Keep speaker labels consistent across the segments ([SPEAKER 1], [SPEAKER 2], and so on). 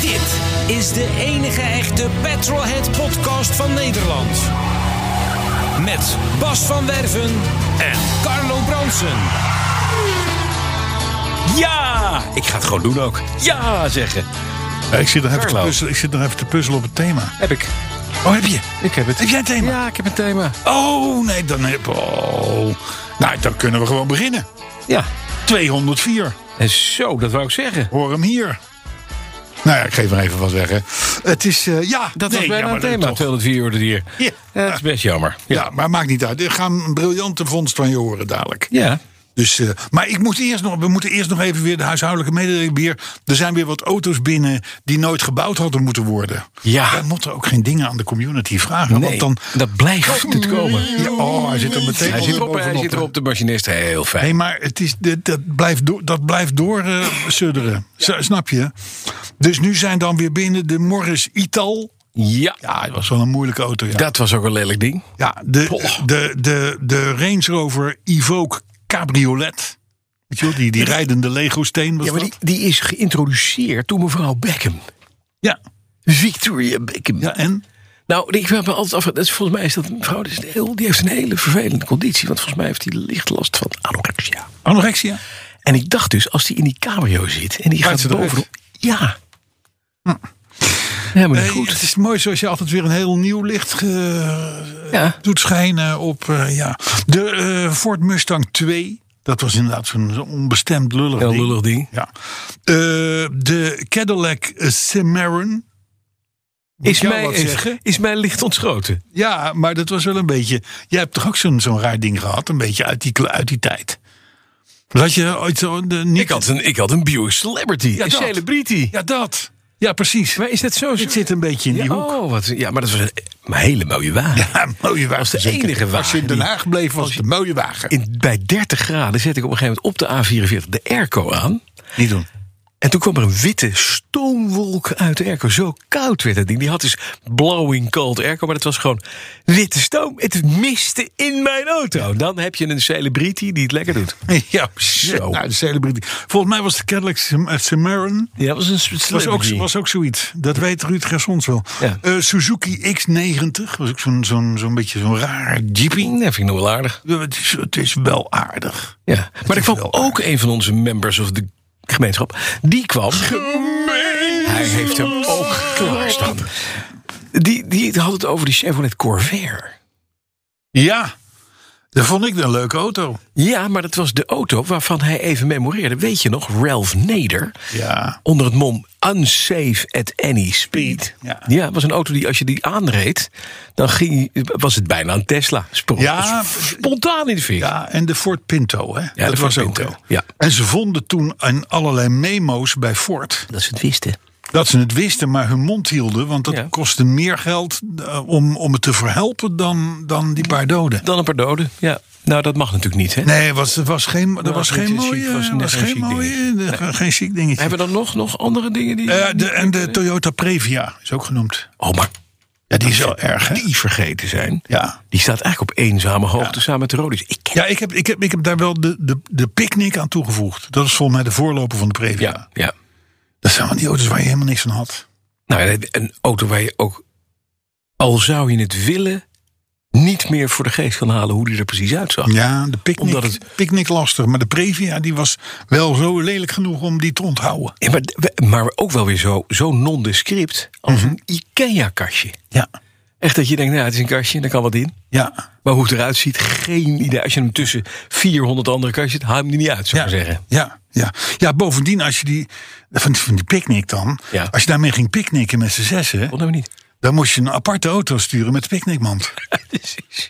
[SPEAKER 1] Dit is de enige echte Petrolhead podcast van Nederland. Met Bas van Werven en Carlo Bronsen. Ja! Ik ga het gewoon doen ook. Ja zeggen.
[SPEAKER 2] Ja, Eh, ik, zit nog even te
[SPEAKER 1] Verklaar.
[SPEAKER 2] puzzelen, ik zit nog even te puzzelen op het thema.
[SPEAKER 1] Heb ik.
[SPEAKER 2] Oh, heb je?
[SPEAKER 1] Ik heb het.
[SPEAKER 2] Heb jij een thema?
[SPEAKER 1] Ja, ik heb een thema.
[SPEAKER 2] Oh, nee, dan heb oh. Nou, dan kunnen we gewoon beginnen.
[SPEAKER 1] Ja.
[SPEAKER 2] 204.
[SPEAKER 1] En zo, dat wou ik zeggen.
[SPEAKER 2] Hoor hem hier. Nou ja, ik geef er even wat weg, hè. Het is, eh, ja...
[SPEAKER 1] Dat was
[SPEAKER 2] nee,
[SPEAKER 1] bijna
[SPEAKER 2] ja,
[SPEAKER 1] een
[SPEAKER 2] maar
[SPEAKER 1] thema,
[SPEAKER 2] toch.
[SPEAKER 1] 204 uur de dier.
[SPEAKER 2] Ja.
[SPEAKER 1] Dat is best jammer.
[SPEAKER 2] Ja, maar maakt niet uit. Ik ga een briljante vondst van je horen dadelijk.
[SPEAKER 1] Ja.
[SPEAKER 2] Dus, eh, maar ik moet eerst nog, we moeten eerst nog even weer de huishoudelijke mededeling weer. Er zijn weer wat auto's binnen die nooit gebouwd hadden moeten worden.
[SPEAKER 1] Ja.
[SPEAKER 2] Wij moeten ook geen dingen aan de community vragen.
[SPEAKER 1] Nee,
[SPEAKER 2] want dan,
[SPEAKER 1] dat blijft niet komen.
[SPEAKER 2] Ja, oh, hij zit er meteen
[SPEAKER 1] Hij
[SPEAKER 2] al
[SPEAKER 1] zit erop, hij
[SPEAKER 2] bovenop,
[SPEAKER 1] zit
[SPEAKER 2] hè.
[SPEAKER 1] erop, de machinist. Heel fijn.
[SPEAKER 2] Nee, maar het is, dit- dat blijft door, dat blijft door eh, sudderen. S- Snap je? Dus nu zijn dan weer binnen de Morris Ital.
[SPEAKER 1] Ja.
[SPEAKER 2] Ja, dat was wel een moeilijke auto. Ja.
[SPEAKER 1] Dat was ook een lelijk ding.
[SPEAKER 2] Ja, de, de, de, de Range Rover Evoque Cabriolet. Weet je wel, die, die rijdende Lego-steen was
[SPEAKER 1] Ja, maar die,
[SPEAKER 2] dat?
[SPEAKER 1] die is geïntroduceerd door mevrouw Beckham.
[SPEAKER 2] Ja.
[SPEAKER 1] Victoria Beckham.
[SPEAKER 2] ja, en?
[SPEAKER 1] Nou, ik vraag me altijd af. dat is- volgens mij is dat een vrouw die, is een heel, die heeft een hele vervelende conditie. Want volgens mij heeft die licht last van anorexia.
[SPEAKER 2] Anorexia?
[SPEAKER 1] En ik dacht dus, als die in die cabrio zit en die gaat
[SPEAKER 2] Rijdt ze eruit?
[SPEAKER 1] bovenop. Ja. Hm. Helemaal niet
[SPEAKER 2] Nee,
[SPEAKER 1] goed.
[SPEAKER 2] Het is mooi zoals je altijd weer een heel nieuw licht ge-
[SPEAKER 1] Ja.
[SPEAKER 2] doet schijnen op eh, ja. de eh, Ford Mustang 2. Dat was inderdaad zo'n zo'n onbestemd lullig
[SPEAKER 1] Heel
[SPEAKER 2] ding.
[SPEAKER 1] lullig ding.
[SPEAKER 2] Ja. Eh, de Cadillac Cimarron. Moet
[SPEAKER 1] Is
[SPEAKER 2] jou
[SPEAKER 1] mij,
[SPEAKER 2] wat
[SPEAKER 1] is,
[SPEAKER 2] zeggen?
[SPEAKER 1] is mij licht ontschoten.
[SPEAKER 2] Ja, maar dat was wel een beetje. Jij hebt toch ook zo'n zo'n raar ding gehad, een beetje uit die, kle- uit die tijd. Dat had je ooit zo. De, niet,
[SPEAKER 1] Ik had een, ik had een Buick Celebrity. een
[SPEAKER 2] dat.
[SPEAKER 1] celebrity.
[SPEAKER 2] Ja, dat. Ja, precies.
[SPEAKER 1] Maar is dat zo?
[SPEAKER 2] Dit zit een beetje in die
[SPEAKER 1] ja,
[SPEAKER 2] hoek.
[SPEAKER 1] oh, wat, ja, maar dat was een, een hele mooie wagen.
[SPEAKER 2] Ja, mooie wagen.
[SPEAKER 1] was de
[SPEAKER 2] zeker.
[SPEAKER 1] enige wagen
[SPEAKER 2] Als je in Den
[SPEAKER 1] die-
[SPEAKER 2] Haag bleef, was het een mooie wagen.
[SPEAKER 1] In, bij 30 graden zette ik op een gegeven moment op de A44 de airco aan.
[SPEAKER 2] Niet doen.
[SPEAKER 1] En toen kwam er een witte stoomwolk uit de airco. Zo koud werd het ding. Die had dus blowing cold airco, maar het was gewoon witte stoom. Het miste in mijn auto. Dan heb je een celebrity die het lekker doet.
[SPEAKER 2] Ja, precies.
[SPEAKER 1] Zo.
[SPEAKER 2] Nou, de celebrity. Volgens mij was de Cadillac Cim- eh, Cimarron.
[SPEAKER 1] Ja, dat was een
[SPEAKER 2] Was ook,
[SPEAKER 1] celebrity.
[SPEAKER 2] was ook zoiets. Dat weet Ruud Gersons wel.
[SPEAKER 1] Ja.
[SPEAKER 2] Eh, Suzuki X90. Was ook zo'n zo'n zo'n beetje zo'n raar jeepie.
[SPEAKER 1] Ja, vind ik nog wel aardig.
[SPEAKER 2] Eh, Het is, het is wel aardig.
[SPEAKER 1] Ja. Maar er
[SPEAKER 2] is
[SPEAKER 1] kwam
[SPEAKER 2] wel
[SPEAKER 1] ook een van onze members of de gemeenschap. Die kwam. Hij heeft hem ook klaarstaan. Die, die had het over die Chevrolet Corvair.
[SPEAKER 2] Ja, dat vond ik een leuke auto.
[SPEAKER 1] Ja, maar dat was de auto waarvan hij even memoreerde. Weet je nog, Ralph Nader.
[SPEAKER 2] Ja.
[SPEAKER 1] Onder het mom Unsafe at Any Speed.
[SPEAKER 2] Ja.
[SPEAKER 1] het was een auto die als je die aanreed... dan ging, was het bijna een Tesla. Spro-
[SPEAKER 2] Ja.
[SPEAKER 1] Spontaan in de fik.
[SPEAKER 2] Ja, en de Ford Pinto, hè?
[SPEAKER 1] de
[SPEAKER 2] dat
[SPEAKER 1] Ford
[SPEAKER 2] was ook
[SPEAKER 1] Pinto,
[SPEAKER 2] wel.
[SPEAKER 1] ja.
[SPEAKER 2] En ze vonden toen in allerlei memo's bij Ford
[SPEAKER 1] Dat ze het wisten.
[SPEAKER 2] dat ze het wisten, maar hun mond hielden, want dat
[SPEAKER 1] Ja.
[SPEAKER 2] kostte meer geld eh, om, om het te verhelpen dan, dan die paar doden.
[SPEAKER 1] Dan een paar doden. Ja. Nou, dat mag natuurlijk niet, hè?
[SPEAKER 2] Nee, er was, er was geen, er was
[SPEAKER 1] het
[SPEAKER 2] geen
[SPEAKER 1] is
[SPEAKER 2] mooie,
[SPEAKER 1] ziek, was
[SPEAKER 2] was,
[SPEAKER 1] net geen
[SPEAKER 2] geen
[SPEAKER 1] ziek
[SPEAKER 2] mooie, eh, ge- geen ziek dingetje.
[SPEAKER 1] Hebben we dan nog, nog andere dingen die...
[SPEAKER 2] Eh, de, en de Toyota Previa is ook genoemd.
[SPEAKER 1] oh, maar
[SPEAKER 2] Ja, die is wel erg, hè?
[SPEAKER 1] die vergeten zijn...
[SPEAKER 2] Ja.
[SPEAKER 1] die staat eigenlijk op eenzame hoogte samen met de Rodis. Ik ken
[SPEAKER 2] Ja, ik heb, ik heb, ik heb daar wel de, de, de picknick aan toegevoegd. Dat is volgens mij de voorloper van de Previa.
[SPEAKER 1] ja, ja.
[SPEAKER 2] Dat zijn wel die auto's waar je helemaal niks van had.
[SPEAKER 1] Nou, ja, een auto waar je ook, al zou je het willen, niet meer voor de geest kan halen hoe die er precies uitzag.
[SPEAKER 2] Ja, de picknick,
[SPEAKER 1] Omdat het-
[SPEAKER 2] picknick lastig. Maar de Previa die was wel zo lelijk genoeg om die te onthouden.
[SPEAKER 1] Ja, maar, maar ook wel weer zo, zo nondescript als een IKEA-kastje.
[SPEAKER 2] Ja.
[SPEAKER 1] Echt dat je denkt, nou, het is een kastje, daar kan wat in.
[SPEAKER 2] Ja.
[SPEAKER 1] Maar hoe het eruit ziet, geen idee. Als je hem tussen 400 andere kastjes, haal hem er niet uit, zou
[SPEAKER 2] Ja.
[SPEAKER 1] ik maar zeggen.
[SPEAKER 2] Ja. Ja. ja, bovendien als je die... Van, van die picknick dan.
[SPEAKER 1] Ja.
[SPEAKER 2] Als je daarmee ging picknicken met z'n zessen...
[SPEAKER 1] Wat nou niet?
[SPEAKER 2] Dan moest je een aparte auto sturen met picknickmand.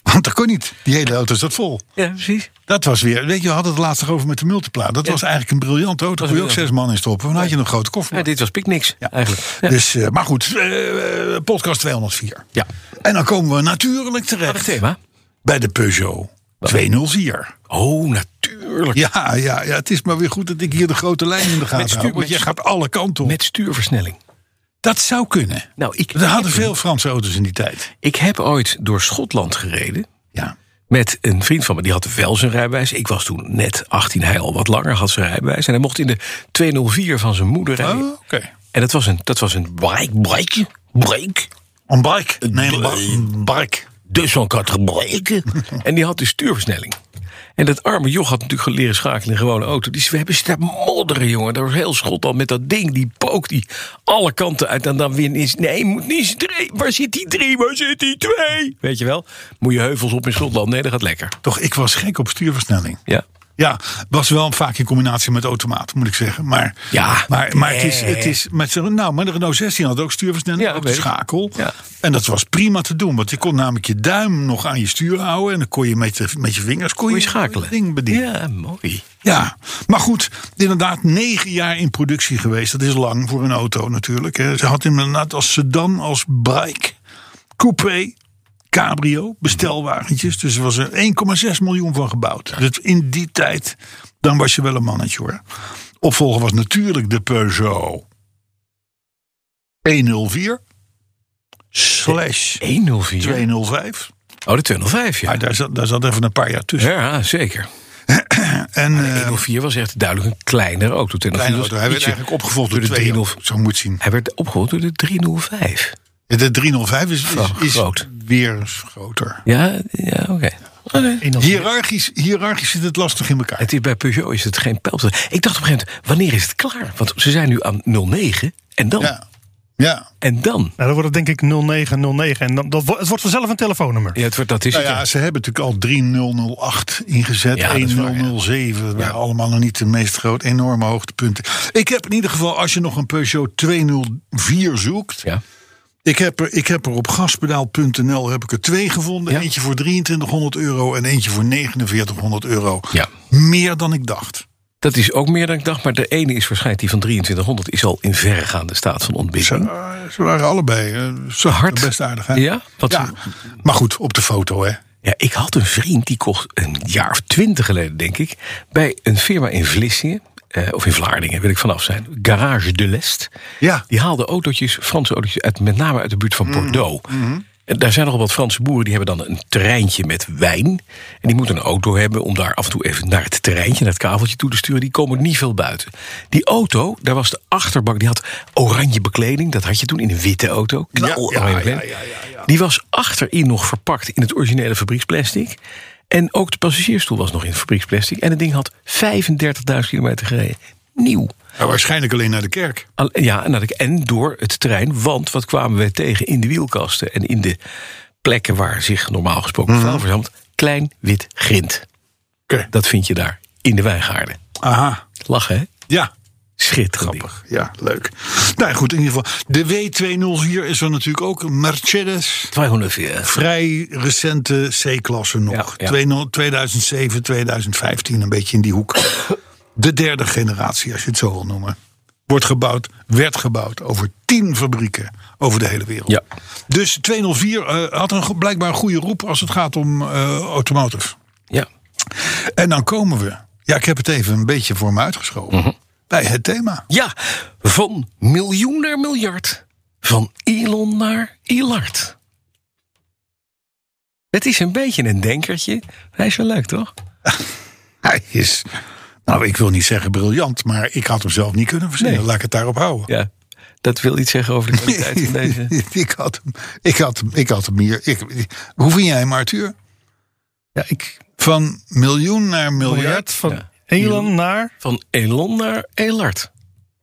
[SPEAKER 2] Want dat kon niet. Die hele auto zat vol.
[SPEAKER 1] Ja, precies.
[SPEAKER 2] Dat was weer, weet je, we hadden het laatst nog over met de multipla. Dat was eigenlijk een briljante auto. Daar kon je ook
[SPEAKER 1] briljant.
[SPEAKER 2] zes man in stoppen. Dan had je nog een grote koffer.
[SPEAKER 1] Ja, dit was picknicks, eigenlijk. Ja.
[SPEAKER 2] Dus, eh, maar goed, eh, eh, podcast 204.
[SPEAKER 1] Ja.
[SPEAKER 2] En dan komen we natuurlijk
[SPEAKER 1] Aardig
[SPEAKER 2] terecht
[SPEAKER 1] thema.
[SPEAKER 2] bij de Peugeot 204.
[SPEAKER 1] Oh, natuurlijk.
[SPEAKER 2] Ja, ja, ja, het is maar weer goed dat ik hier de grote lijn in de gaten
[SPEAKER 1] stuur-
[SPEAKER 2] hou. Want
[SPEAKER 1] met
[SPEAKER 2] je
[SPEAKER 1] stu-
[SPEAKER 2] gaat alle kanten op.
[SPEAKER 1] Met stuurversnelling.
[SPEAKER 2] Dat zou kunnen.
[SPEAKER 1] Nou, ik,
[SPEAKER 2] Er hadden veel Franse auto's in die tijd.
[SPEAKER 1] ik heb ooit door Schotland gereden.
[SPEAKER 2] Ja.
[SPEAKER 1] Met een vriend van me, die had wel zijn rijbewijs. Ik was toen net 18, hij al wat langer had zijn rijbewijs. En hij mocht in de 204 van zijn moeder rijden.
[SPEAKER 2] Oh, oké.
[SPEAKER 1] En dat was een, dat was een bike, bike, bike.
[SPEAKER 2] Een bark. Nee, een ba- een bark.
[SPEAKER 1] Dus zo'n kat gebreken. en die had dus stuurversnelling. En dat arme joch had natuurlijk geleren schakelen in een gewone auto. Die we hebben staan modderen, jongen. Dat was heel schot al met dat ding. Die pookt die alle kanten uit. En dan weer is. Nee, moet niet eens drie. Waar zit die drie? Waar zit die twee? Weet je wel? Moet je heuvels op in Schotland? Nee, dat gaat lekker.
[SPEAKER 2] Toch, ik was gek op stuurversnelling.
[SPEAKER 1] Ja.
[SPEAKER 2] Ja, was wel vaak in combinatie met automaat, moet ik zeggen. Maar,
[SPEAKER 1] Ja. eh.
[SPEAKER 2] maar, maar het is, het is met z'n- nou, maar de Renault 16 had ook stuurversnelling,
[SPEAKER 1] Ja,
[SPEAKER 2] ook de
[SPEAKER 1] weet ik.
[SPEAKER 2] schakel.
[SPEAKER 1] Ja.
[SPEAKER 2] En dat was prima te doen, want je kon namelijk je duim nog aan je stuur houden en dan kon je met, de- met je vingers kon
[SPEAKER 1] Moet
[SPEAKER 2] je,
[SPEAKER 1] je schakelen.
[SPEAKER 2] het ding bedienen. Ja.
[SPEAKER 1] Ja, mooi.
[SPEAKER 2] maar goed, inderdaad negen jaar in productie geweest. Dat is lang voor een auto natuurlijk. hè. Ze had hem inderdaad als sedan, als bike, coupé. Cabrio, bestelwagentjes. Dus er was er 1,6 miljoen van gebouwd. Dus in die tijd, dan was je wel een mannetje hoor. Opvolger was natuurlijk de Peugeot 104 slash
[SPEAKER 1] 104.
[SPEAKER 2] 205.
[SPEAKER 1] Oh, de 205, ja.
[SPEAKER 2] Maar Ah, daar zat, daar zat even een paar jaar tussen.
[SPEAKER 1] Ja, zeker.
[SPEAKER 2] En eh,
[SPEAKER 1] 104 was echt duidelijk een kleinere auto. 204
[SPEAKER 2] kleine
[SPEAKER 1] was
[SPEAKER 2] auto, hij werd
[SPEAKER 1] ietsje-
[SPEAKER 2] eigenlijk opgevolgd door
[SPEAKER 1] door
[SPEAKER 2] de
[SPEAKER 1] de
[SPEAKER 2] 305.
[SPEAKER 1] 305.
[SPEAKER 2] Zo moet je het zien.
[SPEAKER 1] Hij werd opgehoord door de 305.
[SPEAKER 2] Ja, De 305 is, is, is
[SPEAKER 1] Groot.
[SPEAKER 2] weer groter.
[SPEAKER 1] Ja, ja oké.
[SPEAKER 2] Hierarchisch, hierarchisch zit het lastig in elkaar.
[SPEAKER 1] Het is, bij Peugeot is het geen pijl. Ik dacht op een gegeven moment, wanneer is het klaar? Want ze zijn nu aan 09 en dan.
[SPEAKER 2] Ja. ja.
[SPEAKER 1] En dan.
[SPEAKER 3] Nou, dan wordt het denk ik 0909. En dan, dat, wo- het wordt vanzelf een telefoonnummer.
[SPEAKER 1] Ja, het wordt, dat is
[SPEAKER 2] Nou
[SPEAKER 1] het.
[SPEAKER 2] ja, ze hebben natuurlijk al 3008 ingezet.
[SPEAKER 1] Ja, dat is waar, ja.
[SPEAKER 2] 1007. Dat waren allemaal nog niet de meest groot, enorme hoogtepunten. Ik heb in ieder geval, als je nog een Peugeot 204 zoekt.
[SPEAKER 1] Ja.
[SPEAKER 2] Ik, heb er, ik heb er op gaspedaal.nl heb ik er twee gevonden.
[SPEAKER 1] Ja.
[SPEAKER 2] Eentje voor 2300 euro en eentje voor 4900 euro.
[SPEAKER 1] Ja.
[SPEAKER 2] Meer dan ik dacht.
[SPEAKER 1] Dat is ook meer dan ik dacht. Maar de ene is waarschijnlijk die van 2300 is al in verregaande staat van ontbinding.
[SPEAKER 2] Eh, Ze waren allebei eh, ze
[SPEAKER 1] hard.
[SPEAKER 2] best aardig. Hè?
[SPEAKER 1] Ja? Wat-
[SPEAKER 2] ja, maar goed, op de foto hè.
[SPEAKER 1] Ja, ik had een vriend die kocht een jaar of twintig geleden, denk ik, bij een firma in Vlissingen. eh, of in Vlaardingen, wil ik vanaf zijn. Garage de Lest.
[SPEAKER 2] Ja. Mm.
[SPEAKER 1] Die haalde autootjes, Franse autootjes, uit, met name uit de buurt van Bordeaux. En daar zijn nogal wat Franse boeren, die hebben dan een terreintje met wijn. En die moeten een auto hebben om daar af en toe even naar het terreintje, naar het kaveltje toe te sturen. Die komen niet veel buiten. Die auto, daar was de achterbank, die had oranje bekleding. Dat had je toen in een witte auto. Knal
[SPEAKER 2] ja,
[SPEAKER 1] oranje
[SPEAKER 2] ja,
[SPEAKER 1] bekleding. Die was achterin nog verpakt in het originele fabrieksplastic. En ook de passagiersstoel was nog in het fabrieksplastic. En het ding had 35.000 kilometer gereden. Nieuw.
[SPEAKER 2] Ja, waarschijnlijk alleen naar de kerk.
[SPEAKER 1] Al- Ja, en, dat ik, en door het terrein. Want wat kwamen we tegen in de wielkasten en in de plekken waar zich normaal gesproken vuil verzamelt? Klein wit grind.
[SPEAKER 2] Mhm. Oké.
[SPEAKER 1] Dat vind je daar in de wijngaarden.
[SPEAKER 2] Aha.
[SPEAKER 1] Lachen, hè?
[SPEAKER 2] Ja,
[SPEAKER 1] Schitterend. ding.
[SPEAKER 2] Grappig, ja, leuk. Nou ja, goed, in ieder geval. De W204 is er natuurlijk ook een Mercedes.
[SPEAKER 1] 204.
[SPEAKER 2] Vrij recente C-klasse nog.
[SPEAKER 1] Ja, ja.
[SPEAKER 2] 20- 2007, 2015, een beetje in die hoek. De derde generatie, als je het zo wil noemen. Wordt gebouwd, werd gebouwd over tien fabrieken over de hele wereld.
[SPEAKER 1] Ja.
[SPEAKER 2] Dus 204 eh, had een, go- blijkbaar een goede roep als het gaat om eh, automotive.
[SPEAKER 1] Ja.
[SPEAKER 2] En dan komen we. Ja, ik heb het even een beetje voor me uitgeschoven. Bij het thema.
[SPEAKER 1] ja, van miljoen naar miljard. Van Elon naar Elard. Het is een beetje een denkertje. Hij is wel leuk, toch?
[SPEAKER 2] Hij is, nou ik wil niet zeggen briljant, maar ik had hem zelf niet kunnen verzinnen.
[SPEAKER 1] Nee.
[SPEAKER 2] Laat ik het daarop houden.
[SPEAKER 1] Ja, dat wil iets zeggen over de kwaliteit van deze.
[SPEAKER 2] ik, had hem, ik, had hem, ik had hem hier. Ik, hoe vind jij hem, Arthur?
[SPEAKER 3] Ja, ik
[SPEAKER 2] Van miljoen naar miljard.
[SPEAKER 3] miljard van
[SPEAKER 1] Ja.
[SPEAKER 3] Elon naar
[SPEAKER 1] Van Elon naar Elard.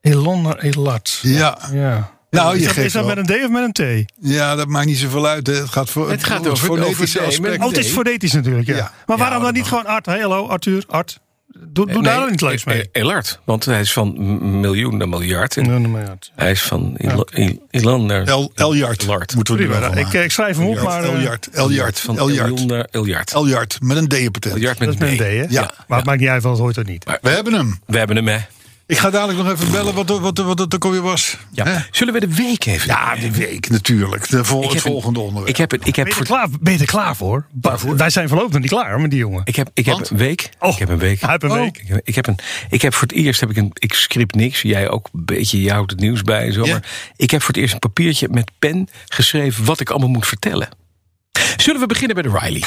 [SPEAKER 3] Elon naar Elard.
[SPEAKER 2] Ja,
[SPEAKER 3] Ja.
[SPEAKER 2] Nou, je
[SPEAKER 3] is, dat,
[SPEAKER 2] geeft
[SPEAKER 3] is dat
[SPEAKER 2] wel.
[SPEAKER 3] met een D of met een T?
[SPEAKER 2] ja, dat maakt niet zoveel uit. hè. Het gaat, voor,
[SPEAKER 1] Het gaat
[SPEAKER 2] voor
[SPEAKER 1] over-
[SPEAKER 2] fonetische
[SPEAKER 1] over de-
[SPEAKER 2] aspect.
[SPEAKER 3] Oh, het is
[SPEAKER 1] D.
[SPEAKER 3] fonetisch natuurlijk, ja.
[SPEAKER 2] Ja.
[SPEAKER 3] Maar waarom dan niet gewoon Art? Hey, hallo, ah, Arthur, Art. Doe, doe daar dan
[SPEAKER 1] Nee,
[SPEAKER 3] iets leuks
[SPEAKER 1] eh,
[SPEAKER 3] mee.
[SPEAKER 1] eh, Elard, want hij is van m- miljoen naar miljard. En
[SPEAKER 3] Ja, nou maar ja, het-
[SPEAKER 1] Hij is van Il- Il- Ilan naar
[SPEAKER 2] El, Eljard.
[SPEAKER 1] Lard.
[SPEAKER 2] Moeten we er
[SPEAKER 3] Prima,
[SPEAKER 2] wel van
[SPEAKER 3] ik,
[SPEAKER 2] maken.
[SPEAKER 3] ik schrijf hem op, maar... eh,
[SPEAKER 2] Eljard. Eljard.
[SPEAKER 1] Van
[SPEAKER 2] Eljard.
[SPEAKER 1] Elion naar Iljard.
[SPEAKER 2] Eljard. Met een D-patent.
[SPEAKER 1] Iljard
[SPEAKER 3] Dat
[SPEAKER 1] met
[SPEAKER 3] is met een D, hè?
[SPEAKER 2] Ja.
[SPEAKER 3] Maar het maakt niet uit, want het hoort er niet.
[SPEAKER 2] We hebben hem.
[SPEAKER 1] We hebben hem, hè?
[SPEAKER 2] Ik ga dadelijk nog even bellen wat, wat, wat het ook alweer was. Hè?
[SPEAKER 1] Ja. Zullen we de week even?
[SPEAKER 2] Ja, de week natuurlijk. De
[SPEAKER 1] Ik
[SPEAKER 2] vol, het
[SPEAKER 1] heb een-
[SPEAKER 2] volgende onderwerp.
[SPEAKER 1] Ik heb, een- ik heb
[SPEAKER 3] Ben je,
[SPEAKER 1] voor
[SPEAKER 3] er klaar, ben je er klaar voor? Wij zijn voorlopig nog niet klaar met die jongen.
[SPEAKER 1] Ik heb, ik heb
[SPEAKER 2] Want?
[SPEAKER 1] een week.
[SPEAKER 3] Oh,
[SPEAKER 1] ik heb een week.
[SPEAKER 3] hij heeft een
[SPEAKER 1] Oh.
[SPEAKER 3] week.
[SPEAKER 1] Ik heb, ik heb een, ik heb voor het eerst heb ik een. Ik script niks. Jij ook een beetje. Je houdt het nieuws bij. en Zo,
[SPEAKER 2] Ja.
[SPEAKER 1] maar ik heb voor het eerst een papiertje met pen geschreven wat ik allemaal moet vertellen. Zullen we beginnen bij de Riley?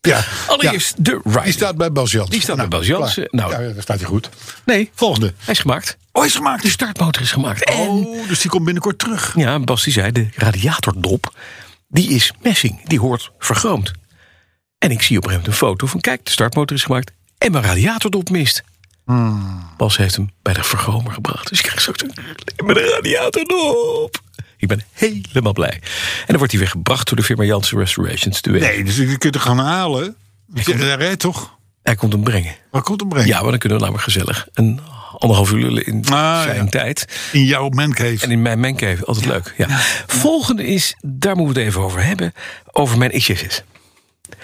[SPEAKER 2] ja.
[SPEAKER 1] Allereerst de Riley.
[SPEAKER 2] Ja, die staat bij Bas Jans.
[SPEAKER 1] Die staat bij Bas Jansen.
[SPEAKER 2] klaar.
[SPEAKER 1] Nou.
[SPEAKER 2] Ja, daar staat hij goed.
[SPEAKER 1] Nee,
[SPEAKER 2] Volgende.
[SPEAKER 1] hij is gemaakt.
[SPEAKER 2] Oh, is gemaakt.
[SPEAKER 1] De startmotor is gemaakt. En
[SPEAKER 2] Oh, dus die komt binnenkort terug.
[SPEAKER 1] ja, Bas die zei de radiatordop. Die is messing. Die hoort vergroomd. En ik zie op een gegeven moment een foto van kijk, de startmotor is gemaakt en mijn radiatordop mist. Bas heeft hem bij de vergromer gebracht. Dus ik krijg straks een met een radiatordop. Ik ben helemaal blij. En dan wordt hij weer gebracht door de firma Janssen Restorations. te weten.
[SPEAKER 2] Nee, dus je kunt hem gaan halen. Hij rijdt toch?
[SPEAKER 1] Hij komt hem brengen.
[SPEAKER 2] Waar komt hem brengen?
[SPEAKER 1] Ja, maar dan kunnen we namelijk gezellig een anderhalf uur lullen in
[SPEAKER 2] ja.
[SPEAKER 1] zijn tijd.
[SPEAKER 2] In jouw mancave.
[SPEAKER 1] En in mijn mancave, altijd leuk. Ah, Ja. Volgende is, daar moeten we het even over hebben, over mijn XJS.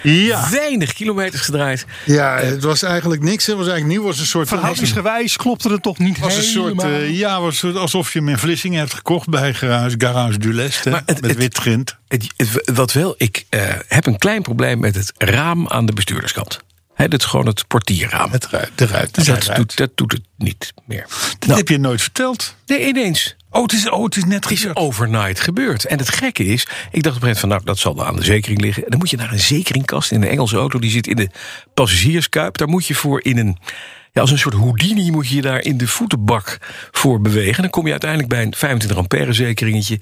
[SPEAKER 2] Ja.
[SPEAKER 1] Weinig kilometers gedraaid.
[SPEAKER 2] ja, het was eigenlijk niks. hè. Het was eigenlijk nieuw. Het was een soort...
[SPEAKER 3] Verhoudingsgewijs klopte het toch niet
[SPEAKER 2] Het was een soort,
[SPEAKER 3] helemaal?
[SPEAKER 2] eh, ja, was het alsof je hem in Vlissingen hebt gekocht bij Garage, garage du Lest. hè,
[SPEAKER 1] Maar het-
[SPEAKER 2] met
[SPEAKER 1] het-
[SPEAKER 2] wit grind.
[SPEAKER 1] Het, het- wat wel, ik eh, heb een klein probleem met het raam aan de bestuurderskant. Hè, dat is gewoon het portierraam.
[SPEAKER 2] Het ruit, de ruit. de
[SPEAKER 1] Dus dat,
[SPEAKER 2] ruit.
[SPEAKER 1] doet, dat doet het niet meer.
[SPEAKER 2] Dat
[SPEAKER 1] Nou,
[SPEAKER 2] heb je nooit verteld.
[SPEAKER 1] nee, ineens.
[SPEAKER 2] Oh, het is, oh, het is net
[SPEAKER 1] Het is
[SPEAKER 2] gebeurd.
[SPEAKER 1] overnight gebeurd. En het gekke is, ik dacht op een gegeven moment van... nou, dat zal aan de zekering liggen. En dan moet je naar een zekeringkast in een Engelse auto. Die zit in de passagierskuip. Daar moet je voor in een... Ja, als een soort Houdini moet je je daar in de voetenbak voor bewegen. En dan kom je uiteindelijk bij een 25 ampère zekeringetje.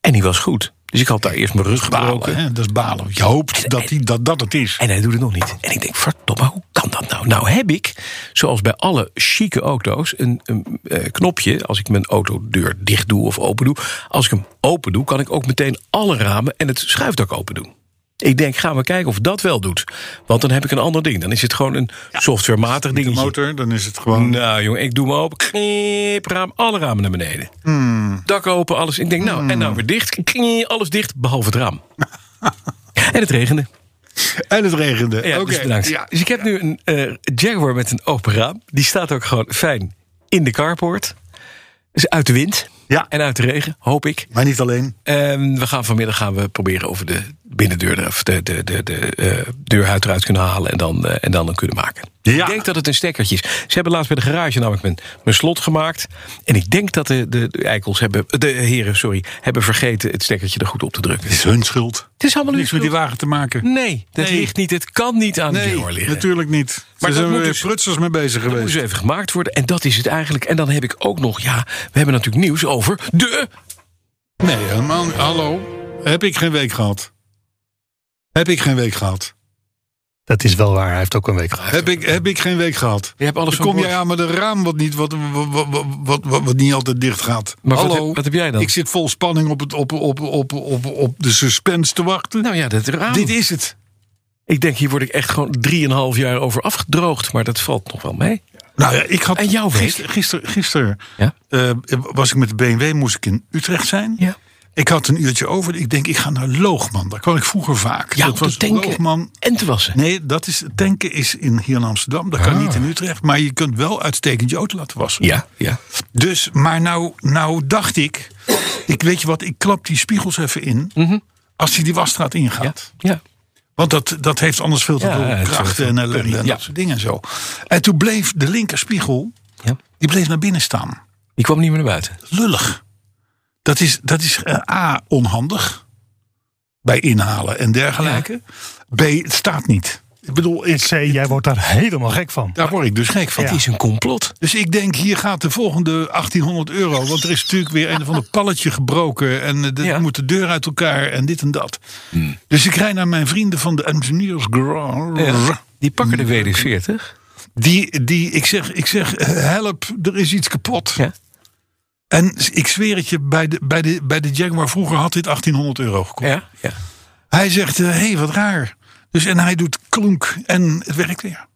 [SPEAKER 1] En die was goed. Dus ik had daar eerst mijn rug gebroken.
[SPEAKER 2] Balen, hè? Dat is balen. Je hoopt dat, die, dat dat het is.
[SPEAKER 1] En hij doet het nog niet. En ik denk, verdomme, hoe kan dat nou? Nou heb ik, zoals bij alle chique auto's, een, een, eh, knopje... als ik mijn autodeur dicht doe of open doe. Als ik hem open doe, kan ik ook meteen alle ramen en het schuifdak open doen. Ik denk, gaan we kijken of dat wel doet. Want dan heb ik een ander ding. Dan is het gewoon een softwarematig
[SPEAKER 2] De
[SPEAKER 1] dingetje.
[SPEAKER 2] motor, dan is het gewoon...
[SPEAKER 1] Nou jongen, ik doe me open. Knip, raam, alle ramen naar beneden. Dak open, alles. Ik denk, nou, en nou weer dicht. Knip, alles dicht, behalve het raam. en het regende.
[SPEAKER 2] En eh, het regende.
[SPEAKER 1] Ja,
[SPEAKER 2] Oké.
[SPEAKER 1] dus bedankt.
[SPEAKER 2] Ja.
[SPEAKER 1] Dus ik heb nu een eh, Jaguar met een open raam. Die staat ook gewoon fijn in de carport. Dus uit de wind
[SPEAKER 2] Ja.
[SPEAKER 1] en uit de regen, hoop ik.
[SPEAKER 2] Maar niet alleen.
[SPEAKER 1] Ehm, we gaan vanmiddag gaan we proberen of we de binnendeur er- of de, de, de, de eh, deurhuid eruit kunnen halen en dan, eh, en dan hem kunnen maken.
[SPEAKER 2] Ja.
[SPEAKER 1] Ik denk dat het een stekkertje is. Ze hebben laatst bij de garage namelijk mijn, mijn slot gemaakt. En ik denk dat de, de, de eikels hebben, de heren, sorry, hebben vergeten het stekkertje er goed op te drukken.
[SPEAKER 2] Het is hun schuld.
[SPEAKER 1] Het is allemaal
[SPEAKER 2] Niks met die
[SPEAKER 1] luxe.
[SPEAKER 2] wagen te maken.
[SPEAKER 1] Nee, dat
[SPEAKER 2] Nee.
[SPEAKER 1] ligt niet. Het kan niet aan de Jaguar liggen.
[SPEAKER 2] natuurlijk niet. Maar
[SPEAKER 1] dat
[SPEAKER 2] Daar zijn
[SPEAKER 1] moet
[SPEAKER 2] we
[SPEAKER 1] dus-
[SPEAKER 2] weer prutsers mee bezig
[SPEAKER 1] Dat moet
[SPEAKER 2] geweest.
[SPEAKER 1] dus even gemaakt worden. En dat is het eigenlijk. En dan heb ik ook nog, ja, we hebben natuurlijk nieuws over de...
[SPEAKER 2] Nee, helemaal niet. Hallo. Heb ik geen week gehad? Heb ik geen week gehad?
[SPEAKER 3] Dat is wel waar, hij heeft ook een week gehad.
[SPEAKER 2] Heb ik, heb ik geen week gehad?
[SPEAKER 1] Je hebt alles
[SPEAKER 2] Dan
[SPEAKER 1] van
[SPEAKER 2] kom
[SPEAKER 1] boord.
[SPEAKER 2] jij aan met een raam wat niet, wat, wat, wat, wat, wat, wat- wat niet altijd dicht gaat.
[SPEAKER 1] Maar wat
[SPEAKER 2] Hallo.
[SPEAKER 1] heb- wat heb jij dan?
[SPEAKER 2] Ik zit vol spanning op, het, op, op, op, op, op de suspense te wachten.
[SPEAKER 1] Nou ja, dat raam.
[SPEAKER 2] Dit is het.
[SPEAKER 1] Ik denk, hier word ik echt gewoon 3,5 jaar over afgedroogd. Maar dat valt nog wel mee.
[SPEAKER 2] Nou ja, ik had.
[SPEAKER 1] En jouw week?
[SPEAKER 2] Gisteren, gisteren, gisteren,
[SPEAKER 1] Ja?
[SPEAKER 2] eh, was ik met de BMW, moest ik in Utrecht zijn.
[SPEAKER 1] Ja.
[SPEAKER 2] Ik had een uurtje over. Ik denk, ik ga naar Loogman. Daar kwam ik vroeger vaak.
[SPEAKER 1] Ja,
[SPEAKER 2] dat
[SPEAKER 1] om te
[SPEAKER 2] was
[SPEAKER 1] tanken
[SPEAKER 2] Loogman.
[SPEAKER 1] en te wassen.
[SPEAKER 2] Nee, dat is, tanken is in, hier in Amsterdam. Dat kan niet in Utrecht. Maar je kunt wel uitstekend je auto laten wassen.
[SPEAKER 1] Ah. Ja, ja.
[SPEAKER 2] Dus, maar nou, nou dacht ik, ik. Weet je wat, ik klap die spiegels even in. Als hij die wasstraat ingaat.
[SPEAKER 1] Mhm. Ja, ja.
[SPEAKER 2] Want dat, dat heeft anders veel te
[SPEAKER 1] Ja,
[SPEAKER 2] veel
[SPEAKER 1] het is
[SPEAKER 2] krachten
[SPEAKER 1] wel
[SPEAKER 2] en
[SPEAKER 1] veel
[SPEAKER 2] ellende en
[SPEAKER 1] Ja.
[SPEAKER 2] dat soort dingen en zo. En toen bleef de linkerspiegel,
[SPEAKER 1] Ja.
[SPEAKER 2] die bleef naar binnen staan.
[SPEAKER 1] Die kwam niet meer naar buiten.
[SPEAKER 2] Lullig. Dat is, dat is eh, A, onhandig. Bij inhalen en dergelijke. B, het staat niet. Ik bedoel,
[SPEAKER 3] Ik
[SPEAKER 2] ik,
[SPEAKER 3] zei, jij wordt daar helemaal gek van.
[SPEAKER 2] daar word ik dus gek van.
[SPEAKER 1] Het is een complot.
[SPEAKER 2] Dus ik denk, hier gaat de volgende 1800 euro. Want er is natuurlijk weer een of ander palletje gebroken. En eh, de,
[SPEAKER 1] Ja.
[SPEAKER 2] moet de deur uit elkaar en dit en dat. Dus ik rijd naar mijn vrienden van de Engineers Garage.
[SPEAKER 1] Die pakken de WD-40.
[SPEAKER 2] Die, die, ik zeg, ik zeg eh, help, er is iets kapot.
[SPEAKER 1] Ja.
[SPEAKER 2] En ik zweer het je, bij de, bij, de, bij de Jaguar vroeger had dit 1800 euro gekost.
[SPEAKER 1] Ja, ja.
[SPEAKER 2] Hij eh, zegt, hé, hey, wat raar. Dus, en hij doet klonk en het werkt weer.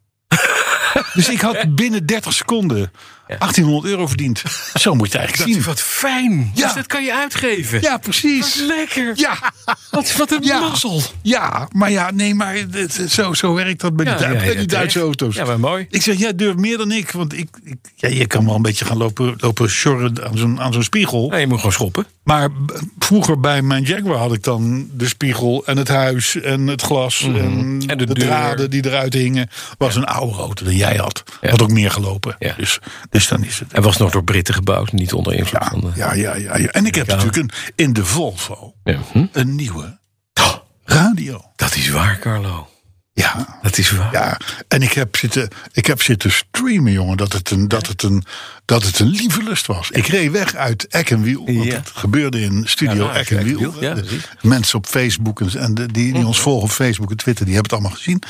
[SPEAKER 2] Dus ik had binnen 30 seconden 1800 euro verdiend. Zo moet je
[SPEAKER 1] Dacht
[SPEAKER 2] het eigenlijk
[SPEAKER 1] je,
[SPEAKER 2] zien.
[SPEAKER 1] wat fijn.
[SPEAKER 2] Ja.
[SPEAKER 1] Dus dat kan je uitgeven.
[SPEAKER 2] Ja, precies.
[SPEAKER 1] Wat lekker.
[SPEAKER 2] Ja,
[SPEAKER 1] Wat, wat een
[SPEAKER 2] Ja.
[SPEAKER 1] mazzel.
[SPEAKER 2] ja, maar ja, nee, maar het- het- zo, zo werkt dat bij,
[SPEAKER 1] Ja,
[SPEAKER 2] die, Du-
[SPEAKER 1] ja,
[SPEAKER 2] bij
[SPEAKER 1] ja,
[SPEAKER 2] die Duitse
[SPEAKER 1] terecht.
[SPEAKER 2] auto's.
[SPEAKER 1] Ja, maar mooi.
[SPEAKER 2] Ik zeg, jij durft meer dan ik. Want ik, ik, ja, je kan wel een beetje gaan lopen, lopen sjorren aan zo'n aan zo'n spiegel.
[SPEAKER 1] Nou, je moet gewoon schoppen.
[SPEAKER 2] Maar b- vroeger bij mijn Jaguar had ik dan de spiegel en het huis en het glas en,
[SPEAKER 1] Mhm. En de
[SPEAKER 2] de,
[SPEAKER 1] deur.
[SPEAKER 2] draden die eruit hingen. Was een oude auto dan jij had. Had ook meer gelopen.
[SPEAKER 1] Ja.
[SPEAKER 2] Dus, dus dan is het.
[SPEAKER 1] Hij was nog door Britten gebouwd, niet onder invloed
[SPEAKER 2] Ja,
[SPEAKER 1] van de...
[SPEAKER 2] ja, ja, ja, ja. En ik heb natuurlijk een, in de Volvo
[SPEAKER 1] Ja, hm?
[SPEAKER 2] een nieuwe
[SPEAKER 1] Oh.
[SPEAKER 2] radio.
[SPEAKER 1] Dat is waar, Carlo.
[SPEAKER 2] Ja.
[SPEAKER 1] Dat is waar.
[SPEAKER 2] Ja, en ik heb zitten, ik heb zitten streamen, jongen, dat het een, dat het een, dat het een lieve lust was. Ik reed weg uit Eck en Wiel, want
[SPEAKER 1] Ja.
[SPEAKER 2] het gebeurde in studio
[SPEAKER 1] Ja, daar is
[SPEAKER 2] Eck en
[SPEAKER 1] Eck en
[SPEAKER 2] Wiel.
[SPEAKER 1] Wiel, ja,
[SPEAKER 2] De
[SPEAKER 1] precies. Mhm.
[SPEAKER 2] mensen op Facebook en, en de- die, die ons volgen op Facebook en Twitter, die hebben het allemaal gezien.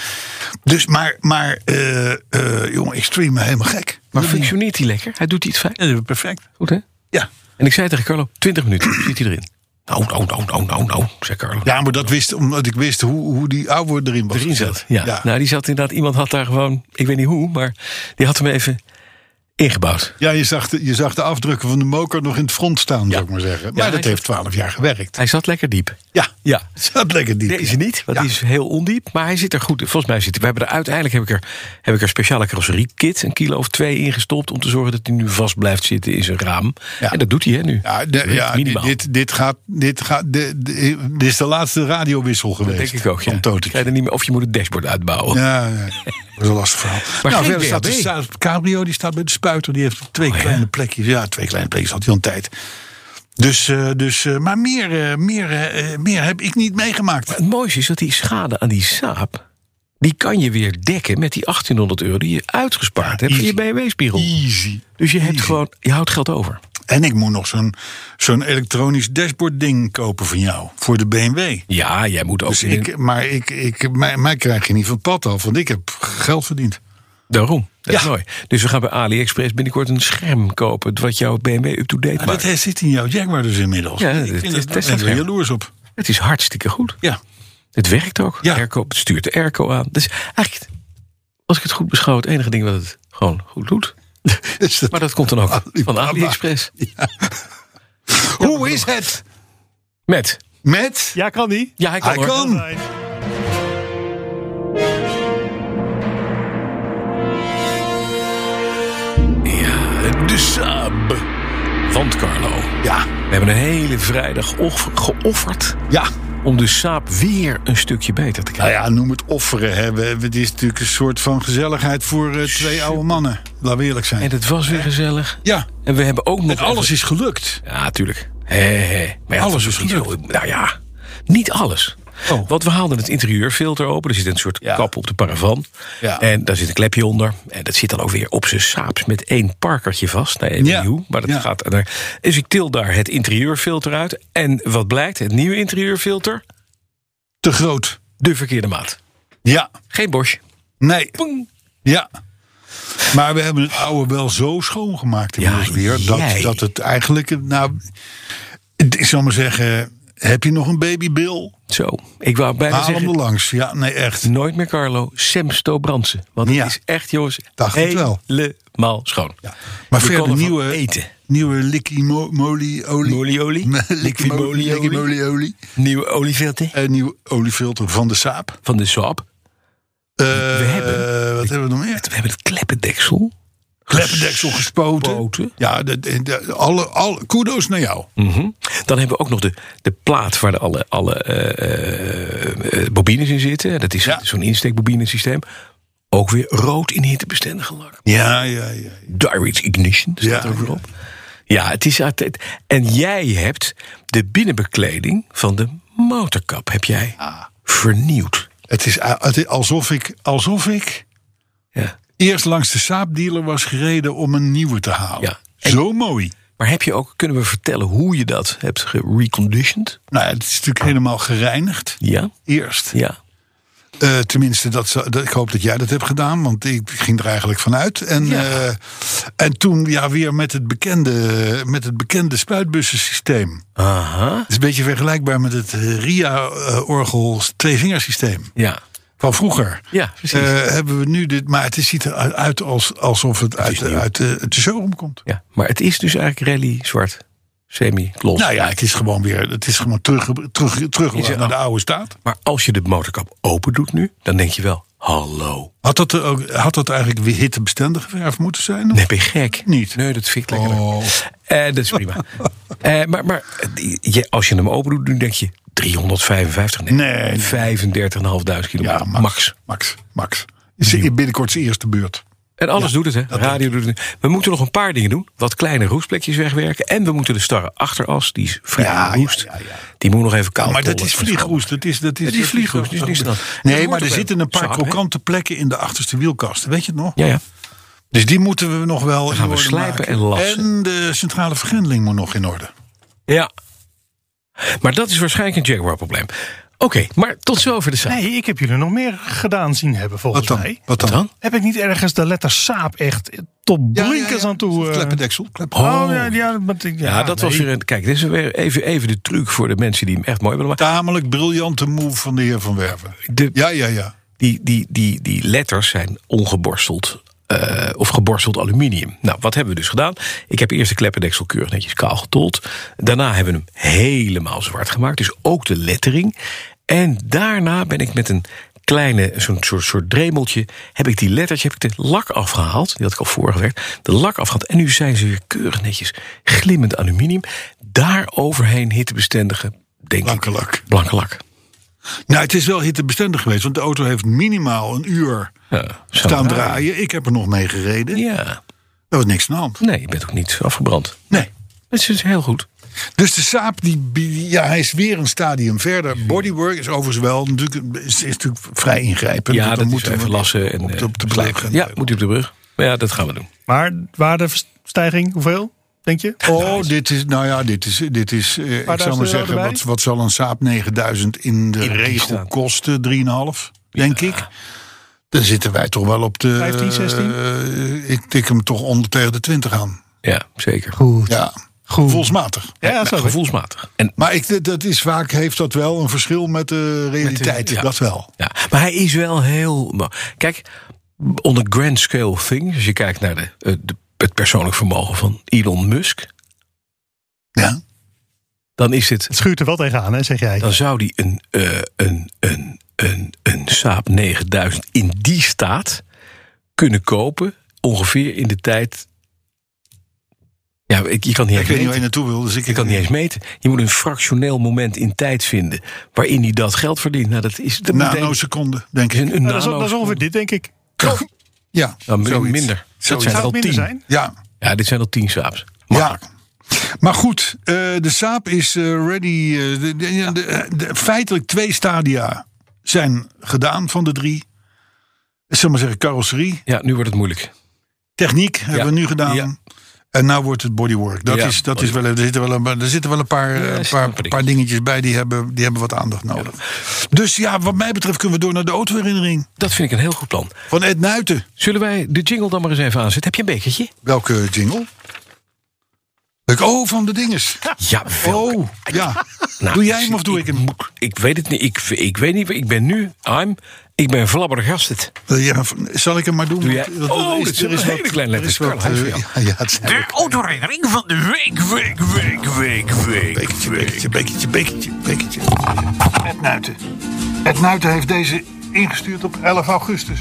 [SPEAKER 2] Dus, maar, maar eh, eh, jongen, ik stream me helemaal gek.
[SPEAKER 1] Maar functioneert hij lekker? Hij doet iets fijn.
[SPEAKER 2] perfect.
[SPEAKER 1] Goed, hè?
[SPEAKER 2] Ja.
[SPEAKER 1] En ik zei tegen Carlo, 20 minuten zit hij erin. Nou, nou, nou, nou, nou, nou, zei Carlo.
[SPEAKER 2] Ja, maar dat wist omdat ik wist hoe, hoe die oude erin was.
[SPEAKER 1] Erin zat. Ja.
[SPEAKER 2] ja.
[SPEAKER 1] nou die zat inderdaad, iemand had daar gewoon, ik weet niet hoe, maar die had hem even ingebouwd.
[SPEAKER 2] Ja, je zag, de, je zag de afdrukken van de moker nog in het front staan, zou ik maar zeggen. Maar
[SPEAKER 1] hij
[SPEAKER 2] dat
[SPEAKER 1] zat-
[SPEAKER 2] heeft twaalf jaar gewerkt.
[SPEAKER 1] Hij zat lekker diep.
[SPEAKER 2] Ja,
[SPEAKER 1] Ja.
[SPEAKER 2] zat lekker diep.
[SPEAKER 1] Deze niet, want
[SPEAKER 2] Ja.
[SPEAKER 1] die is heel ondiep. Maar hij zit er goed. Volgens mij zit hij. We hebben er uiteindelijk heb ik er, heb ik er speciale carrosseriekit, een kilo of twee ingestopt. om te zorgen dat hij nu vast blijft zitten in zijn raam.
[SPEAKER 2] Ja.
[SPEAKER 1] En dat doet hij hè, nu.
[SPEAKER 2] Ja, de- ja dit,
[SPEAKER 1] minimaal.
[SPEAKER 2] dit, dit gaat. Dit, gaat de- de- dit is de laatste radiowissel geweest.
[SPEAKER 1] Denk ik ook. Ja.
[SPEAKER 2] Van Totik.
[SPEAKER 1] Krijg je er niet meer, of je moet het dashboard uitbouwen.
[SPEAKER 2] Ja, ja, dat is een lastig verhaal.
[SPEAKER 1] Maar
[SPEAKER 2] nou,
[SPEAKER 1] geen Oh,
[SPEAKER 2] verder staat de
[SPEAKER 1] BHB.
[SPEAKER 2] staat- Cabrio, die staat bij de spuiter. Die heeft twee kleine plekjes. Ja, twee kleine plekjes had hij al een tijd. Dus, eh, dus, eh, maar meer, eh, meer, eh, eh, meer heb ik niet meegemaakt.
[SPEAKER 1] Het mooiste is dat die schade aan die saap. die kan je weer dekken met die 1800 euro die je uitgespaard hebt. in je
[SPEAKER 2] easy.
[SPEAKER 1] BMW-spiegel.
[SPEAKER 2] Easy.
[SPEAKER 1] Dus je, hebt gewoon, je houdt geld over.
[SPEAKER 2] En ik moet nog zo'n zo'n elektronisch dashboard ding kopen van jou. Voor de BMW.
[SPEAKER 1] Ja, jij moet ook.
[SPEAKER 2] Dus
[SPEAKER 1] in-
[SPEAKER 2] ik, maar ik, ik, mij, mij krijg je niet van het pad af. Want ik heb geld verdiend.
[SPEAKER 1] Daarom. Dat is
[SPEAKER 2] Ja.
[SPEAKER 1] mooi. Dus we gaan bij AliExpress binnenkort een scherm kopen. wat jouw BMW up-to-date
[SPEAKER 2] Dat
[SPEAKER 1] maakt.
[SPEAKER 2] hij zit in jouw Jaguar dus inmiddels.
[SPEAKER 1] Ja,
[SPEAKER 2] ik
[SPEAKER 1] dat-
[SPEAKER 2] vind
[SPEAKER 1] dat-
[SPEAKER 2] het,
[SPEAKER 1] dat
[SPEAKER 2] ik
[SPEAKER 1] is
[SPEAKER 2] ben
[SPEAKER 1] het
[SPEAKER 2] er
[SPEAKER 1] wel.
[SPEAKER 2] jaloers op.
[SPEAKER 1] Het is hartstikke goed.
[SPEAKER 2] Ja.
[SPEAKER 1] Het werkt ook.
[SPEAKER 2] Ja.
[SPEAKER 1] Airco, het stuurt de airco aan. Dus eigenlijk, als ik het goed beschouw, het enige ding wat het gewoon goed doet.
[SPEAKER 2] Is dat-
[SPEAKER 1] Maar dat komt dan ook van
[SPEAKER 2] Alibaba.
[SPEAKER 1] AliExpress.
[SPEAKER 2] Hoe is het
[SPEAKER 1] Met.
[SPEAKER 2] met...
[SPEAKER 3] Ja, kan die?
[SPEAKER 1] Ja, hij kan.
[SPEAKER 2] Hij
[SPEAKER 1] hoor.
[SPEAKER 2] kan.
[SPEAKER 3] Fijn.
[SPEAKER 1] Ja, de Saab. Want Carlo,
[SPEAKER 2] Ja,
[SPEAKER 1] we hebben een hele vrijdag of- geofferd
[SPEAKER 2] ja.
[SPEAKER 1] om de Saab weer een stukje beter te
[SPEAKER 2] Nou
[SPEAKER 1] krijgen.
[SPEAKER 2] ja, noem het offeren. Hè. We, we- het is natuurlijk een soort van gezelligheid voor eh, twee oude mannen. Laten we eerlijk
[SPEAKER 1] En
[SPEAKER 2] zijn.
[SPEAKER 1] het was weer gezellig.
[SPEAKER 2] Ja,
[SPEAKER 1] En we hebben ook nog...
[SPEAKER 2] en alles is gelukt.
[SPEAKER 1] Ja, tuurlijk. Hé, hé. Maar ja,
[SPEAKER 2] Alles
[SPEAKER 1] dat
[SPEAKER 2] is
[SPEAKER 1] niet zo. Nou ja, niet alles.
[SPEAKER 2] Oh.
[SPEAKER 1] Want we haalden het interieurfilter open. Er zit een soort
[SPEAKER 2] Ja.
[SPEAKER 1] kap op de paravan.
[SPEAKER 2] Ja.
[SPEAKER 1] En daar zit een klepje onder. En dat zit dan ook weer op zijn saaps met één parkertje vast. Nee, even
[SPEAKER 2] Ja.
[SPEAKER 1] niet hoe, maar dat
[SPEAKER 2] Ja.
[SPEAKER 1] gaat... daar. Dus ik til daar het interieurfilter uit. En wat blijkt? Het nieuwe interieurfilter?
[SPEAKER 2] Te groot.
[SPEAKER 1] De verkeerde maat.
[SPEAKER 2] Ja,
[SPEAKER 1] Geen Bosch.
[SPEAKER 2] nee,
[SPEAKER 1] Poeng.
[SPEAKER 2] ja. Maar we hebben het oude wel zo schoongemaakt inmiddels
[SPEAKER 1] Ja,
[SPEAKER 2] weer. Dat,
[SPEAKER 1] jij.
[SPEAKER 2] dat het eigenlijk... Nou, het- ik zal maar zeggen... Heb je nog een babybil?
[SPEAKER 1] Zo, ik wou bijna
[SPEAKER 2] Haal hem
[SPEAKER 1] zeggen...
[SPEAKER 2] er langs. Ja, nee, echt.
[SPEAKER 1] Nooit meer Carlo, Semsto Brandsen. Want het
[SPEAKER 2] Ja.
[SPEAKER 1] is echt, jongens,
[SPEAKER 2] Dacht het wel.
[SPEAKER 1] helemaal schoon.
[SPEAKER 2] Ja. Maar
[SPEAKER 1] Je kan
[SPEAKER 2] verder
[SPEAKER 1] ervan
[SPEAKER 2] nieuwe,
[SPEAKER 1] eten.
[SPEAKER 2] nieuwe likimoli olie.
[SPEAKER 1] Moliolie. Liquimoliolie.
[SPEAKER 2] Likimoli olie.
[SPEAKER 1] Nieuwe olieveeltje
[SPEAKER 2] Een nieuw oliefilter Eh, van de Saab.
[SPEAKER 1] van de Saab.
[SPEAKER 2] Eh,
[SPEAKER 1] hebben-
[SPEAKER 2] wat hebben we nog meer?
[SPEAKER 1] We hebben het kleppendeksel.
[SPEAKER 2] Kleppendeksel gespoten.
[SPEAKER 1] Gespoten.
[SPEAKER 2] Ja, de, de- de- alle, alle, kudos naar jou.
[SPEAKER 1] Mhm. Dan hebben we ook nog de, de plaat waar de alle, alle eh, eh, bobines in zitten. Dat is
[SPEAKER 2] Ja.
[SPEAKER 1] zo'n insteekbobinesysteem. Ook weer rood in hittebestendig lak.
[SPEAKER 2] Ja, ja, ja.
[SPEAKER 1] Direct ignition staat
[SPEAKER 2] Ja,
[SPEAKER 1] er ook weer
[SPEAKER 2] ja.
[SPEAKER 1] op. Ja, het is altijd... En jij hebt de binnenbekleding van de motorkap heb jij vernieuwd.
[SPEAKER 2] Het is, a- het is alsof ik, alsof ik
[SPEAKER 1] Ja.
[SPEAKER 2] eerst langs de Saab dealer was gereden om een nieuwe te halen.
[SPEAKER 1] Ja. En-
[SPEAKER 2] Zo mooi.
[SPEAKER 1] Maar heb je ook, kunnen we vertellen hoe je dat hebt gereconditioned?
[SPEAKER 2] Nou, ja, het is natuurlijk helemaal gereinigd.
[SPEAKER 1] Ja,
[SPEAKER 2] Eerst.
[SPEAKER 1] ja.
[SPEAKER 2] Eh, tenminste, dat, zou- dat, ik hoop dat jij dat hebt gedaan, want ik ging er eigenlijk vanuit. En, eh, en toen ja, weer met het bekende, met het bekende spuitbussensysteem.
[SPEAKER 1] Aha,
[SPEAKER 2] Het is een beetje vergelijkbaar met het eh, RIA-orgel twee-vingersysteem.
[SPEAKER 1] ja.
[SPEAKER 2] van vroeger.
[SPEAKER 1] Ja, precies.
[SPEAKER 2] Eh, hebben we nu dit, maar het ziet eruit als, alsof het uit, de-
[SPEAKER 1] nieuw.
[SPEAKER 2] uit de, uit de showroom komt.
[SPEAKER 1] Ja, maar het is dus eigenlijk rally zwart. Semi-gloss.
[SPEAKER 2] Nou ja, het is gewoon weer, het is gewoon terug, terug, terug
[SPEAKER 1] Is het-
[SPEAKER 2] naar de oude staat.
[SPEAKER 1] Maar als je de motorkap open doet nu, dan denk je wel, hallo.
[SPEAKER 2] Had dat, er ook, had dat eigenlijk weer hittebestendige verf moeten zijn?
[SPEAKER 1] Nee, ben je gek?
[SPEAKER 2] Niet.
[SPEAKER 1] Nee, dat vind ik lekker.
[SPEAKER 2] Oh.
[SPEAKER 1] Eh, dat is prima. Eh, maar maar die- je, als je hem open doet, dan denk je 355. Nee,
[SPEAKER 2] Nee, nee.
[SPEAKER 1] 35.500 kilometer.
[SPEAKER 2] Ja,
[SPEAKER 1] max.
[SPEAKER 2] Max. Max. Max. Is in binnenkort zijn eerste beurt.
[SPEAKER 1] En alles doet het, hè? Radio doet het. We moeten nog een paar dingen doen. Wat kleine roestplekjes wegwerken. En we moeten de starre achteras, die is vrij
[SPEAKER 2] Ja,
[SPEAKER 1] roest.
[SPEAKER 2] ja, ja, ja.
[SPEAKER 1] Die moet nog even koud
[SPEAKER 2] maar dat
[SPEAKER 1] rollen.
[SPEAKER 2] is vliegroest. Dat is, dat is,
[SPEAKER 1] Het is
[SPEAKER 2] dat
[SPEAKER 1] vliegroest, dus niks aan de hand. Het
[SPEAKER 2] Nee,
[SPEAKER 1] hoort
[SPEAKER 2] maar
[SPEAKER 1] ook
[SPEAKER 2] er
[SPEAKER 1] bij
[SPEAKER 2] zitten een paar
[SPEAKER 1] zaken, hè?
[SPEAKER 2] krokante plekken in de achterste wielkast. Weet je het nog?
[SPEAKER 1] Ja, ja.
[SPEAKER 2] Dus die moeten we nog wel in
[SPEAKER 1] gaan we
[SPEAKER 2] orde
[SPEAKER 1] slijpen
[SPEAKER 2] maken.
[SPEAKER 1] en lassen.
[SPEAKER 2] En de centrale vergrendeling moet nog in orde.
[SPEAKER 1] Ja. Maar dat is waarschijnlijk een Jaguar-probleem. Oké, maar tot zover de zaak.
[SPEAKER 3] Nee, ik heb jullie nog meer gedaan zien hebben,
[SPEAKER 2] Wat
[SPEAKER 3] volgens
[SPEAKER 2] dan?
[SPEAKER 3] mij.
[SPEAKER 2] Wat dan?
[SPEAKER 1] dan?
[SPEAKER 3] Heb ik niet ergens de letter saap echt tot
[SPEAKER 2] Ja, ja,
[SPEAKER 3] blinkers
[SPEAKER 2] ja.
[SPEAKER 3] aan toe... eh,
[SPEAKER 2] Kleppendeksel. Kleppen.
[SPEAKER 3] Oh, ja, ja, maar ik-
[SPEAKER 1] Ja, dat was
[SPEAKER 3] nee.
[SPEAKER 1] weer een. Kijk, dit is weer even, even de truc voor de mensen die hem echt mooi willen maken.
[SPEAKER 2] Tamelijk briljante move van de heer Van Werven.
[SPEAKER 1] De,
[SPEAKER 2] Ja, ja, ja.
[SPEAKER 1] die, die, die, die letters zijn ongeborsteld. eh, of geborsteld aluminium. Nou, wat hebben we dus gedaan? Ik heb eerst de kleppendeksel keurig netjes kaal getold. Daarna hebben we hem helemaal zwart gemaakt. Dus ook de lettering. En daarna ben ik met een kleine, zo'n soort, soort dremeltje... heb ik die lettertje, heb ik de lak afgehaald. Die had ik al voorgewerkt. De lak afgehaald. En nu zijn ze weer keurig netjes glimmend aluminium. Daar overheen hittebestendige, denk
[SPEAKER 2] Blanke
[SPEAKER 1] ik...
[SPEAKER 2] lak.
[SPEAKER 1] Blanke lak.
[SPEAKER 2] Nou, het is wel hittebestendig geweest. Want de auto heeft minimaal een uur
[SPEAKER 1] Ja, zo
[SPEAKER 2] staan
[SPEAKER 1] raar.
[SPEAKER 2] draaien. Ik heb er nog mee gereden.
[SPEAKER 1] Ja.
[SPEAKER 2] Er was niks aan de hand.
[SPEAKER 1] Nee, je bent ook niet afgebrand.
[SPEAKER 2] Nee.
[SPEAKER 1] Dat is dus heel goed.
[SPEAKER 2] Dus de Saab, die, die- ja, hij is weer een stadium verder. Bodywork is overigens wel natuurlijk, is, is natuurlijk vrij ingrijpend.
[SPEAKER 1] ja,
[SPEAKER 2] Dus
[SPEAKER 1] dat moet
[SPEAKER 2] moeten
[SPEAKER 1] even
[SPEAKER 2] we
[SPEAKER 1] lassen. En,
[SPEAKER 2] Op de, op de
[SPEAKER 1] eh,
[SPEAKER 2] brug.
[SPEAKER 1] slijpen. Ja, moet hij op de brug. Maar ja, dat gaan we doen.
[SPEAKER 3] Maar waardestijging, hoeveel, denk je?
[SPEAKER 2] Oh, dit is, nou ja, dit is, dit is eh, ik
[SPEAKER 3] duizend
[SPEAKER 2] zou
[SPEAKER 3] euro
[SPEAKER 2] maar zeggen,
[SPEAKER 3] erbij?
[SPEAKER 2] wat, wat zal een Saab 9000 in de
[SPEAKER 1] die
[SPEAKER 2] regel
[SPEAKER 1] staat.
[SPEAKER 2] kosten? 3,5, denk ik. Dan zitten wij toch wel op de...
[SPEAKER 3] 15, 16?
[SPEAKER 2] eh, ik tik hem toch onder tegen de 20 aan.
[SPEAKER 1] Ja, zeker.
[SPEAKER 2] Ja, gevoelsmatig.
[SPEAKER 3] Ja, zo.
[SPEAKER 1] Gevoelsmatig. En,
[SPEAKER 2] Maar ik, dat is vaak, heeft dat wel een verschil met de realiteit.
[SPEAKER 1] ja.
[SPEAKER 2] Dat wel.
[SPEAKER 1] ja. Maar hij is wel heel... mo- Kijk, on a grand scale thing... als je kijkt naar de, eh, de- het persoonlijk vermogen van Elon Musk...
[SPEAKER 2] Ja.
[SPEAKER 1] dan is dit...
[SPEAKER 3] Het schuurt er wel tegenaan, hè, zeg jij.
[SPEAKER 1] Dan zou die een, eh, een, een, een, een Saab 9000 in die staat kunnen kopen... ongeveer in de tijd... Ja, ik, je kan het niet
[SPEAKER 2] Ik weet niet
[SPEAKER 1] weten.
[SPEAKER 2] waar je naartoe wil, dus ik,
[SPEAKER 1] Je kan het niet eens meten. Je moet een fractioneel moment in tijd vinden waarin hij dat geld verdient. Nou, dat is dat moet een-
[SPEAKER 2] Nanoseconden, denk
[SPEAKER 1] is
[SPEAKER 2] ik.
[SPEAKER 1] een, een
[SPEAKER 3] Nou, dat, is,
[SPEAKER 1] nano-
[SPEAKER 3] dat is ongeveer dit, denk ik.
[SPEAKER 2] Ja,
[SPEAKER 1] Nou, min-
[SPEAKER 2] zoiets.
[SPEAKER 1] minder. Dat
[SPEAKER 2] Zoiets.
[SPEAKER 1] zijn
[SPEAKER 3] Zou
[SPEAKER 1] er al
[SPEAKER 3] het minder
[SPEAKER 1] tien.
[SPEAKER 3] zijn?
[SPEAKER 2] Ja,
[SPEAKER 1] Ja, dit zijn al tien saaps.
[SPEAKER 2] ja. Maar goed, eh, de Saab is eh, ready. eh, de, de- de- de- feitelijk twee stadia zijn gedaan van de drie. Ik zal maar zeggen, carrosserie.
[SPEAKER 1] Ja, nu wordt het moeilijk.
[SPEAKER 2] Techniek hebben we nu gedaan.
[SPEAKER 1] Ja.
[SPEAKER 2] En nou wordt het bodywork. Dat
[SPEAKER 1] Ja,
[SPEAKER 2] is, dat is wel, er, zitten wel een, er zitten wel een paar, eh,
[SPEAKER 1] dat
[SPEAKER 2] paar,
[SPEAKER 1] snap ik.
[SPEAKER 2] paar dingetjes bij die hebben, die hebben wat aandacht nodig. Dus ja, wat mij betreft kunnen we door naar de autoherinnering
[SPEAKER 1] Dat vind ik een heel goed plan.
[SPEAKER 2] van Ed Nuiten.
[SPEAKER 1] Zullen wij de jingle dan maar eens even aanzetten? Heb je een bekertje?
[SPEAKER 2] Welke jingle? Ik- Oh, van de dinges.
[SPEAKER 1] Ja, welke?
[SPEAKER 2] Oh, ja.
[SPEAKER 1] Nou,
[SPEAKER 2] doe jij hem
[SPEAKER 1] zit-
[SPEAKER 2] of doe ik hem?
[SPEAKER 1] Ik weet het niet. Ik, ik weet niet. Ik ben nu. I'm. Ik ben Vlabber Gastet.
[SPEAKER 2] Eh, ja, v- zal ik hem maar doen?
[SPEAKER 1] Doe jij-
[SPEAKER 2] Want- want
[SPEAKER 1] Oh,
[SPEAKER 2] er
[SPEAKER 1] dit zijn
[SPEAKER 2] er
[SPEAKER 1] hele
[SPEAKER 2] wat-
[SPEAKER 1] kleine
[SPEAKER 2] er is
[SPEAKER 1] letters.
[SPEAKER 2] wat,
[SPEAKER 1] Karel,
[SPEAKER 2] eh,
[SPEAKER 1] hij is
[SPEAKER 2] ja, ja, het zijn
[SPEAKER 4] De autoherinnering van de week, week, week, week, week,
[SPEAKER 2] bekertje,
[SPEAKER 4] week.
[SPEAKER 2] bekertje, bekertje, bekertje, bekertje. Ed Nuiten. Ed Nuiten heeft deze ingestuurd op 11 augustus.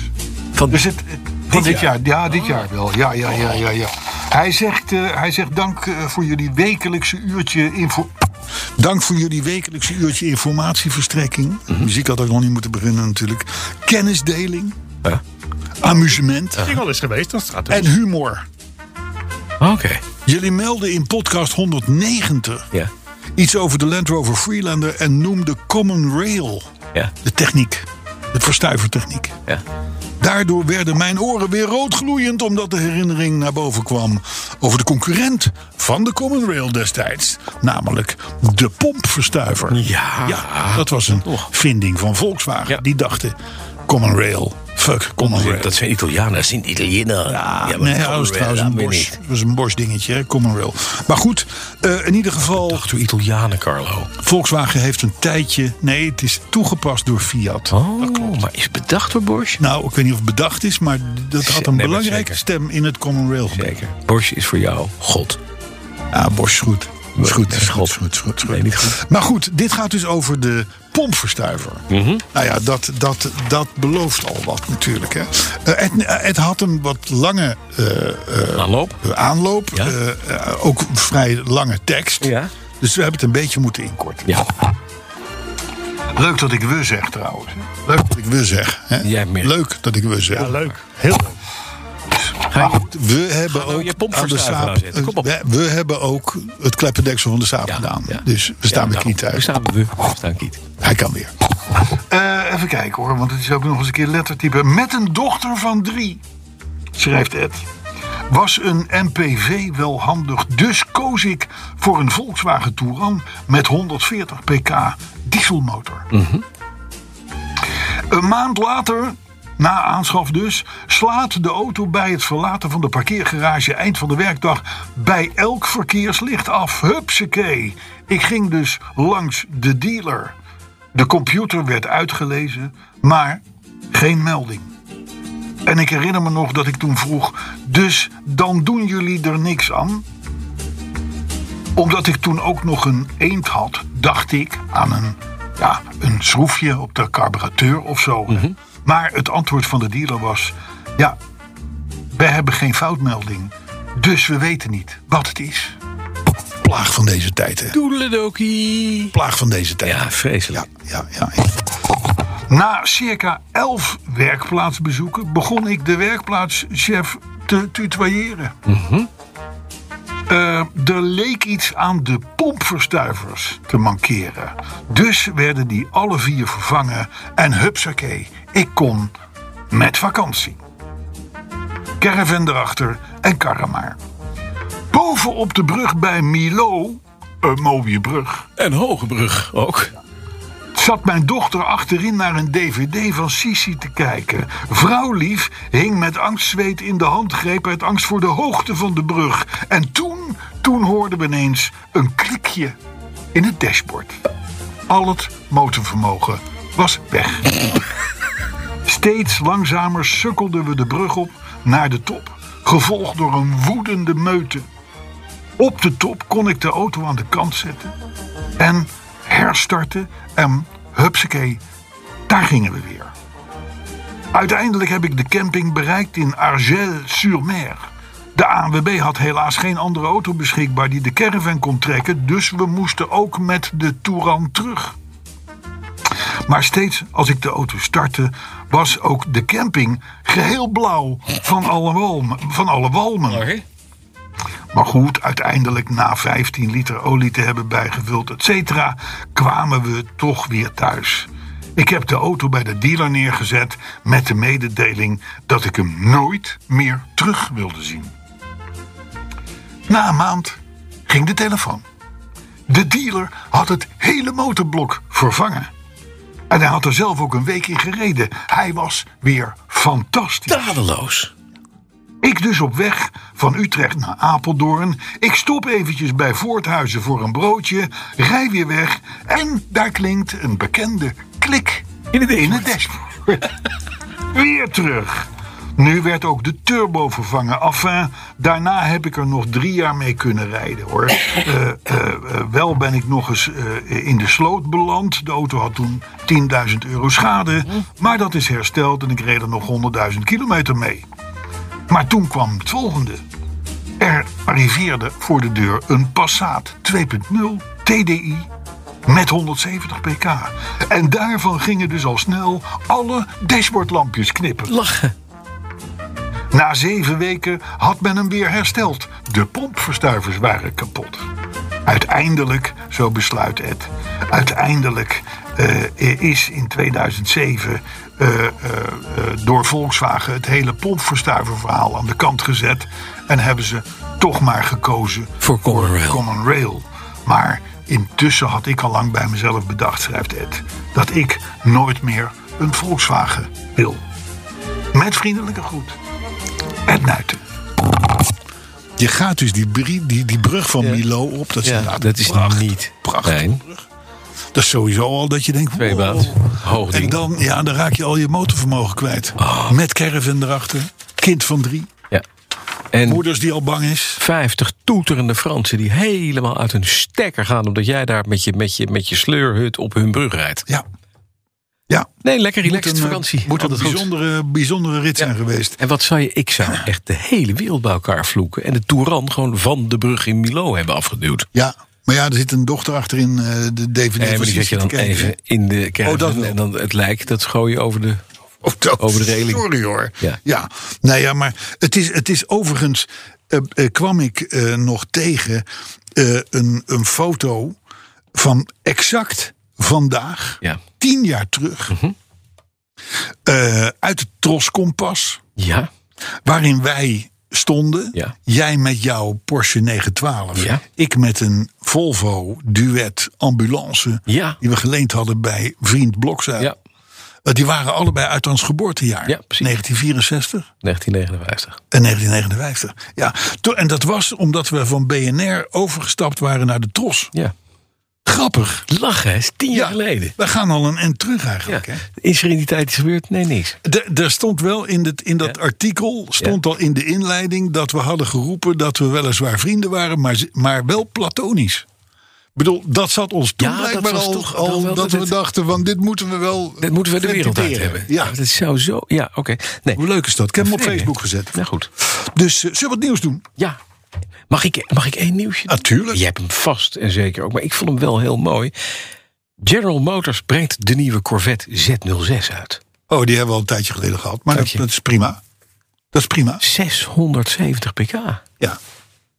[SPEAKER 1] Van-
[SPEAKER 2] dus het, het- van dit jaar? Ja, dit jaar wel. Ja, ja, ja, ja, ja. Hij zegt, eh, hij zegt dank eh, voor jullie wekelijkse uurtje info... Dank voor jullie wekelijkse uurtje informatieverstrekking.
[SPEAKER 1] Mhm.
[SPEAKER 2] Muziek had ook nog niet moeten beginnen natuurlijk. Kennisdeling. Amusement.
[SPEAKER 3] Ik al eens geweest, dat gaat
[SPEAKER 2] En humor.
[SPEAKER 1] Oké.
[SPEAKER 2] Jullie melden in podcast 190
[SPEAKER 1] Ja.
[SPEAKER 2] iets over de Land Rover Freelander en noemden Common Rail
[SPEAKER 1] Ja.
[SPEAKER 2] de techniek. De verstuivertechniek.
[SPEAKER 1] Ja.
[SPEAKER 2] Daardoor werden mijn oren weer roodgloeiend omdat de herinnering naar boven kwam over de concurrent van de Common Rail destijds, namelijk de pompverstuiver.
[SPEAKER 1] Ja.
[SPEAKER 2] ja dat was een vinding van Volkswagen.
[SPEAKER 1] Ja.
[SPEAKER 2] Die dachten Common Rail Fuck, Common Rail. Ah,
[SPEAKER 1] Dat zijn Italianen, dat zijn Italianen. Ja, oh, maar
[SPEAKER 2] nee,
[SPEAKER 1] Common
[SPEAKER 2] dat was
[SPEAKER 1] Rail,
[SPEAKER 2] trouwens een
[SPEAKER 1] dat weet
[SPEAKER 2] Bosch.
[SPEAKER 1] niet.
[SPEAKER 2] Dat was een Bosch dingetje, hè, Common Rail. Maar goed, eh, in ieder geval,
[SPEAKER 1] Dacht u Italianen, Carlo?
[SPEAKER 2] Volkswagen heeft een tijdje... Nee, het is toegepast door Fiat.
[SPEAKER 1] dat klopt. Oh. maar is bedacht door Bosch?
[SPEAKER 2] Nou, ik weet niet of het bedacht is, maar dat had een
[SPEAKER 1] Nee, maar
[SPEAKER 2] belangrijke
[SPEAKER 1] zeker.
[SPEAKER 2] stem in het Common Rail.
[SPEAKER 1] Zeker. Bosch is voor jou God.
[SPEAKER 2] Ah, Bosch is goed. Is goed,
[SPEAKER 1] Nee,
[SPEAKER 2] is goed,
[SPEAKER 1] God.
[SPEAKER 2] is goed, is goed, is
[SPEAKER 1] Nee,
[SPEAKER 2] goed.
[SPEAKER 1] niet goed.
[SPEAKER 2] Maar goed, dit gaat dus over de pompverstuiver.
[SPEAKER 1] Mhm.
[SPEAKER 2] Nou ja, dat, dat, dat belooft al wat natuurlijk. Hè. Eh, het, het had een wat lange eh,
[SPEAKER 1] Aanloop?
[SPEAKER 2] eh, aanloop.
[SPEAKER 1] Ja.
[SPEAKER 2] eh, eh, ook vrij lange tekst.
[SPEAKER 1] Ja. Oh,
[SPEAKER 2] Dus we hebben het een beetje moeten inkorten.
[SPEAKER 1] Ja.
[SPEAKER 2] Leuk dat ik we zeg trouwens. Leuk dat ik we zeg. Hè.
[SPEAKER 1] Jij meer.
[SPEAKER 2] Leuk dat ik we zeg.
[SPEAKER 3] Ja, leuk. Heel leuk.
[SPEAKER 2] We hebben
[SPEAKER 1] nou
[SPEAKER 2] ook
[SPEAKER 1] je
[SPEAKER 2] aan de
[SPEAKER 1] pompverstuiver
[SPEAKER 2] saap,
[SPEAKER 1] aanzetten. Kom op.
[SPEAKER 2] we, we hebben ook het kleppendeksel van de saap
[SPEAKER 1] Ja,
[SPEAKER 2] gedaan.
[SPEAKER 1] ja.
[SPEAKER 2] Dus we staan
[SPEAKER 1] Ja,
[SPEAKER 2] er niet
[SPEAKER 1] nou,
[SPEAKER 2] uit.
[SPEAKER 1] We staan, we, we staan kiet.
[SPEAKER 2] Hij kan weer. Eh, even kijken hoor, want het is ook nog eens een keer lettertype. Met een dochter van drie, schrijft Ed. Was een MPV wel handig, dus koos ik voor een Volkswagen Touran met 140 pk dieselmotor. Een maand later, na aanschaf dus, slaat de auto bij het verlaten van de parkeergarage eind van de werkdag bij elk verkeerslicht af. Hupsakee. Ik ging dus langs de dealer. De computer werd uitgelezen, maar geen melding. En ik herinner me nog dat ik toen vroeg: dus dan doen jullie er niks aan? Omdat ik toen ook nog een eend had, dacht ik aan een, ja, een schroefje op de carburateur of zo. Maar het antwoord van de dealer was: ja, wij hebben geen foutmelding. Dus we weten niet wat het is. Plaag van deze tijd, hè?
[SPEAKER 1] Toedeledokie.
[SPEAKER 2] Plaag van deze tijd.
[SPEAKER 1] Ja, Ah, vreselijk.
[SPEAKER 2] Ja, ja, ja. Na circa elf werkplaatsbezoeken begon ik de werkplaatschef te tutoyeren. Eh, er leek iets aan de pompverstuivers te mankeren. Dus werden die alle vier vervangen en hupsakee, ik kon met vakantie. Caravan erachter en karren maar. Bovenop de brug bij Milo, een mooie brug,
[SPEAKER 1] En Hogebrug ook.
[SPEAKER 2] zat mijn dochter achterin naar een dvd van Sisi te kijken. Vrouwlief hing met angstzweet in de handgreep uit angst voor de hoogte van de brug. En toen, toen hoorden we ineens een klikje in het dashboard. Al het motorvermogen was weg. Steeds langzamer sukkelden we de brug op naar de top, gevolgd door een woedende meute. Op de top kon ik de auto aan de kant zetten en herstarten en hupsakee, daar gingen we weer. Uiteindelijk heb ik de camping bereikt in Argel-sur-Mer. De ANWB had helaas geen andere auto beschikbaar die de caravan kon trekken, dus we moesten ook met de Touran terug. Maar steeds als ik de auto startte, was ook de camping geheel blauw van alle walmen. Van alle walmen. Maar goed, uiteindelijk na 15 liter olie te hebben bijgevuld, et cetera, kwamen we toch weer thuis. Ik heb de auto bij de dealer neergezet met de mededeling dat ik hem nooit meer terug wilde zien. Na een maand ging de telefoon. De dealer had het hele motorblok vervangen. En hij had er zelf ook een week in gereden. Hij was weer fantastisch.
[SPEAKER 1] Dadeloos.
[SPEAKER 2] Ik dus op weg van Utrecht naar Apeldoorn. Ik stop eventjes bij Voorthuizen voor een broodje. Rij weer weg. En daar klinkt een bekende klik in het dashboard. weer terug. Nu werd ook de turbo vervangen. Enfin, daarna heb ik er nog drie jaar mee kunnen rijden hoor. Eh, eh, eh, wel ben ik nog eens eh, in de sloot beland. De auto had toen 10.000 euro schade. Maar dat is hersteld en ik reed er nog 100.000 kilometer mee. Maar toen kwam het volgende. Er arriveerde voor de deur een Passat 2.0 TDI met 170 pk. En daarvan gingen dus al snel alle dashboardlampjes knippen.
[SPEAKER 1] Lachen.
[SPEAKER 2] Na zeven weken had men hem weer hersteld. De pompverstuivers waren kapot. Uiteindelijk, zo besluit Ed, uiteindelijk eh, is in 2007 eh, eh, eh, door Volkswagen het hele pompverstuiververhaal aan de kant gezet. En hebben ze toch maar gekozen
[SPEAKER 1] Voor Common Rail.
[SPEAKER 2] Common Rail. Maar intussen had ik al lang bij mezelf bedacht, schrijft Ed, dat ik nooit meer een Volkswagen wil. Met vriendelijke groet. Ed Nuiten. Je gaat dus die, brie- die, die brug van Milo op. Dat is,
[SPEAKER 1] Ja,
[SPEAKER 2] inderdaad
[SPEAKER 1] dat is
[SPEAKER 2] pracht-
[SPEAKER 1] niet
[SPEAKER 2] prachtige
[SPEAKER 1] fijn.
[SPEAKER 2] brug. Dat is sowieso al dat je denkt...
[SPEAKER 1] Tweebaat. Hoog
[SPEAKER 2] En
[SPEAKER 1] ding. Ah.
[SPEAKER 2] dan, ja, dan raak je al je motorvermogen kwijt. Met caravan erachter. Kind van drie.
[SPEAKER 1] Ja. En
[SPEAKER 2] Moeders die al bang is.
[SPEAKER 1] 50 toeterende Fransen die helemaal uit hun stekker gaan... omdat jij daar met je, met je, met je sleurhut op hun brug rijdt.
[SPEAKER 2] Ja. Ja.
[SPEAKER 1] Nee, lekker
[SPEAKER 2] Moet
[SPEAKER 1] relaxed
[SPEAKER 2] een, eh,
[SPEAKER 1] vakantie.
[SPEAKER 2] Moet een
[SPEAKER 1] Altijd goed.
[SPEAKER 2] bijzondere, bijzondere rit zijn geweest.
[SPEAKER 1] En wat zou je, ik zou echt de hele wereld bij elkaar vloeken... en de Touran gewoon van de brug in Milo hebben afgeduwd.
[SPEAKER 2] Ja. Maar ja, er zit een dochter achterin eh, de DVD.
[SPEAKER 1] Nee, maar
[SPEAKER 2] van
[SPEAKER 1] die zet je
[SPEAKER 2] Sissi
[SPEAKER 1] dan
[SPEAKER 2] te kijken.
[SPEAKER 1] even in de
[SPEAKER 2] Oh, dat
[SPEAKER 1] caravan
[SPEAKER 2] wel.
[SPEAKER 1] en dan het lijk, dat gooi je over de...
[SPEAKER 2] Of dat-
[SPEAKER 1] Over de reling.
[SPEAKER 2] Sorry hoor.
[SPEAKER 1] Ja.
[SPEAKER 2] Ja. Nou ja, maar het is, het is overigens. eh, eh, kwam ik eh, nog tegen eh, een, een foto van exact vandaag,
[SPEAKER 1] Ja. Mhm.
[SPEAKER 2] tien jaar terug, eh, uit het Troskompas,
[SPEAKER 1] Ja,
[SPEAKER 2] waarin wij stonden.
[SPEAKER 1] Ja.
[SPEAKER 2] Jij met jouw Porsche 912,
[SPEAKER 1] Ja.
[SPEAKER 2] ik met een Volvo Duet ambulance
[SPEAKER 1] Ja.
[SPEAKER 2] die we geleend hadden bij vriend Blokzuil.
[SPEAKER 1] ja.
[SPEAKER 2] Want Eh, die waren allebei uit ons geboortejaar.
[SPEAKER 1] Ja, precies.
[SPEAKER 2] 1964
[SPEAKER 1] 1959.
[SPEAKER 2] en 1959. Ja, to- en dat was omdat we van BNR overgestapt waren naar de Tros.
[SPEAKER 1] Ja.
[SPEAKER 2] Grappig.
[SPEAKER 1] Lachen, hè, is tien jaar geleden.
[SPEAKER 2] We gaan al een end terug eigenlijk.
[SPEAKER 1] Ja.
[SPEAKER 2] Hè?
[SPEAKER 1] Is er in die tijd iets gebeurd? Nee, niks.
[SPEAKER 2] D- Er stond wel in, dit, in dat
[SPEAKER 1] Ja.
[SPEAKER 2] artikel, stond al in de inleiding... dat we hadden geroepen dat we weliswaar vrienden waren... maar, ze- maar wel platonisch. Ik bedoel, dat zat ons toen
[SPEAKER 1] Ja, dat
[SPEAKER 2] blijkbaar
[SPEAKER 1] was
[SPEAKER 2] al...
[SPEAKER 1] toch
[SPEAKER 2] al
[SPEAKER 1] wel
[SPEAKER 2] dat
[SPEAKER 1] dat
[SPEAKER 2] we
[SPEAKER 1] het-
[SPEAKER 2] dachten van dit moeten we wel...
[SPEAKER 1] Dat moeten we de wereld uit
[SPEAKER 2] ventileren.
[SPEAKER 1] hebben.
[SPEAKER 2] Ja.
[SPEAKER 1] Dat zou zo... Ja, oké. Nee.
[SPEAKER 2] Hoe leuk is dat? Ik heb hem op
[SPEAKER 1] Nee, nee.
[SPEAKER 2] Facebook gezet.
[SPEAKER 1] Nou goed.
[SPEAKER 2] Dus eh, zullen we wat nieuws doen?
[SPEAKER 1] Ja. Mag ik, mag ik één nieuwsje? doen?
[SPEAKER 2] Natuurlijk.
[SPEAKER 1] Je hebt hem vast en zeker ook. Maar ik vond hem wel heel mooi. General Motors brengt de nieuwe Corvette Z06 uit.
[SPEAKER 2] Oh, die hebben we al een tijdje geleden gehad. Maar dat,
[SPEAKER 1] Tijdje.
[SPEAKER 2] dat is prima. Dat is prima.
[SPEAKER 1] 670 pk.
[SPEAKER 2] Ja.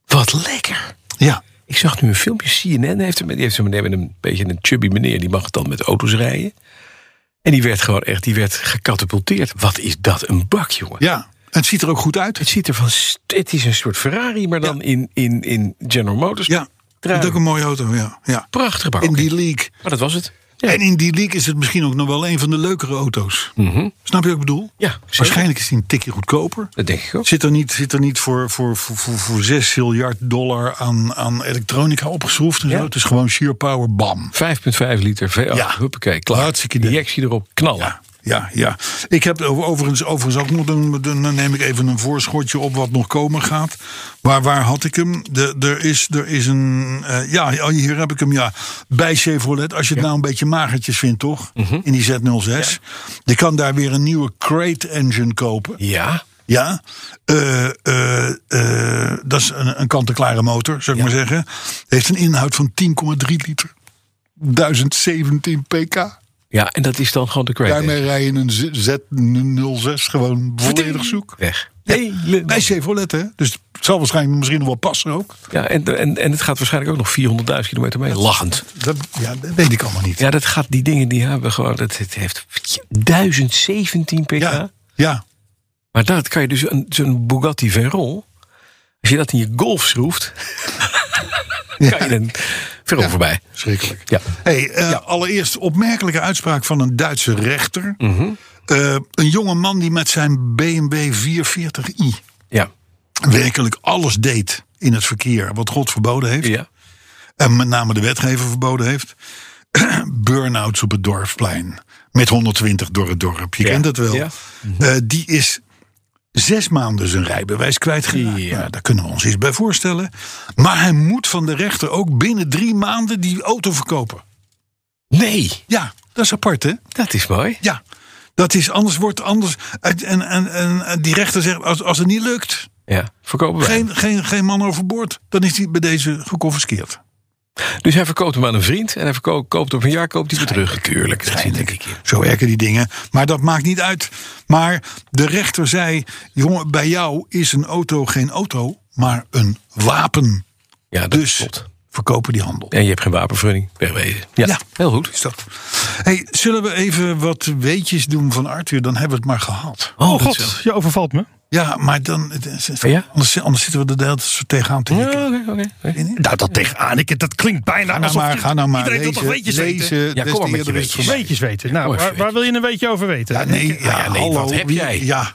[SPEAKER 1] Wat lekker.
[SPEAKER 2] Ja.
[SPEAKER 1] Ik zag nu een filmpje. CNN heeft een, die heeft een meneer met een beetje een chubby meneer. Die mag dan met auto's rijden. En die werd gewoon echt, die werd gecatapulteerd. Wat is dat een bak, jongen.
[SPEAKER 2] Ja. Het ziet er ook goed uit.
[SPEAKER 1] Het ziet er van, st- het is een soort Ferrari, maar dan in, in, in General Motors.
[SPEAKER 2] Ja.
[SPEAKER 1] Trui.
[SPEAKER 2] Dat is ook een mooie auto. Ja. ja.
[SPEAKER 1] Prachtig bak.
[SPEAKER 2] In
[SPEAKER 1] Oké,
[SPEAKER 2] die league.
[SPEAKER 1] Maar dat was het. Ja,
[SPEAKER 2] En in die league is het misschien ook nog wel een van de leukere auto's. Snap je wat ik bedoel?
[SPEAKER 1] Mhm. Ja, zeker.
[SPEAKER 2] Waarschijnlijk is die een tikje goedkoper.
[SPEAKER 1] dat denk ik ook.
[SPEAKER 2] Zit er niet, zit er niet voor, voor, voor, voor, voor 6 miljard dollar aan, aan elektronica opgeschroefd en
[SPEAKER 1] Ja.
[SPEAKER 2] zo. Het is gewoon sheer power. Bam.
[SPEAKER 1] 5,5 liter V8.
[SPEAKER 2] Ja.
[SPEAKER 1] Huppakee, klaar.
[SPEAKER 2] Hartstikke idee.
[SPEAKER 1] Injectie erop, knallen.
[SPEAKER 2] Ja, ja, ja. Ik heb over- overigens, overigens ook nog, een- dan neem ik even een voorschotje op wat nog komen gaat. Maar waar had ik hem? De, er, is, er is een, eh, ja, oh, hier heb ik hem, ja. Bij Chevrolet, als je het nou een beetje magertjes vindt, toch? In die Z06. Je kan daar weer een nieuwe crate engine kopen.
[SPEAKER 1] Ja.
[SPEAKER 2] Ja, eh, eh, eh, dat is een, een kant-en-klare motor, zou ik maar zeggen. Heeft een inhoud van 10,3 liter. 1017 pk.
[SPEAKER 1] Ja, en dat is dan gewoon de Great
[SPEAKER 2] Daarmee rij je een Z- Z06 gewoon volledig zoek.
[SPEAKER 1] Weg.
[SPEAKER 2] Bij Chevrolet, hè? Dus het zal waarschijnlijk misschien nog wel passen ook.
[SPEAKER 1] Ja, en, en, en het gaat waarschijnlijk ook nog 400.000 kilometer mee. Lachend.
[SPEAKER 2] Dat, ja, dat weet ik allemaal niet.
[SPEAKER 1] Ja, dat gaat, die dingen die hebben gewoon, dat, het heeft 1017 pk.
[SPEAKER 2] ja. ja.
[SPEAKER 1] Maar dat kan je dus, een- zo'n Bugatti Veyron, als je dat in je Golf schroeft, kan je een Veyron voorbij.
[SPEAKER 2] Schrikkelijk.
[SPEAKER 1] Ja.
[SPEAKER 2] Hey, eh, Allereerst opmerkelijke uitspraak van een Duitse rechter.
[SPEAKER 1] Mhm.
[SPEAKER 2] Eh, een jonge man die met zijn BMW 440i
[SPEAKER 1] Ja.
[SPEAKER 2] werkelijk alles deed in het verkeer wat God verboden heeft.
[SPEAKER 1] Ja.
[SPEAKER 2] En met name de wetgever verboden heeft. Burn-outs op het dorpsplein. Met 120 door het dorp. Je
[SPEAKER 1] Ja.
[SPEAKER 2] kent dat wel.
[SPEAKER 1] Ja.
[SPEAKER 2] Eh, die is zes maanden zijn rijbewijs kwijtgeraakt.
[SPEAKER 1] Ja.
[SPEAKER 2] Nou, daar kunnen we ons iets bij voorstellen. Maar hij moet van de rechter ook binnen drie maanden die auto verkopen.
[SPEAKER 1] Nee,
[SPEAKER 2] Ja, dat is apart hè?
[SPEAKER 1] dat is mooi.
[SPEAKER 2] Ja. Dat is anders wordt anders. En, en, en, en die rechter zegt als, als het niet lukt.
[SPEAKER 1] Ja, verkopen wij.
[SPEAKER 2] Geen, geen, geen man overboord. Dan is hij bij deze geconfiskeerd.
[SPEAKER 1] Dus hij verkoopt hem aan een vriend en hij verko- koopt op een jaar koopt hij weer terug. Natuurlijk, dat zit denk ik in.
[SPEAKER 2] Zo werken die dingen. Maar dat maakt niet uit. Maar de rechter zei: jongen, bij jou is een auto geen auto, maar een wapen.
[SPEAKER 1] Ja, dat
[SPEAKER 2] Dus
[SPEAKER 1] klopt.
[SPEAKER 2] verkopen die handel.
[SPEAKER 1] En je hebt geen wapenvergunning, wegwezen. Ja,
[SPEAKER 2] Ja.
[SPEAKER 1] heel goed.
[SPEAKER 2] Is dat? Hey, zullen we even wat weetjes doen van Arthur? Dan hebben we het maar gehad.
[SPEAKER 3] Oh,
[SPEAKER 1] dat
[SPEAKER 3] god,
[SPEAKER 1] zelfs.
[SPEAKER 3] je overvalt me.
[SPEAKER 2] Ja, maar dan. het is- het-
[SPEAKER 1] Ja?
[SPEAKER 2] Anders, anders zitten we er de hele tijd zo tegenaan te
[SPEAKER 1] Ja,
[SPEAKER 2] hikken.
[SPEAKER 1] Oké, oké. oké.
[SPEAKER 3] Nou, dat tegenaan. Ik, dat klinkt
[SPEAKER 2] Ga
[SPEAKER 3] bijna
[SPEAKER 2] nou
[SPEAKER 3] alsof
[SPEAKER 2] maar,
[SPEAKER 3] je-
[SPEAKER 2] ga nou maar.
[SPEAKER 3] Iedereen
[SPEAKER 2] Lezen,
[SPEAKER 3] wil toch weetjes weten?
[SPEAKER 2] lezen,
[SPEAKER 1] Ja, kom
[SPEAKER 2] des
[SPEAKER 1] maar
[SPEAKER 2] te
[SPEAKER 1] met je
[SPEAKER 2] eerder is het
[SPEAKER 1] weetjes.
[SPEAKER 2] voorbij.
[SPEAKER 3] Weetjes weten. Nou,
[SPEAKER 1] Mooi
[SPEAKER 3] waar,
[SPEAKER 1] weetjes.
[SPEAKER 3] waar wil je een weetje over weten?
[SPEAKER 2] Ja, nee, ja,
[SPEAKER 1] nee, wat
[SPEAKER 2] hallo,
[SPEAKER 1] heb
[SPEAKER 2] wie-
[SPEAKER 1] jij?
[SPEAKER 2] Ja,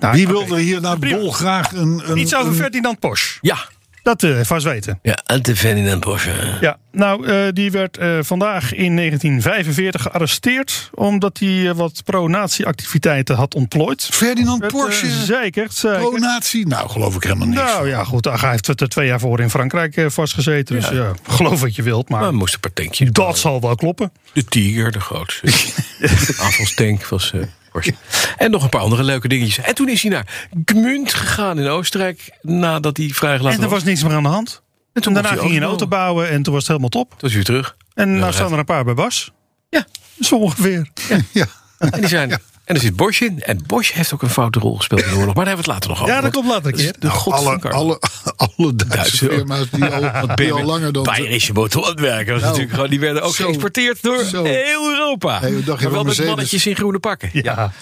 [SPEAKER 3] Nou,
[SPEAKER 2] Wie
[SPEAKER 3] oké.
[SPEAKER 2] wilde hier nou
[SPEAKER 3] Prima.
[SPEAKER 2] dolgraag een... een
[SPEAKER 3] Iets over
[SPEAKER 2] een-
[SPEAKER 3] Ferdinand Porsche.
[SPEAKER 1] Ja.
[SPEAKER 3] Dat eh vast weten.
[SPEAKER 1] Ja, en de Ferdinand Porsche.
[SPEAKER 3] Ja, nou, eh, die werd eh, vandaag in 1945 gearresteerd. omdat hij eh, wat pro-nazi-activiteiten had ontplooid.
[SPEAKER 2] Ferdinand
[SPEAKER 3] Werd, eh,
[SPEAKER 2] Porsche,
[SPEAKER 3] zeker, zeker.
[SPEAKER 2] pro-natie? Nou, geloof ik helemaal niks.
[SPEAKER 3] Nou ja, goed. Ach, hij heeft het er twee jaar voor in Frankrijk eh, vastgezeten. Dus ja. geloof wat je wilt. Maar
[SPEAKER 1] Maar moest een patentje.
[SPEAKER 3] dat zal wel kloppen.
[SPEAKER 1] De Tiger, de grootste. De afvalstank was eh, Porsche. En nog een paar andere leuke dingetjes. En toen is hij naar Gmunt gegaan in Oostenrijk. Nadat hij vrijgelaten
[SPEAKER 3] en er
[SPEAKER 1] was.
[SPEAKER 3] was niks meer aan de hand.
[SPEAKER 1] En toen
[SPEAKER 3] En
[SPEAKER 1] mocht
[SPEAKER 3] daarna ging je een auto
[SPEAKER 1] overnemen.
[SPEAKER 3] bouwen en toen was het helemaal top.
[SPEAKER 1] Toen is hij weer terug.
[SPEAKER 3] En
[SPEAKER 1] dat
[SPEAKER 3] nou staan
[SPEAKER 1] gaat.
[SPEAKER 3] er een paar bij Bas.
[SPEAKER 1] Ja.
[SPEAKER 3] Zo ongeveer.
[SPEAKER 2] Ja.
[SPEAKER 1] En, die zijn, en er zit Bosch in. En Bosch heeft ook een foute rol gespeeld in de oorlog. Maar daar hebben we het later nog over. Nou,
[SPEAKER 3] Ja, dat komt later een
[SPEAKER 1] Dat is
[SPEAKER 3] keer.
[SPEAKER 1] De god van
[SPEAKER 2] alle,
[SPEAKER 1] Karma.
[SPEAKER 2] alle, alle Duitse,
[SPEAKER 1] Duitse ook.
[SPEAKER 2] firma's die al, die al langer dan...
[SPEAKER 1] Bayerische motorhandwerken. was natuurlijk gewoon- Die werden ook
[SPEAKER 2] eh, Nou, zo-
[SPEAKER 1] geëxporteerd door
[SPEAKER 2] zo.
[SPEAKER 1] heel Europa.
[SPEAKER 2] Hey, we dachten
[SPEAKER 1] maar wel
[SPEAKER 2] van
[SPEAKER 1] met
[SPEAKER 2] Mercedes.
[SPEAKER 1] mannetjes in groene pakken. Ja,
[SPEAKER 3] Ja.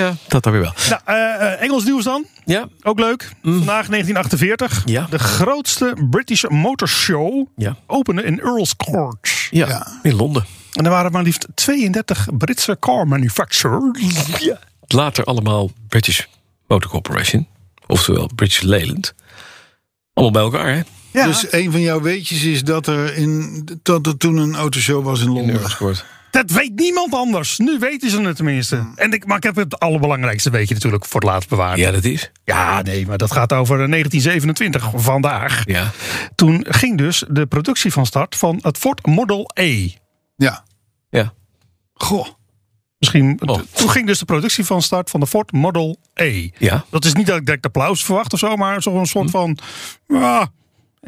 [SPEAKER 2] Hè?
[SPEAKER 1] dat dan weer wel.
[SPEAKER 3] Nou, eh, eh, Engels nieuws dan.
[SPEAKER 1] Ja,
[SPEAKER 3] Ook leuk. Vandaag 1948.
[SPEAKER 1] Mm. Ja.
[SPEAKER 3] De grootste British Motor Show
[SPEAKER 1] Ja.
[SPEAKER 3] opende in Earl's Court.
[SPEAKER 1] ja.
[SPEAKER 2] Ja.
[SPEAKER 1] in Londen.
[SPEAKER 3] En er waren maar liefst 32 Britse car manufacturers.
[SPEAKER 1] Later allemaal British Motor Corporation. Oftewel British Leyland. Allemaal bij elkaar, hè?
[SPEAKER 3] Ja.
[SPEAKER 1] eh,
[SPEAKER 2] Dus een van jouw weetjes is dat er, in, dat er toen een autoshow was in Londen.
[SPEAKER 1] Eurosport.
[SPEAKER 3] Dat weet niemand anders. Nu weten ze het tenminste. En ik, maar ik heb het allerbelangrijkste weetje natuurlijk voor het laatst bewaard.
[SPEAKER 1] Mm. Ja, dat is.
[SPEAKER 3] Ja, nee, maar dat gaat over 1927, vandaag.
[SPEAKER 1] Ja.
[SPEAKER 3] Toen ging dus de productie van start van het Ford Model E.
[SPEAKER 2] ja.
[SPEAKER 1] Ja.
[SPEAKER 2] Goh.
[SPEAKER 3] Misschien,
[SPEAKER 1] Oh.
[SPEAKER 3] Toen ging dus de productie van start van de Ford Model E.
[SPEAKER 1] Ja.
[SPEAKER 3] Dat is niet dat ik direct applaus verwacht of zo, maar zo'n soort van... Ah,
[SPEAKER 2] Ver-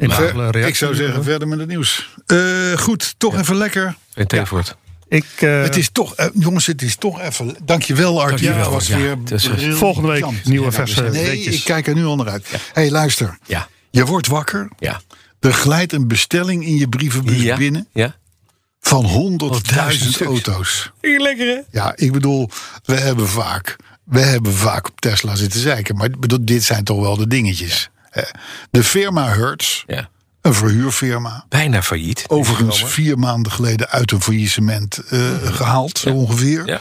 [SPEAKER 3] emotionele reactie.
[SPEAKER 2] Hm. Eh, ik zou zeggen, verder met het nieuws. Eh, goed, toch even lekker.
[SPEAKER 1] En Tevoort.
[SPEAKER 3] Ik, eh,
[SPEAKER 2] het is toch, eh, jongens, het is toch even. Dankjewel, Art.
[SPEAKER 1] Dankjewel,
[SPEAKER 2] Ja, het was
[SPEAKER 1] ja.
[SPEAKER 2] weer
[SPEAKER 1] Het is-
[SPEAKER 2] briljant.
[SPEAKER 3] eh, Volgende week nieuwe verse
[SPEAKER 2] Nee,
[SPEAKER 3] weetjes.
[SPEAKER 2] ik kijk er nu al naar uit. hey, luister.
[SPEAKER 1] Ja.
[SPEAKER 2] Je wordt wakker.
[SPEAKER 1] Ja.
[SPEAKER 2] Er glijdt een bestelling in je brievenbus
[SPEAKER 1] Ja.
[SPEAKER 2] binnen
[SPEAKER 1] Ja.
[SPEAKER 2] van
[SPEAKER 1] 100.000
[SPEAKER 2] 100.000
[SPEAKER 1] stuks.
[SPEAKER 2] auto's.
[SPEAKER 1] Lekker, hè?
[SPEAKER 2] Ja, ik bedoel, we hebben vaak, we hebben vaak op Tesla zitten zeiken. Maar ik bedoel, dit zijn toch wel de dingetjes. Eh, De firma Hertz,
[SPEAKER 1] Ja.
[SPEAKER 2] een verhuurfirma.
[SPEAKER 1] Bijna failliet.
[SPEAKER 2] Overigens vier maanden geleden uit een faillissement eh, gehaald, zo ongeveer.
[SPEAKER 1] Ja.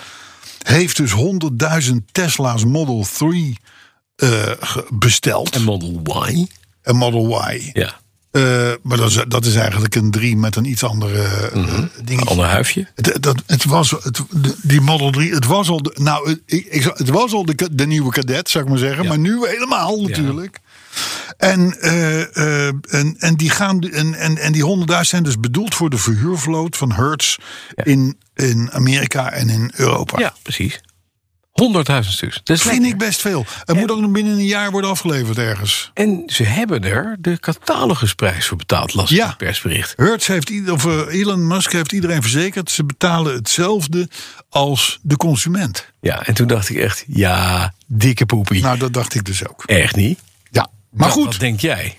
[SPEAKER 2] Heeft dus 100.000 Tesla's Model 3 eh, ge- besteld.
[SPEAKER 1] En Model Y.
[SPEAKER 2] Een Model Y.
[SPEAKER 1] Ja.
[SPEAKER 2] Eh, maar dat is, dat is eigenlijk een 3 met een iets andere eh, dingetje.
[SPEAKER 1] Mhm. Ander huifje.
[SPEAKER 2] Het, dat, het was, het, de- die Model 3, het was al, de, nou, het- ik, ik, zou- het was al de, ka- de nieuwe cadet, zou ik maar zeggen. Maar nu helemaal natuurlijk. En, eh, eh, en, en die, gaan, en, en, en die 100.000 zijn dus bedoeld voor de verhuurvloot van Hertz in, in Amerika en in Europa.
[SPEAKER 1] Ja, precies. 100.000 stuks. Dat is
[SPEAKER 2] Dat vind
[SPEAKER 1] lekker.
[SPEAKER 2] ik best veel. Het moet ook nog binnen een jaar worden afgeleverd ergens.
[SPEAKER 1] En ze hebben er de catalogusprijs voor betaald, las ik
[SPEAKER 2] Ja.
[SPEAKER 1] in het persbericht.
[SPEAKER 2] Hertz heeft, ieder- of eh, Elon Musk heeft iedereen verzekerd. Ze betalen hetzelfde als de consument.
[SPEAKER 1] Ja, en toen dacht ik echt, ja, dikke poepie.
[SPEAKER 2] Nou, dat dacht ik dus ook.
[SPEAKER 1] echt niet.
[SPEAKER 2] Ja, maar
[SPEAKER 1] Wat-
[SPEAKER 2] goed.
[SPEAKER 1] Wat denk jij?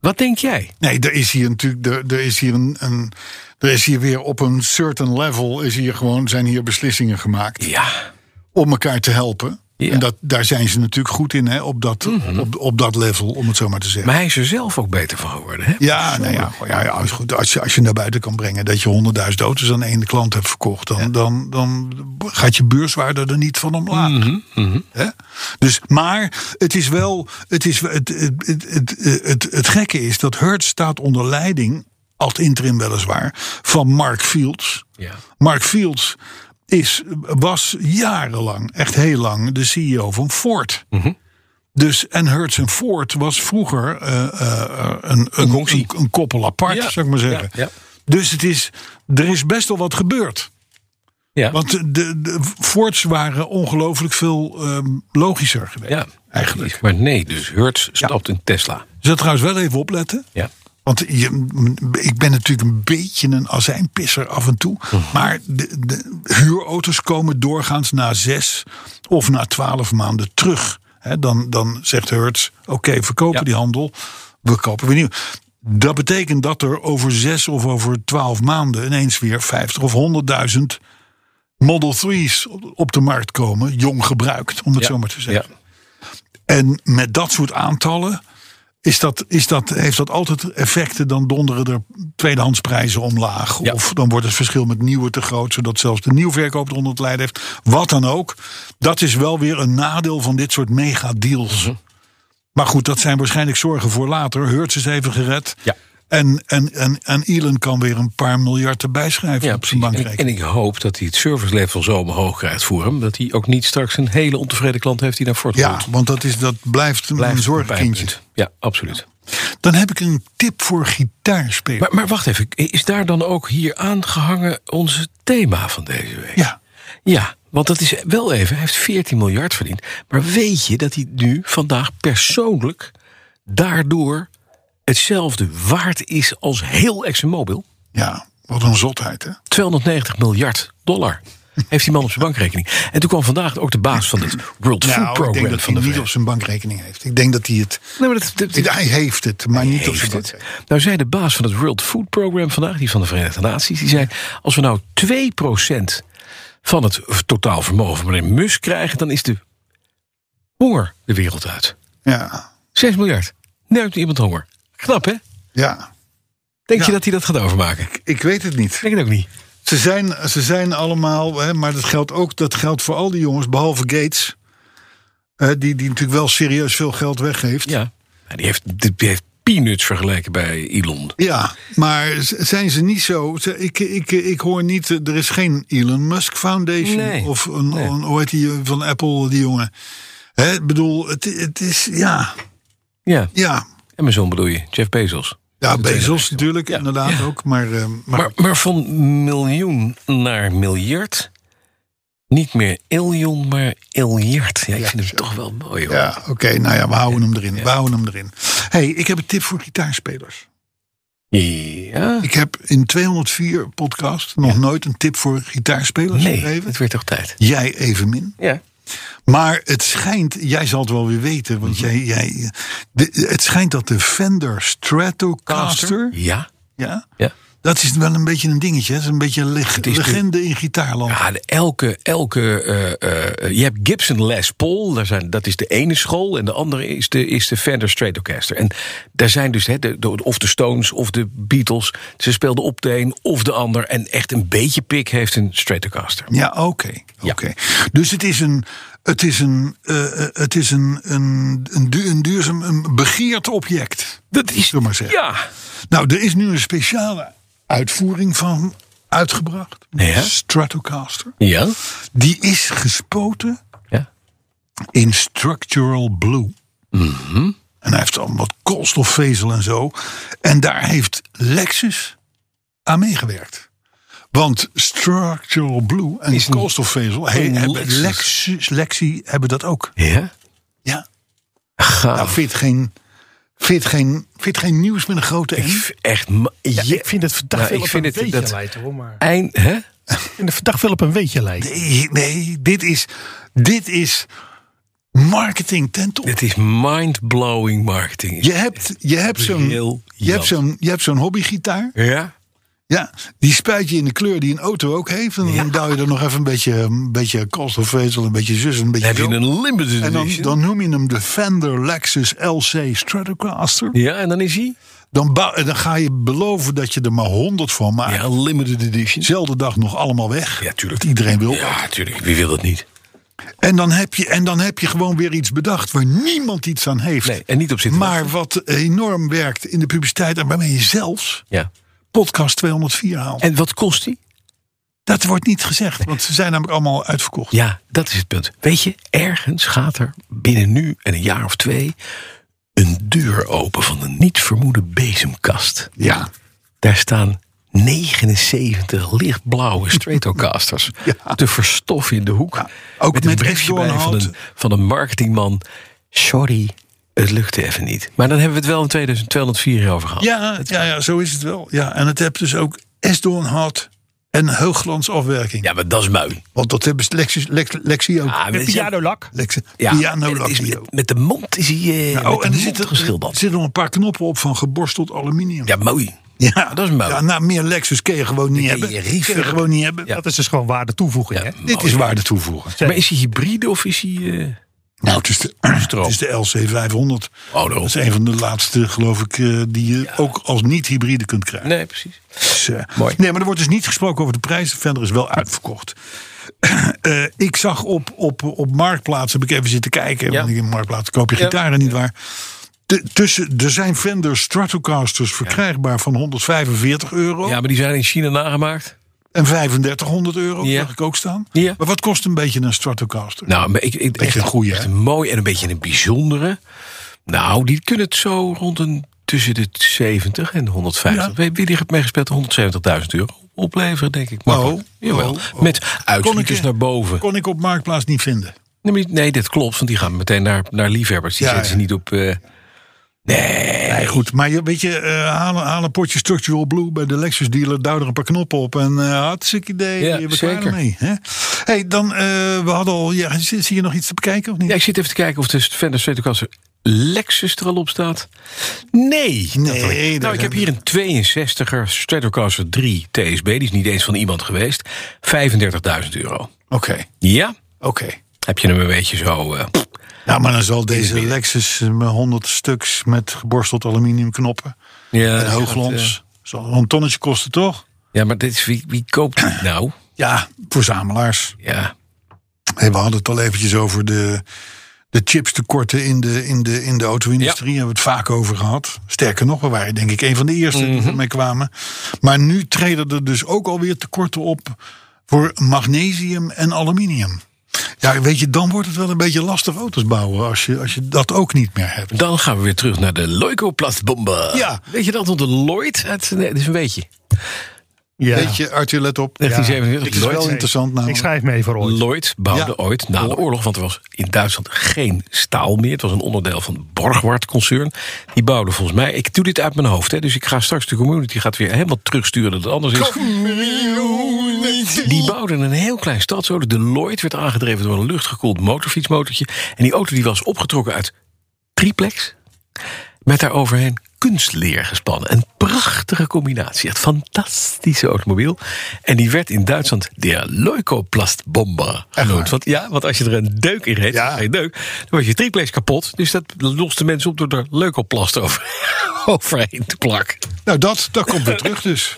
[SPEAKER 1] Wat denk jij?
[SPEAKER 2] Nee, er is hier natuurlijk, er, er is hier een, een, er is hier weer op een certain level is hier gewoon, zijn hier beslissingen gemaakt
[SPEAKER 1] Ja,
[SPEAKER 2] om elkaar te helpen.
[SPEAKER 1] Ja.
[SPEAKER 2] En dat, daar zijn ze natuurlijk goed in, hè, op, dat, op, op dat level, om het zo maar te zeggen.
[SPEAKER 1] maar hij is er zelf ook beter van geworden, hè?
[SPEAKER 2] ja, nou ja, ja, ja is goed. Als, je, als je naar buiten kan brengen dat je honderdduizend auto's aan één klant hebt verkocht, dan, dan, dan gaat je beurswaarde er niet van omlaag. Hè? Dus, maar het is wel, het, is, het, het, het, het, het, het gekke is dat Hertz staat onder leiding, ad interim weliswaar, van Mark Fields.
[SPEAKER 1] Ja.
[SPEAKER 2] Mark Fields is, was jarenlang, echt heel lang, de CEO van Ford.
[SPEAKER 1] Mhm.
[SPEAKER 2] Dus, en Hertz en Ford was vroeger eh, eh, eh, een, een, een, een koppel apart,
[SPEAKER 1] Ja.
[SPEAKER 2] zou ik maar zeggen.
[SPEAKER 1] Ja, ja.
[SPEAKER 2] Dus het is, er is best wel wat gebeurd.
[SPEAKER 1] Ja.
[SPEAKER 2] Want de, de, de Fords waren ongelooflijk veel ehm, logischer geweest.
[SPEAKER 1] ja.
[SPEAKER 2] Eigenlijk.
[SPEAKER 1] precies. Maar nee, dus Hertz stapt in Tesla.
[SPEAKER 2] Dus dat trouwens wel even opletten.
[SPEAKER 1] Ja.
[SPEAKER 2] Want je, m- ik ben natuurlijk een beetje een azijnpisser af en toe.
[SPEAKER 1] Mhm.
[SPEAKER 2] Maar de, de huurauto's komen doorgaans na zes of na twaalf maanden terug. Hè, dan, dan zegt Hertz, oké, verkopen
[SPEAKER 1] Ja.
[SPEAKER 2] die handel. We kopen weer nieuw. Dat betekent dat er over zes of over twaalf maanden... ineens weer 50 of 100.000 Model 3's op- op de markt komen. Jong gebruikt, om het
[SPEAKER 1] Ja.
[SPEAKER 2] zo maar te zeggen. En met dat soort aantallen Is dat, is dat, heeft dat altijd effecten? Dan donderen er tweedehandsprijzen omlaag.
[SPEAKER 1] Ja.
[SPEAKER 2] Of dan wordt het verschil met nieuwe te groot. Zodat zelfs de nieuwverkoop eronder het lijden heeft. Wat dan ook. Dat is wel weer een nadeel van dit soort megadeals.
[SPEAKER 1] Mhm.
[SPEAKER 2] Maar goed, dat zijn waarschijnlijk zorgen voor later. Hurts is even gered.
[SPEAKER 1] Ja.
[SPEAKER 2] En, en, en, en Elon kan weer een paar miljard erbij schrijven op zijn
[SPEAKER 1] precies. En ik, en
[SPEAKER 2] bankrekening.
[SPEAKER 1] ik hoop dat hij het service level zo omhoog krijgt voor hem. Dat hij ook niet straks een hele ontevreden klant heeft die naar Ford
[SPEAKER 2] Ja,
[SPEAKER 1] komt.
[SPEAKER 2] want dat, is, dat blijft,
[SPEAKER 1] Blijft
[SPEAKER 2] een
[SPEAKER 1] pijnpunt.
[SPEAKER 2] zorgkindje.
[SPEAKER 1] Ja, absoluut.
[SPEAKER 2] Dan heb ik een tip voor gitaarspelen.
[SPEAKER 1] Maar, maar wacht even, is daar dan ook hier aangehangen ons thema van deze week?
[SPEAKER 2] ja,
[SPEAKER 1] Ja, want dat is wel even, hij heeft 14 miljard verdiend. Maar weet je dat hij nu vandaag persoonlijk daardoor hetzelfde waard is als heel ExxonMobil?
[SPEAKER 2] ja, wat een zotheid hè.
[SPEAKER 1] 290 miljard dollar heeft die man op zijn bankrekening. En toen kwam vandaag ook de baas van het World Food
[SPEAKER 2] Nou, ik denk
[SPEAKER 1] Program
[SPEAKER 2] dat
[SPEAKER 1] van
[SPEAKER 2] hij
[SPEAKER 1] de
[SPEAKER 2] niet
[SPEAKER 1] VS.
[SPEAKER 2] op zijn bankrekening heeft. Ik denk dat hij het...
[SPEAKER 1] Nee, maar dat, dat-
[SPEAKER 2] Hij heeft het, maar niet op
[SPEAKER 1] heeft
[SPEAKER 2] zijn
[SPEAKER 1] het.
[SPEAKER 2] bankrekening.
[SPEAKER 1] Nou zei de baas van het World Food Program vandaag, die van de Verenigde Naties, die zei: als we nou 2% van het totaal vermogen van meneer Musk krijgen, dan is de honger de wereld uit.
[SPEAKER 2] Ja,
[SPEAKER 1] 6 miljard. Nu heeft iemand honger. Knap, hè?
[SPEAKER 2] ja.
[SPEAKER 1] Denk je
[SPEAKER 2] Ja.
[SPEAKER 1] dat hij dat gaat overmaken? Ik
[SPEAKER 2] Ik weet het niet.
[SPEAKER 1] denk het ook niet.
[SPEAKER 2] Ze zijn, ze zijn allemaal, hè, maar dat geldt ook dat geldt voor al die jongens, behalve Gates. Eh, die, die natuurlijk wel serieus veel geld weggeeft.
[SPEAKER 1] Ja. Ja, Die heeft, die heeft peanuts vergeleken bij Elon.
[SPEAKER 2] Ja, maar z- zijn ze niet zo? ze- Ik, ik, ik hoor niet, eh, er is geen Elon Musk Foundation
[SPEAKER 1] Nee,
[SPEAKER 2] of een,
[SPEAKER 1] nee.
[SPEAKER 2] een- hoe heet die eh, van Apple, die jongen. Hè, ik bedoel, het, het is, ja,
[SPEAKER 1] Ja.
[SPEAKER 2] ja.
[SPEAKER 1] Amazon bedoel je, Jeff Bezos.
[SPEAKER 2] Ja, Bezos natuurlijk, inderdaad ook. Maar, eh, maar,
[SPEAKER 1] Maar, maar van miljoen naar miljard. Niet meer iljon, maar iljard. Ja, ik vind hem toch wel mooi hoor.
[SPEAKER 2] ja, oké, nou ja, we houden hem erin. We houden hem erin. hey, ik heb een tip voor gitaarspelers.
[SPEAKER 1] Ja?
[SPEAKER 2] Ik heb in 204 podcast nog nooit een tip voor gitaarspelers
[SPEAKER 1] Nee,
[SPEAKER 2] gegeven.
[SPEAKER 1] het werd toch tijd.
[SPEAKER 2] Jij evenmin.
[SPEAKER 1] Ja.
[SPEAKER 2] Maar het schijnt, jij zal het wel weer weten, want jij, jij, de- het schijnt dat de Fender Stratocaster,
[SPEAKER 1] Ja.
[SPEAKER 2] ja,
[SPEAKER 1] ja.
[SPEAKER 2] dat is wel een beetje een dingetje. hè. Het is een beetje een leg-
[SPEAKER 1] is de-
[SPEAKER 2] legende in gitaarland.
[SPEAKER 1] Ja, de- elke, elke eh, eh, je hebt Gibson Les Paul, daar zijn, dat is de ene school. En de andere is de, is de Fender Stratocaster. En daar zijn dus hè, de, de- of de Stones of de Beatles. Ze speelden op de een of de ander. En echt een beetje pik heeft een Stratocaster.
[SPEAKER 2] Ja, oké.
[SPEAKER 1] Ja.
[SPEAKER 2] oké. Dus het is een. Het is een, eh, eh, het is een, een, een, du- een duurzaam, een begeerd object.
[SPEAKER 1] Dat is...
[SPEAKER 2] Zullen we maar zeggen.
[SPEAKER 1] Ja.
[SPEAKER 2] Nou, er is nu een speciale uitvoering van uitgebracht.
[SPEAKER 1] Ja.
[SPEAKER 2] Stratocaster.
[SPEAKER 1] Ja.
[SPEAKER 2] Die is gespoten
[SPEAKER 1] Ja.
[SPEAKER 2] in structural blue.
[SPEAKER 1] Mhm.
[SPEAKER 2] En hij heeft allemaal wat koolstofvezel en zo. En daar heeft Lexus aan meegewerkt. Want structural blue en
[SPEAKER 1] Is een-
[SPEAKER 2] koolstofvezel he-
[SPEAKER 1] een
[SPEAKER 2] hebben
[SPEAKER 1] Lexus.
[SPEAKER 2] Lexus, Lexi hebben dat ook.
[SPEAKER 1] Ja.
[SPEAKER 2] Ja.
[SPEAKER 1] Gaaf.
[SPEAKER 2] Nou, vind je het geen, vind je het geen, vind je het geen nieuws met een grote
[SPEAKER 1] Ik
[SPEAKER 2] N?
[SPEAKER 1] v- echt. ma- je-
[SPEAKER 3] ik vind het verdacht
[SPEAKER 1] Nou, Hm? ik
[SPEAKER 3] veel op
[SPEAKER 1] vind
[SPEAKER 3] een
[SPEAKER 1] het
[SPEAKER 3] weetje
[SPEAKER 1] dat-
[SPEAKER 3] lijkt, hoor. Maar...
[SPEAKER 1] eind, hè?
[SPEAKER 3] Ik vind het verdacht veel op een weetje lijkt.
[SPEAKER 2] Nee, nee, dit is, dit is marketing ten top.
[SPEAKER 1] Het is mind-blowing marketing.
[SPEAKER 2] Je hebt, je hebt zo'n
[SPEAKER 1] Briljant.
[SPEAKER 2] je hebt zo'n- je hebt zo'n hobbygitaar.
[SPEAKER 1] Ja.
[SPEAKER 2] Ja, die spuit je in de kleur die een auto ook heeft. En dan duw je er nog even een beetje, een beetje koolstofvezel, een beetje zus, een beetje
[SPEAKER 1] Dan heb je
[SPEAKER 2] zo.
[SPEAKER 1] een limited
[SPEAKER 2] En dan,
[SPEAKER 1] edition.
[SPEAKER 2] dan noem je hem de Fender Lexus LC Stratocaster.
[SPEAKER 1] ja, en dan is hij?
[SPEAKER 2] Dan, bouw- en dan ga je beloven dat je er maar 100 van maakt.
[SPEAKER 1] Ja, limited edition.
[SPEAKER 2] Zelfde dag nog allemaal weg.
[SPEAKER 1] Ah. Ja, tuurlijk.
[SPEAKER 2] Dat iedereen wil.
[SPEAKER 1] Ja, tuurlijk. Wie wil dat niet?
[SPEAKER 2] En, dan heb je, en dan heb je gewoon weer iets bedacht waar niemand iets aan heeft.
[SPEAKER 1] Nee, en niet op zitten
[SPEAKER 2] maar
[SPEAKER 1] wachten.
[SPEAKER 2] wat enorm werkt in de publiciteit. En waarmee je zelfs
[SPEAKER 1] Ja.
[SPEAKER 2] podcast 204 haalt.
[SPEAKER 1] En wat kost hij?
[SPEAKER 2] Dat wordt niet gezegd, want ze zijn namelijk allemaal uitverkocht.
[SPEAKER 1] Ja, dat is het punt. Weet je, ergens gaat er binnen nu en een jaar of twee een deur open van een niet vermoede bezemkast.
[SPEAKER 2] Ja.
[SPEAKER 1] Daar staan 79 lichtblauwe Stratocasters te verstoffen in de hoek.
[SPEAKER 2] Ja, ook
[SPEAKER 1] een
[SPEAKER 2] met
[SPEAKER 1] briefje
[SPEAKER 2] echt
[SPEAKER 1] bij van
[SPEAKER 2] doornhout.
[SPEAKER 1] een, van een marketingman. Sorry, het lukte even niet. Maar dan hebben we het wel in 2204 over gehad.
[SPEAKER 2] Ja, ja, ja, zo is het wel. Ja, en het heeft dus ook esdoornhout en hoogglands afwerking.
[SPEAKER 1] Ja, maar dat is mui.
[SPEAKER 2] Want dat hebben ze Lexus, Lex, Lexi ook.
[SPEAKER 1] Ah,
[SPEAKER 3] De
[SPEAKER 1] we zijn-
[SPEAKER 3] pianolak.
[SPEAKER 2] Lexi,
[SPEAKER 1] Ja,
[SPEAKER 2] piano
[SPEAKER 1] en het is
[SPEAKER 2] Lexi ook.
[SPEAKER 1] met, met de mond is hij eh, met
[SPEAKER 2] Oh,
[SPEAKER 1] de
[SPEAKER 2] en er
[SPEAKER 1] mond
[SPEAKER 2] zitten, er
[SPEAKER 1] geschilderd.
[SPEAKER 2] zitten nog een paar knoppen op van geborsteld aluminium.
[SPEAKER 1] Ja, mooi.
[SPEAKER 2] Ja,
[SPEAKER 1] dat is mooi.
[SPEAKER 2] Ja, nou, meer Lexus kun je gewoon niet
[SPEAKER 1] kun je
[SPEAKER 2] hebben.
[SPEAKER 1] je rieven. Oh,
[SPEAKER 2] Kun je gewoon niet hebben.
[SPEAKER 3] Dat is dus gewoon waarde toevoeging.
[SPEAKER 1] Ja,
[SPEAKER 3] hè?
[SPEAKER 2] Dit is waarde toevoegen.
[SPEAKER 1] Maar is hij hybride of is hij... eh,
[SPEAKER 2] Nou, het is de, het is de LC500.
[SPEAKER 1] Oh, no.
[SPEAKER 2] Dat is een van de laatste, geloof ik, eh, die je ook als niet-hybride kunt krijgen.
[SPEAKER 1] Nee, precies.
[SPEAKER 2] Dus, eh,
[SPEAKER 1] Mooi.
[SPEAKER 2] Nee, maar er wordt dus niet gesproken over de prijzen. Verder is wel uitverkocht. Eh, ik zag op, op, op Marktplaats, heb ik even zitten kijken.
[SPEAKER 1] Ja.
[SPEAKER 2] Want in Marktplaats koop je
[SPEAKER 1] Ja.
[SPEAKER 2] gitaren, niet waar? De- tussen, er zijn Fender Stratocasters verkrijgbaar van 145 euro
[SPEAKER 1] Ja, maar die zijn in China nagemaakt.
[SPEAKER 2] en 3500 euro,
[SPEAKER 1] Ja.
[SPEAKER 2] zag ik ook staan.
[SPEAKER 1] Ja.
[SPEAKER 2] Maar wat kost een beetje een Stratocaster?
[SPEAKER 1] Nou, maar ik, ik, echt,
[SPEAKER 2] een goeie,
[SPEAKER 1] echt
[SPEAKER 2] hè?
[SPEAKER 1] een mooi en een beetje een bijzondere. Nou, die kunnen het zo rond een tussen de 70 en de 150.
[SPEAKER 2] Ja.
[SPEAKER 1] Wie, wie die het meegespeeld 170.000 euro opleveren, denk ik.
[SPEAKER 2] Oh,
[SPEAKER 1] Makkelijk. Jawel.
[SPEAKER 2] oh, oh.
[SPEAKER 1] Met uitschieters
[SPEAKER 2] eh,
[SPEAKER 1] naar boven.
[SPEAKER 2] Kon ik op Marktplaats niet vinden.
[SPEAKER 1] Nee, maar- nee, dat klopt, want die gaan meteen naar, naar liefhebbers. Die
[SPEAKER 2] Ja,
[SPEAKER 1] zetten ze
[SPEAKER 2] ja.
[SPEAKER 1] niet op... eh,
[SPEAKER 2] Nee, goed. Maar je, weet je, eh haal, haal een potje Structural Blue bij de Lexus dealer. Duw er een paar knoppen op. En eh hartstikke idee.
[SPEAKER 1] Ja,
[SPEAKER 2] je bent klaar
[SPEAKER 1] zeker.
[SPEAKER 2] ermee, hè? hey, dan, eh, we hadden al... Ja, zie, zie je nog iets te bekijken of niet?
[SPEAKER 1] ja, ik zit even te kijken of de Fender Stratocaster Lexus er al op staat. Nee.
[SPEAKER 2] Nee,
[SPEAKER 1] dat-
[SPEAKER 2] dat-
[SPEAKER 1] nou, ik heb hier een 62er Stratocaster 3 TSB. Die is niet eens van iemand geweest. 35.000 euro.
[SPEAKER 2] Oké,
[SPEAKER 1] Ja,
[SPEAKER 2] oké.
[SPEAKER 1] heb je hem een beetje zo... eh,
[SPEAKER 2] Nou, maar dan zal deze Lexus eh, met 100 stuks met geborsteld aluminium knoppen.
[SPEAKER 1] Eh, ja,
[SPEAKER 2] en hoogglans. Zal een tonnetje kosten, toch?
[SPEAKER 1] Ja, maar dit is, wie, wie koopt dit nou?
[SPEAKER 2] Ja, verzamelaars.
[SPEAKER 1] Ja,
[SPEAKER 2] Hey, we hadden het al eventjes over de, de chipstekorten in de, in de, in de auto-industrie. Daar hebben we het vaak over gehad. Sterker nog, we waren denk ik een van de eerste die ermee kwamen. Maar nu treden er dus ook alweer tekorten op voor magnesium en aluminium. Ja, weet je, dan wordt het wel een beetje lastig auto's bouwen als je, als je dat ook niet meer hebt.
[SPEAKER 1] dan gaan we weer terug naar de Loico-plastbombe.
[SPEAKER 2] Ja.
[SPEAKER 1] Weet je dat nog, de Lloyd? Het, nee, het is een beetje.
[SPEAKER 3] Ja.
[SPEAKER 2] Weet je, Arthur, let op. Dit
[SPEAKER 1] 1947,
[SPEAKER 2] is
[SPEAKER 1] Lloyd.
[SPEAKER 2] wel interessant
[SPEAKER 3] Ik
[SPEAKER 2] namelijk.
[SPEAKER 3] schrijf mee voor ooit.
[SPEAKER 1] Lloyd bouwde
[SPEAKER 2] Ja.
[SPEAKER 1] ooit na de oorlog, want er was in Duitsland geen staal meer. Het was een onderdeel van het Borgward-concern. Die bouwden volgens mij, ik doe dit uit mijn hoofd, hè, dus ik ga straks de community gaat weer helemaal terugsturen dat het anders is. Die bouwden een heel klein stadsauto. De Lloyd werd aangedreven door een luchtgekoeld motorfietsmotortje. En die auto die was opgetrokken uit triplex. Met daaroverheen kunstleer gespannen. Een prachtige combinatie. Echt fantastische automobiel. En die werd in Duitsland de Leukoplastbomber genoemd. Want, ja, want als je er een deuk in reed,
[SPEAKER 2] Ja.
[SPEAKER 1] geen deuk, dan was je triplex kapot. Dus dat loste mensen op door er leukoplast over, overheen te plakken.
[SPEAKER 2] Nou, dat, dat komt weer terug dus.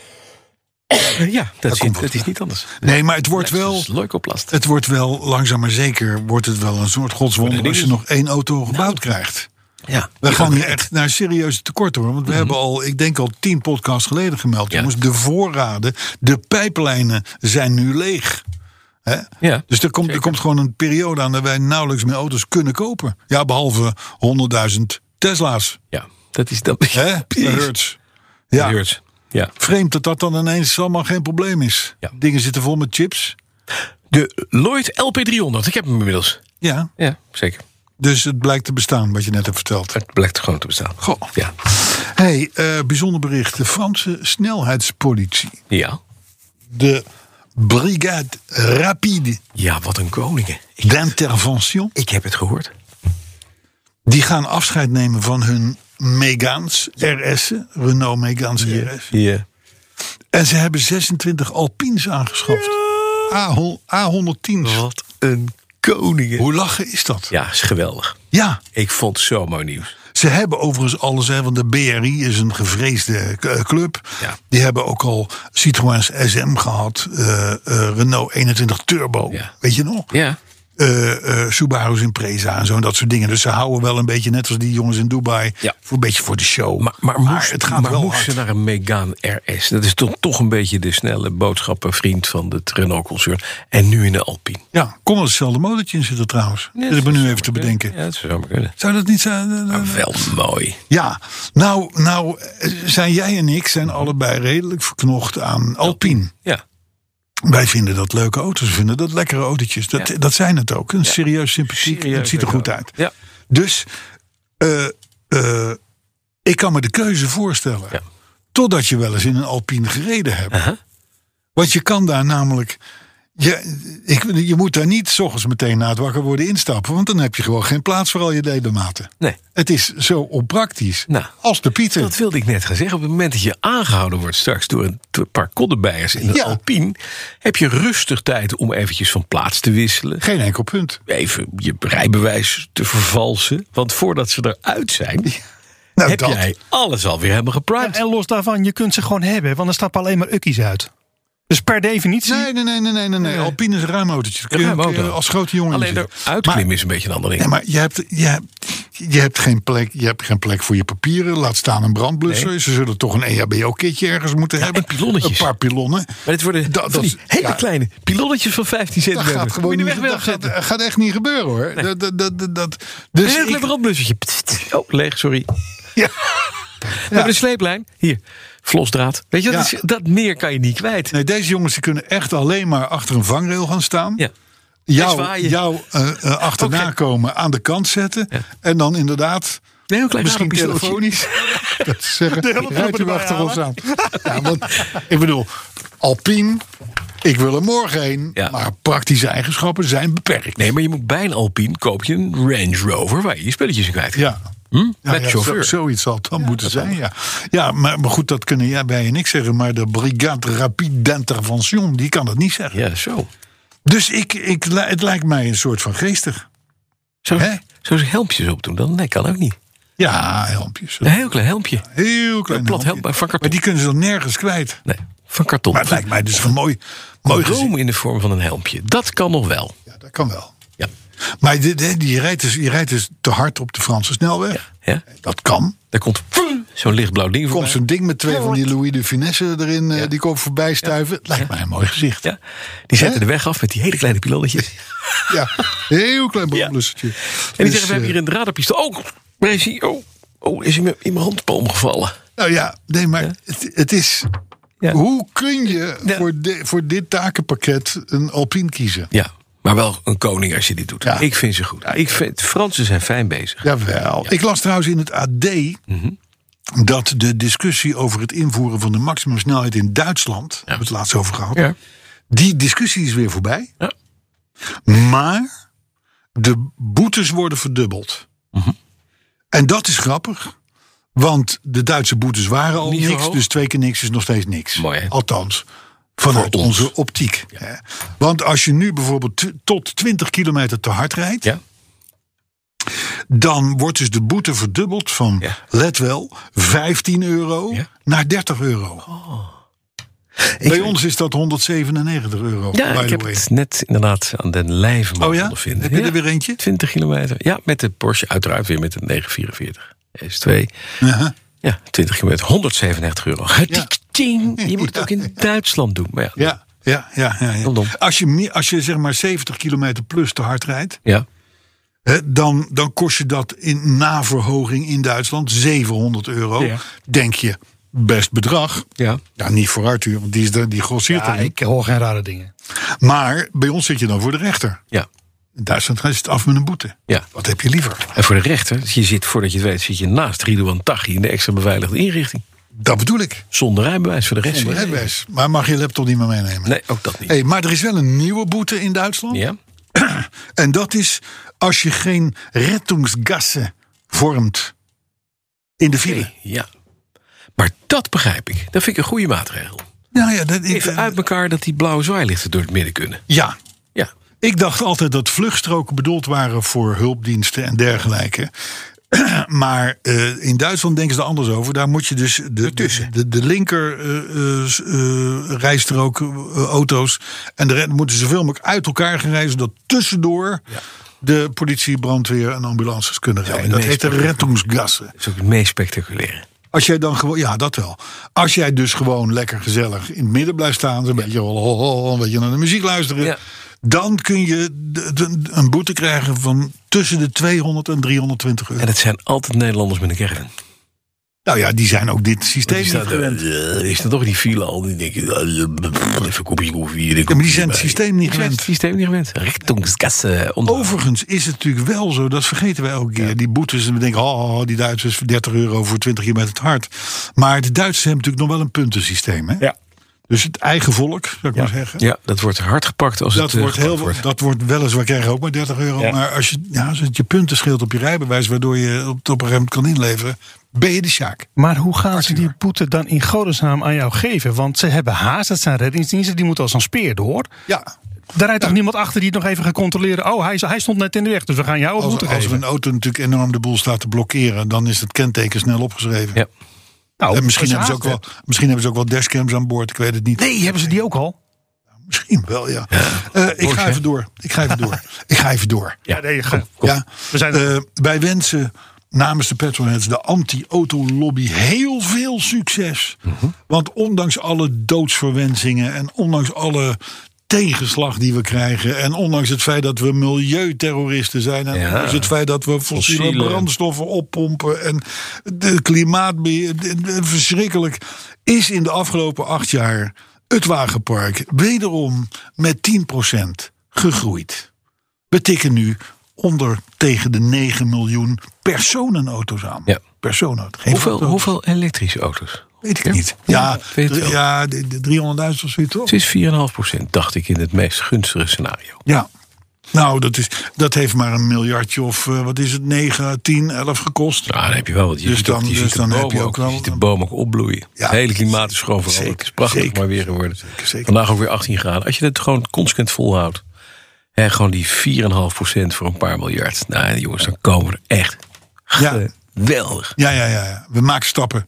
[SPEAKER 1] Ja, dat, is,
[SPEAKER 2] komt wel
[SPEAKER 1] het is niet anders.
[SPEAKER 2] Nee, maar het wordt wel...
[SPEAKER 1] Dus Leukoplast.
[SPEAKER 2] Het wordt wel, langzaam maar zeker, wordt het wel een soort godswonder als je nog één auto gebouwd krijgt.
[SPEAKER 1] Ja. Mhm.
[SPEAKER 2] We gaan hier echt naar serieuze tekorten hoor. Want we hebben al, ik denk al tien podcasts geleden gemeld.
[SPEAKER 1] Ja.
[SPEAKER 2] Jongens, de voorraden, de pijplijnen zijn nu leeg. Hè?
[SPEAKER 1] Ja,
[SPEAKER 2] dus er komt, er komt gewoon een periode aan dat wij nauwelijks meer auto's kunnen kopen. Ja, behalve 100.000 Tesla's.
[SPEAKER 1] ja, dat is dat.
[SPEAKER 2] Hè?
[SPEAKER 1] Precies.
[SPEAKER 2] Hertz. Ja,
[SPEAKER 1] Hertz. Ja.
[SPEAKER 2] vreemd dat dat dan ineens allemaal geen probleem is.
[SPEAKER 1] Ja.
[SPEAKER 2] Dingen zitten vol met chips.
[SPEAKER 1] De Lloyd LP300. Ik heb hem inmiddels.
[SPEAKER 2] Ja,
[SPEAKER 1] Ja, zeker.
[SPEAKER 2] dus het blijkt te bestaan wat je net hebt verteld.
[SPEAKER 1] Het blijkt gewoon te bestaan.
[SPEAKER 2] Goh.
[SPEAKER 1] Ja.
[SPEAKER 2] Hey, eh, bijzonder bericht. De Franse snelheidspolitie.
[SPEAKER 1] Ja.
[SPEAKER 2] De Brigade Rapide
[SPEAKER 1] Ja, wat een koningen. Ik,
[SPEAKER 2] d'Intervention.
[SPEAKER 1] ik heb het gehoord.
[SPEAKER 2] Die gaan afscheid nemen van hun Megaans RS'en. Renault Megaans RS.
[SPEAKER 1] Ja.
[SPEAKER 2] En ze hebben 26 Alpines aangeschaft. A100 A110's.
[SPEAKER 1] Wat een koningen.
[SPEAKER 2] Hoe lachen is dat?
[SPEAKER 1] Ja, is geweldig.
[SPEAKER 2] Ja,
[SPEAKER 1] Ik vond het zo mooi nieuws.
[SPEAKER 2] ze hebben overigens alles. Hè, want de BRI is een gevreesde eh, club.
[SPEAKER 1] Ja.
[SPEAKER 2] Die hebben ook al Citroëns SM gehad. eh, eh, Renault 21 Turbo.
[SPEAKER 1] Ja.
[SPEAKER 2] Weet je nog?
[SPEAKER 1] Ja.
[SPEAKER 2] eh eh Subaru's in Preza en zo en dat soort dingen. Dus ze houden wel een beetje, net als die jongens in Dubai,
[SPEAKER 1] Ja.
[SPEAKER 2] voor een beetje voor de show.
[SPEAKER 1] Maar, maar, moest,
[SPEAKER 2] het gaat
[SPEAKER 1] maar
[SPEAKER 2] wel
[SPEAKER 1] moest ze
[SPEAKER 2] hard.
[SPEAKER 1] naar een Megane RS? Dat is toch, toch een beetje de snelle boodschappenvriend van het Renault-concern. En nu in de Alpine.
[SPEAKER 2] Ja, kon er hetzelfde motortje in zitten trouwens.
[SPEAKER 1] Ja,
[SPEAKER 2] dat ik
[SPEAKER 1] zou
[SPEAKER 2] me nu even
[SPEAKER 1] maar
[SPEAKER 2] te
[SPEAKER 1] kunnen.
[SPEAKER 2] bedenken.
[SPEAKER 1] Ja, dat zou maar kunnen.
[SPEAKER 2] Zou dat niet zijn?
[SPEAKER 1] Maar wel mooi.
[SPEAKER 2] Ja, nou, nou eh, zijn jij en ik zijn allebei redelijk verknocht aan Alpine.
[SPEAKER 1] Ja.
[SPEAKER 2] Wij vinden dat leuke auto's, we vinden dat lekkere autootjes. Dat, dat zijn het ook. Een serieus sympathiek,
[SPEAKER 1] Serieus
[SPEAKER 2] het ziet er
[SPEAKER 1] leuk
[SPEAKER 2] goed
[SPEAKER 1] ook.
[SPEAKER 2] uit.
[SPEAKER 1] Ja.
[SPEAKER 2] Dus eh, eh, ik kan me de keuze voorstellen.
[SPEAKER 1] Ja.
[SPEAKER 2] Totdat je wel eens in een Alpine gereden hebt.
[SPEAKER 1] Aha.
[SPEAKER 2] Want je kan daar namelijk. Je, ik, je moet daar niet s ochtends meteen na het wakker worden instappen. Want dan heb je gewoon geen plaats voor al je ledematen.
[SPEAKER 1] Nee.
[SPEAKER 2] Het is zo onpraktisch.
[SPEAKER 1] Nou,
[SPEAKER 2] als de Pieter.
[SPEAKER 1] Dat wilde ik net gaan zeggen. Op het moment dat je aangehouden wordt straks door een t- paar koddenbeiers in de
[SPEAKER 2] Ja.
[SPEAKER 1] Alpine... heb je rustig tijd om eventjes van plaats te wisselen.
[SPEAKER 2] Geen enkel punt.
[SPEAKER 1] Even je rijbewijs te vervalsen. Want voordat ze eruit zijn,
[SPEAKER 2] Nou,
[SPEAKER 1] heb
[SPEAKER 2] dat.
[SPEAKER 1] jij alles alweer helemaal
[SPEAKER 3] Ja,
[SPEAKER 1] geprimed.
[SPEAKER 3] en los daarvan, je kunt ze gewoon hebben, want er stappen alleen maar ukkies uit. Dus per definitie.
[SPEAKER 2] Nee, nee, nee, nee, nee, nee. nee. Alpine is een ruim autootje. Daar kun je-
[SPEAKER 1] ruim
[SPEAKER 2] kun je
[SPEAKER 1] auto.
[SPEAKER 2] als grote jongen in
[SPEAKER 1] Alleen
[SPEAKER 2] zitten.
[SPEAKER 1] eruit
[SPEAKER 2] Maar-
[SPEAKER 1] klimmen is een beetje een ander
[SPEAKER 2] Nee,
[SPEAKER 1] ding.
[SPEAKER 2] maar je hebt, je, hebt, je, hebt geen plek, je hebt geen plek voor je papieren. Laat staan een brandblusser. Ze zullen toch een E EHBO-kitje ergens moeten hebben.
[SPEAKER 1] en pilonnetjes.
[SPEAKER 2] Een paar pilonnen.
[SPEAKER 1] Maar dit worden
[SPEAKER 2] Dat-
[SPEAKER 1] van die
[SPEAKER 2] dat-
[SPEAKER 1] hele
[SPEAKER 2] ja.
[SPEAKER 1] kleine pilonnetjes van 15
[SPEAKER 2] Dat
[SPEAKER 1] centimeter.
[SPEAKER 2] gaat gewoon
[SPEAKER 1] Moet je
[SPEAKER 2] niet,
[SPEAKER 1] de weg
[SPEAKER 2] dat
[SPEAKER 1] wel
[SPEAKER 2] gaat, gaat echt niet gebeuren hoor. Dat, dat, dat, dat- dat- dus
[SPEAKER 1] Een heel
[SPEAKER 2] ik-
[SPEAKER 1] klein brandblussertje. Pst, pst. Oh, leeg, sorry.
[SPEAKER 2] Ja.
[SPEAKER 1] We hebben een sleeplijn. Hier, vlosdraad. Weet je, dat,
[SPEAKER 2] Ja.
[SPEAKER 1] is, dat meer kan je niet kwijt.
[SPEAKER 2] Nee, deze jongens die kunnen echt alleen maar achter een vangrail gaan staan.
[SPEAKER 1] Ja. En
[SPEAKER 2] Jou,
[SPEAKER 1] zwaaien.
[SPEAKER 2] jou eh, eh, achterna
[SPEAKER 1] Oké.
[SPEAKER 2] komen, aan de kant zetten. En dan inderdaad
[SPEAKER 1] Een heel klein
[SPEAKER 2] Misschien
[SPEAKER 1] radarpistooltje.
[SPEAKER 2] telefonisch. dat ze zeggen,
[SPEAKER 3] hulpgroepen
[SPEAKER 2] rijdt u
[SPEAKER 3] erbij
[SPEAKER 2] achter ons aan.
[SPEAKER 3] halen.
[SPEAKER 2] Ja, want, ik bedoel, Alpine, ik wil er morgen heen.
[SPEAKER 1] Ja.
[SPEAKER 2] Maar praktische eigenschappen zijn beperkt.
[SPEAKER 1] Nee, maar je moet bij een Alpine koop je een Range Rover waar je je spulletjes in kwijt kan.
[SPEAKER 2] Ja.
[SPEAKER 1] Hm?
[SPEAKER 2] Ja,
[SPEAKER 1] Met
[SPEAKER 2] ja,
[SPEAKER 1] chauffeur.
[SPEAKER 2] zo- zoiets zal het dan moeten zijn, ja. Ja, maar, maar goed, dat kunnen jij bij je niks zeggen. Maar de Brigade Rapide d'Intervention, die kan dat niet zeggen.
[SPEAKER 1] Ja, zo.
[SPEAKER 2] Dus ik, ik, li- het lijkt mij een soort van geestig.
[SPEAKER 1] Zo,
[SPEAKER 2] Hè?
[SPEAKER 1] zo helmpjes opdoen, dan nee, kan ook niet.
[SPEAKER 2] Ja, helmpjes.
[SPEAKER 1] Een heel klein helmpje.
[SPEAKER 2] Heel klein
[SPEAKER 1] Een plat
[SPEAKER 2] helmpje.
[SPEAKER 1] helm van karton.
[SPEAKER 2] Maar die kunnen ze dan nergens kwijt.
[SPEAKER 1] Nee, van karton.
[SPEAKER 2] Maar het lijkt mij dus een mooi, mooi gezin.
[SPEAKER 1] Droom in de vorm van een helmpje. Dat kan nog wel.
[SPEAKER 2] Ja, dat kan wel.
[SPEAKER 1] Ja.
[SPEAKER 2] Maar dit- dit- je, rijdt dus, je rijdt dus te hard op de Franse snelweg.
[SPEAKER 1] ja.
[SPEAKER 2] Dat kan.
[SPEAKER 1] Daar komt zo'n lichtblauw ding
[SPEAKER 2] Komt
[SPEAKER 1] voor.
[SPEAKER 2] zo'n ding met twee van die Louis de Finesse erin, eh, die komen voorbij stuiven. Lijkt mij een mooi gezicht. Ja,
[SPEAKER 1] Ja. Die zetten
[SPEAKER 2] Hè?
[SPEAKER 1] de weg af met die hele kleine pilonnetjes.
[SPEAKER 2] heel klein brandblussertje.
[SPEAKER 1] En die
[SPEAKER 2] Dus,
[SPEAKER 1] zeggen, we hebben
[SPEAKER 2] eh,
[SPEAKER 1] hier een radarpistool. Oh, waar is hij? Oh, oh is hij me in mijn handpalm gevallen?
[SPEAKER 2] Nou ja, nee, maar het, het is...
[SPEAKER 1] Ja.
[SPEAKER 2] Hoe kun je
[SPEAKER 1] Ja.
[SPEAKER 2] voor, di- voor dit takenpakket een Alpine kiezen?
[SPEAKER 1] Ja, maar wel een koning als je dit doet.
[SPEAKER 2] Ja.
[SPEAKER 1] Ik vind ze goed. Ik vind, de Fransen zijn fijn bezig. Mhm.
[SPEAKER 2] Jawel. Ik las trouwens in het AD dat de discussie over het invoeren van de maximumsnelheid in Duitsland, daar hebben we het laatst over gehad,
[SPEAKER 1] Ja.
[SPEAKER 2] die discussie is weer voorbij.
[SPEAKER 1] Ja.
[SPEAKER 2] Maar de boetes worden verdubbeld.
[SPEAKER 1] Mhm.
[SPEAKER 2] En dat is grappig. Want de Duitse boetes waren al
[SPEAKER 1] Niet zo
[SPEAKER 2] niks,
[SPEAKER 1] hoog.
[SPEAKER 2] dus twee keer niks is nog steeds niks.
[SPEAKER 1] Mooi, hè?
[SPEAKER 2] Althans, vanuit
[SPEAKER 1] Voor ons.
[SPEAKER 2] onze optiek. hè. Want als je nu bijvoorbeeld t- tot 20 kilometer te hard rijdt,
[SPEAKER 1] Ja.
[SPEAKER 2] dan wordt dus de boete verdubbeld van,
[SPEAKER 1] Ja.
[SPEAKER 2] let wel, 15 euro
[SPEAKER 1] Ja. Oh.
[SPEAKER 2] naar 30 euro. Bij ons is dat 197 euro.
[SPEAKER 1] Ja,
[SPEAKER 2] by
[SPEAKER 1] ik
[SPEAKER 2] the
[SPEAKER 1] heb
[SPEAKER 2] way.
[SPEAKER 1] het net inderdaad aan den lijve mogen
[SPEAKER 2] Oh ja?
[SPEAKER 1] ondervinden.
[SPEAKER 2] Heb je er
[SPEAKER 1] Ja,
[SPEAKER 2] weer eentje?
[SPEAKER 1] 20 kilometer. Ja, met de Porsche uiteraard weer met de 944 S2.
[SPEAKER 2] Aha.
[SPEAKER 1] Ja, 20 kilometer, 197 euro. Getikting. Je moet het ook in Duitsland doen. Maar ja,
[SPEAKER 2] Ja, ja, ja. ja, ja.
[SPEAKER 1] Rondom.
[SPEAKER 2] Als, je, meer- als je zeg maar 70 kilometer plus te hard rijdt,
[SPEAKER 1] ja.
[SPEAKER 2] hè, dan, dan kost je dat in naverhoging in Duitsland 700 euro.
[SPEAKER 1] Ja.
[SPEAKER 2] Denk je, best bedrag.
[SPEAKER 1] ja.
[SPEAKER 2] Ja, niet voor Arthur, want die, is er, die grosseert er niet.
[SPEAKER 3] ik hoor geen rare dingen.
[SPEAKER 2] Maar bij ons zit je dan voor de rechter.
[SPEAKER 1] ja.
[SPEAKER 2] In Duitsland is het af met een boete.
[SPEAKER 1] Ja.
[SPEAKER 2] Wat heb je liever?
[SPEAKER 1] En voor de rechter, dus je zit, voordat je het weet, zit je naast Ridouan Taghi in de extra beveiligde inrichting.
[SPEAKER 2] Dat bedoel ik.
[SPEAKER 1] Zonder rijbewijs voor de rechter.
[SPEAKER 2] Zonder rijbewijs. Maar mag je laptop niet meer meenemen?
[SPEAKER 1] Nee, ook dat niet.
[SPEAKER 2] Hey, maar er is wel een nieuwe boete in Duitsland.
[SPEAKER 1] Ja?
[SPEAKER 2] En dat is als je geen rettungsgassen vormt in de file.
[SPEAKER 1] Ja. Maar dat begrijp ik. Dat vind ik een goede maatregel.
[SPEAKER 2] Nou ja, dat, ik,
[SPEAKER 1] Even uit elkaar dat die blauwe zwaailichten door het midden kunnen.
[SPEAKER 2] ja,
[SPEAKER 1] Ja.
[SPEAKER 2] ik dacht altijd dat vluchtstroken bedoeld waren voor hulpdiensten en dergelijke. Maar eh, in Duitsland denken ze er anders over. Daar moet je dus de, de, de, de linker eh, eh, s- eh, rijstrook eh, auto's. En de rest moeten zoveel mogelijk uit elkaar gaan rijden. Zodat tussendoor de politie, brandweer en ambulances kunnen rijden.
[SPEAKER 1] en
[SPEAKER 2] dat
[SPEAKER 1] nee,
[SPEAKER 2] heet de
[SPEAKER 1] sprak-
[SPEAKER 2] rettungsgassen.
[SPEAKER 1] Dat is ook het meest spectaculaire.
[SPEAKER 2] Als jij dan gewoon, ja, dat wel. Als jij dus gewoon lekker gezellig in het midden blijft staan, een beetje, hol, hol, hol, een beetje naar de muziek luisteren,
[SPEAKER 1] Ja.
[SPEAKER 2] dan kun je de- de- een boete krijgen van tussen de 200 en 320 euro.
[SPEAKER 1] En dat zijn altijd Nederlanders met een caravan.
[SPEAKER 2] nou ja, die zijn ook dit systeem
[SPEAKER 1] Die
[SPEAKER 2] niet
[SPEAKER 1] staat,
[SPEAKER 2] gewend.
[SPEAKER 1] eh, die staat toch in die file al. Die denken, eh, pff, even een kopje koffie.
[SPEAKER 2] Ja, maar die zijn het systeem niet
[SPEAKER 1] het
[SPEAKER 2] gewend. Oh.
[SPEAKER 1] systeem niet gewend. Richtungskassen.
[SPEAKER 2] Overigens is het natuurlijk wel zo, dat vergeten wij elke keer. Die boetes, en we denken, oh, die Duitsers voor 30 euro voor 20 kilometer te hard. Maar de Duitsers hebben natuurlijk nog wel een puntensysteem. Hè?
[SPEAKER 3] Ja.
[SPEAKER 2] Dus het eigen volk, zou ik maar zeggen.
[SPEAKER 1] Ja, dat wordt hard gepakt als
[SPEAKER 2] Dat
[SPEAKER 1] het eh,
[SPEAKER 2] wordt, heel,
[SPEAKER 1] gepakt wordt.
[SPEAKER 2] dat wordt weliswaar krijg je ook maar 30 euro.
[SPEAKER 1] Ja.
[SPEAKER 2] Maar als je, ja, als het je punten scheelt op je rijbewijs, waardoor je op het op een gegeven moment kan inleveren, ben je de Sjaak.
[SPEAKER 3] Maar hoe gaan ze die boete dan in godesnaam aan jou geven? Want ze hebben haast, dat zijn reddingsdiensten, die moeten als een speer door.
[SPEAKER 2] Ja,
[SPEAKER 3] Daar rijdt toch niemand achter die het nog even gaat controleren. Oh, hij, is- hij stond net in de weg, dus we gaan jou een
[SPEAKER 2] als, nou-
[SPEAKER 3] boete
[SPEAKER 2] als er
[SPEAKER 3] geven.
[SPEAKER 2] een auto natuurlijk enorm de boel staat te blokkeren, dan is het kenteken snel opgeschreven.
[SPEAKER 1] Ja.
[SPEAKER 3] Nou,
[SPEAKER 2] En misschien,
[SPEAKER 3] als je
[SPEAKER 2] hebben ze ook
[SPEAKER 3] haast
[SPEAKER 2] wel,
[SPEAKER 3] hebt.
[SPEAKER 2] misschien hebben ze ook wel dashcams aan boord, ik weet het niet.
[SPEAKER 3] Nee, hebben ze die ook al?
[SPEAKER 2] Misschien wel, ja. Eh, ik
[SPEAKER 1] Porsche,
[SPEAKER 2] ga
[SPEAKER 1] hè?
[SPEAKER 2] even door. Ik ga even door. ik ga even door.
[SPEAKER 3] Ja, nee, ga-
[SPEAKER 2] Ja,
[SPEAKER 3] We zijn-
[SPEAKER 2] eh, wij wensen namens de petrolheads, de anti-autolobby, heel veel succes.
[SPEAKER 3] Mhm.
[SPEAKER 2] Want ondanks alle doodsverwensingen en ondanks alle tegenslag die we krijgen... en ondanks het feit dat we milieuterroristen zijn... en
[SPEAKER 1] Ja.
[SPEAKER 2] ondanks het feit dat we fossiele,
[SPEAKER 1] Fossiele.
[SPEAKER 2] brandstoffen oppompen... en de klimaatbeheer, de- de- verschrikkelijk... is in de afgelopen acht jaar het wagenpark wederom met 10% gegroeid. We tikken nu onder tegen de 9 miljoen personenauto's aan.
[SPEAKER 1] Ja.
[SPEAKER 2] Personenauto's. Geen
[SPEAKER 1] Hoeveel,
[SPEAKER 2] vrachtauto's.
[SPEAKER 1] hoeveel elektrische auto's?
[SPEAKER 2] Weet ik niet. Ja,
[SPEAKER 1] weet het wel.
[SPEAKER 2] ja, de- de 300.000 of zoiets toch?
[SPEAKER 1] Het is 4,5 dacht ik, in het meest gunstige scenario.
[SPEAKER 2] Ja. Nou, dat, is, dat heeft maar een miljardje of eh, wat is het, 9, 10, 11 gekost.
[SPEAKER 1] Nou, dan heb je wel wat. Je
[SPEAKER 2] Dus
[SPEAKER 1] ziet
[SPEAKER 2] dan-
[SPEAKER 1] ook, je
[SPEAKER 2] dus
[SPEAKER 1] ziet de
[SPEAKER 2] dan heb
[SPEAKER 1] bomen
[SPEAKER 2] je ook wel-
[SPEAKER 1] ziet de bomen ook opbloeien.
[SPEAKER 2] Ja.
[SPEAKER 1] het hele klimaat is gewoon veranderd.
[SPEAKER 2] Zeker,
[SPEAKER 1] het is prachtig
[SPEAKER 2] zeker,
[SPEAKER 1] maar weer geworden.
[SPEAKER 2] zeker.
[SPEAKER 1] Vandaag ook weer 18 graden. Als je het gewoon consequent volhoudt. En gewoon die 4,5% voor een paar miljard. Nou jongens, dan komen we er echt
[SPEAKER 2] Ja.
[SPEAKER 1] geweldig.
[SPEAKER 2] Ja, ja, ja, ja. We maken stappen.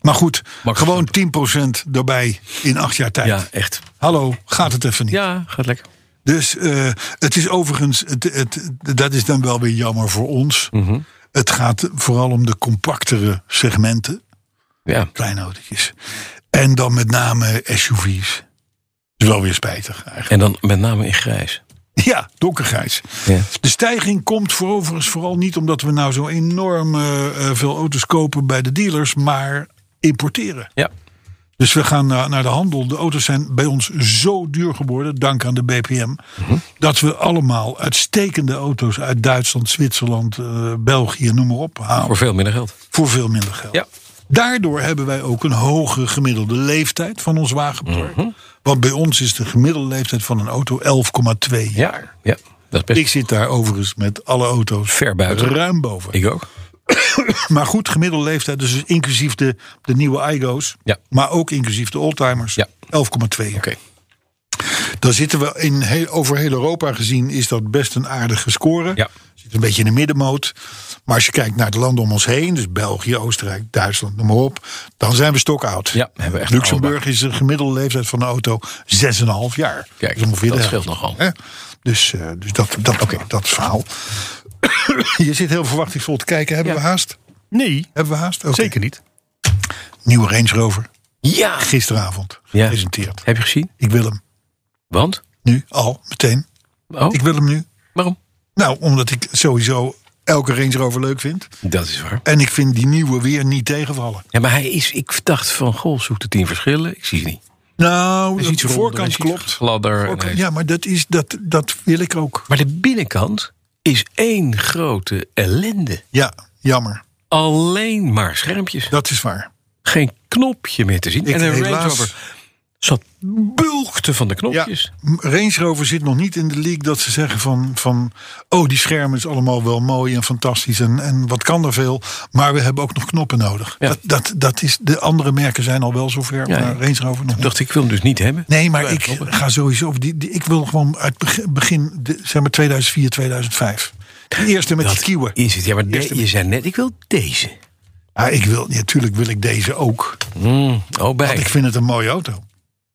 [SPEAKER 2] Maar goed,
[SPEAKER 1] Maak
[SPEAKER 2] gewoon 10% erbij in acht jaar tijd.
[SPEAKER 1] Ja, echt.
[SPEAKER 2] Hallo, gaat het even niet?
[SPEAKER 1] Ja, gaat lekker.
[SPEAKER 2] Dus eh, het is overigens, het, het, dat is dan wel weer jammer voor ons. Het gaat vooral om de compactere segmenten,
[SPEAKER 1] Ja,
[SPEAKER 2] kleine autootjes. En dan met name SUV's. Is wel weer spijtig eigenlijk.
[SPEAKER 1] en dan met name in grijs.
[SPEAKER 2] Ja, donkergrijs.
[SPEAKER 1] Ja.
[SPEAKER 2] De stijging komt voor overigens vooral niet omdat we nou zo enorm eh, eh, veel auto's kopen bij de dealers, maar importeren.
[SPEAKER 1] Ja,
[SPEAKER 2] Dus we gaan naar, naar de handel. De auto's zijn bij ons zo duur geworden, dank aan de BPM.
[SPEAKER 1] Mhm.
[SPEAKER 2] Dat we allemaal uitstekende auto's uit Duitsland, Zwitserland, eh, België, noem maar op halen.
[SPEAKER 1] voor
[SPEAKER 2] Voor,
[SPEAKER 1] veel minder geld.
[SPEAKER 2] veel minder geld.
[SPEAKER 1] Ja.
[SPEAKER 2] Daardoor hebben wij ook een hoge gemiddelde leeftijd van ons wagenpark.
[SPEAKER 1] Mhm.
[SPEAKER 2] Want bij ons is de gemiddelde leeftijd van een auto 11,2 jaar.
[SPEAKER 1] Ja, ja dat is
[SPEAKER 2] Ik
[SPEAKER 1] best
[SPEAKER 2] zit daar overigens met alle auto's
[SPEAKER 1] ver buiten.
[SPEAKER 2] ruim boven.
[SPEAKER 1] Ik ook.
[SPEAKER 2] Maar goed, gemiddelde leeftijd, dus inclusief de, de nieuwe iGo's.
[SPEAKER 1] Ja.
[SPEAKER 2] Maar ook inclusief de oldtimers.
[SPEAKER 1] Ja.
[SPEAKER 2] 11,2 jaar.
[SPEAKER 1] Oké.
[SPEAKER 2] Dan zitten we in heel, over heel Europa gezien is dat best een aardige score.
[SPEAKER 1] Ja.
[SPEAKER 2] Zit een beetje in de middenmoot. Maar als je kijkt naar de landen om ons heen, dus België, Oostenrijk, Duitsland, noem maar op, dan zijn we stokoud.
[SPEAKER 1] Ja, hebben we echt
[SPEAKER 2] Luxemburg is de gemiddelde leeftijd van de auto 6,5 jaar.
[SPEAKER 1] Kijk,
[SPEAKER 2] is ongeveer de
[SPEAKER 1] dat
[SPEAKER 2] helft.
[SPEAKER 1] scheelt nogal.
[SPEAKER 2] Hè? Dus, eh, dus dat, dat, dat is het verhaal. je zit heel verwachtingsvol te kijken. Hebben we haast?
[SPEAKER 3] Nee,
[SPEAKER 2] Hebben we haast? Oké.
[SPEAKER 3] zeker niet.
[SPEAKER 2] Nieuwe Range Rover.
[SPEAKER 1] Ja.
[SPEAKER 2] Gisteravond
[SPEAKER 1] Ja.
[SPEAKER 2] gepresenteerd.
[SPEAKER 1] Heb je gezien?
[SPEAKER 2] Ik wil hem.
[SPEAKER 1] Want?
[SPEAKER 2] Nu, al, meteen.
[SPEAKER 1] Oh,
[SPEAKER 2] Ik wil hem nu.
[SPEAKER 1] waarom?
[SPEAKER 2] Nou, omdat ik sowieso elke Range Rover leuk vind.
[SPEAKER 1] Dat is waar.
[SPEAKER 2] En ik vind die nieuwe weer niet tegenvallen.
[SPEAKER 1] Ja, maar hij is, ik dacht van, goh, zoek de tien verschillen. Ik zie ze niet.
[SPEAKER 2] Nou,
[SPEAKER 1] Hij
[SPEAKER 2] dat
[SPEAKER 1] ziet
[SPEAKER 2] de voorkant klopt.
[SPEAKER 1] Gladder.
[SPEAKER 2] Voorkant- ja, maar dat, is, dat, dat wil ik ook.
[SPEAKER 1] Maar de binnenkant is één grote ellende.
[SPEAKER 2] Ja, jammer.
[SPEAKER 1] Alleen maar schermpjes.
[SPEAKER 2] Dat is waar.
[SPEAKER 1] Geen knopje meer te zien.
[SPEAKER 2] Ik
[SPEAKER 1] en een
[SPEAKER 2] helaas-
[SPEAKER 1] Range Rover zat bulkte van de
[SPEAKER 2] Ja,
[SPEAKER 1] knopjes.
[SPEAKER 2] M- Range Rover zit nog niet in de league dat ze zeggen van, van... oh, die scherm is allemaal wel mooi en fantastisch en, en wat kan er veel... maar we hebben ook nog knoppen nodig.
[SPEAKER 1] Ja.
[SPEAKER 2] Dat, dat, dat is, de andere merken zijn al wel zover,
[SPEAKER 1] Ja,
[SPEAKER 2] maar
[SPEAKER 1] ja.
[SPEAKER 2] Range Rover nog
[SPEAKER 1] Ik
[SPEAKER 2] niet.
[SPEAKER 1] dacht, ik wil hem dus niet hebben.
[SPEAKER 2] Nee, maar ik
[SPEAKER 1] klopt.
[SPEAKER 2] ga sowieso. Die, die, ik wil gewoon uit beg- begin, de, zeg maar 2004, 2005. De eerste met die kieuwen.
[SPEAKER 1] is het. Ja, maar de- je zei net, ik wil deze.
[SPEAKER 2] Ja, ik wil, natuurlijk wil ik deze ook.
[SPEAKER 1] Mm, oh, bij.
[SPEAKER 2] Want ik vind het een mooie auto.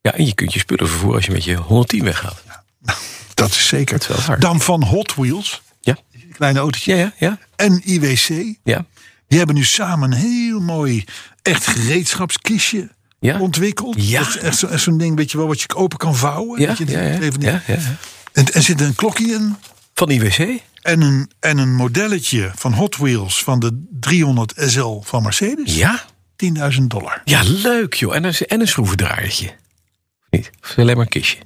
[SPEAKER 1] Ja, en je kunt je spullen vervoeren als je met je 110 weggaat.
[SPEAKER 2] Dat is zeker.
[SPEAKER 1] Dat is wel waar.
[SPEAKER 2] Dan van Hot Wheels,
[SPEAKER 1] Ja,
[SPEAKER 2] een kleine autootje,
[SPEAKER 1] ja, ja, ja.
[SPEAKER 2] en IWC.
[SPEAKER 1] ja.
[SPEAKER 2] Die hebben nu samen een heel mooi echt gereedschapskistje
[SPEAKER 1] Ja.
[SPEAKER 2] ontwikkeld.
[SPEAKER 1] Ja.
[SPEAKER 2] Dat is echt zo- echt zo'n ding, weet je wel, wat je open kan vouwen.
[SPEAKER 1] Ja,
[SPEAKER 2] Dat je
[SPEAKER 1] ja, ja.
[SPEAKER 2] even-
[SPEAKER 1] Ja, ja, ja.
[SPEAKER 2] En, en zit een klokje in.
[SPEAKER 1] Van die wc?
[SPEAKER 2] En een, en een modelletje van Hot Wheels van de 300 SL van Mercedes.
[SPEAKER 1] Ja.
[SPEAKER 2] 10.000 dollar.
[SPEAKER 1] Ja, leuk joh. En een, en een schroevendraaiertje. Of Niet? Of is het alleen maar een kistje?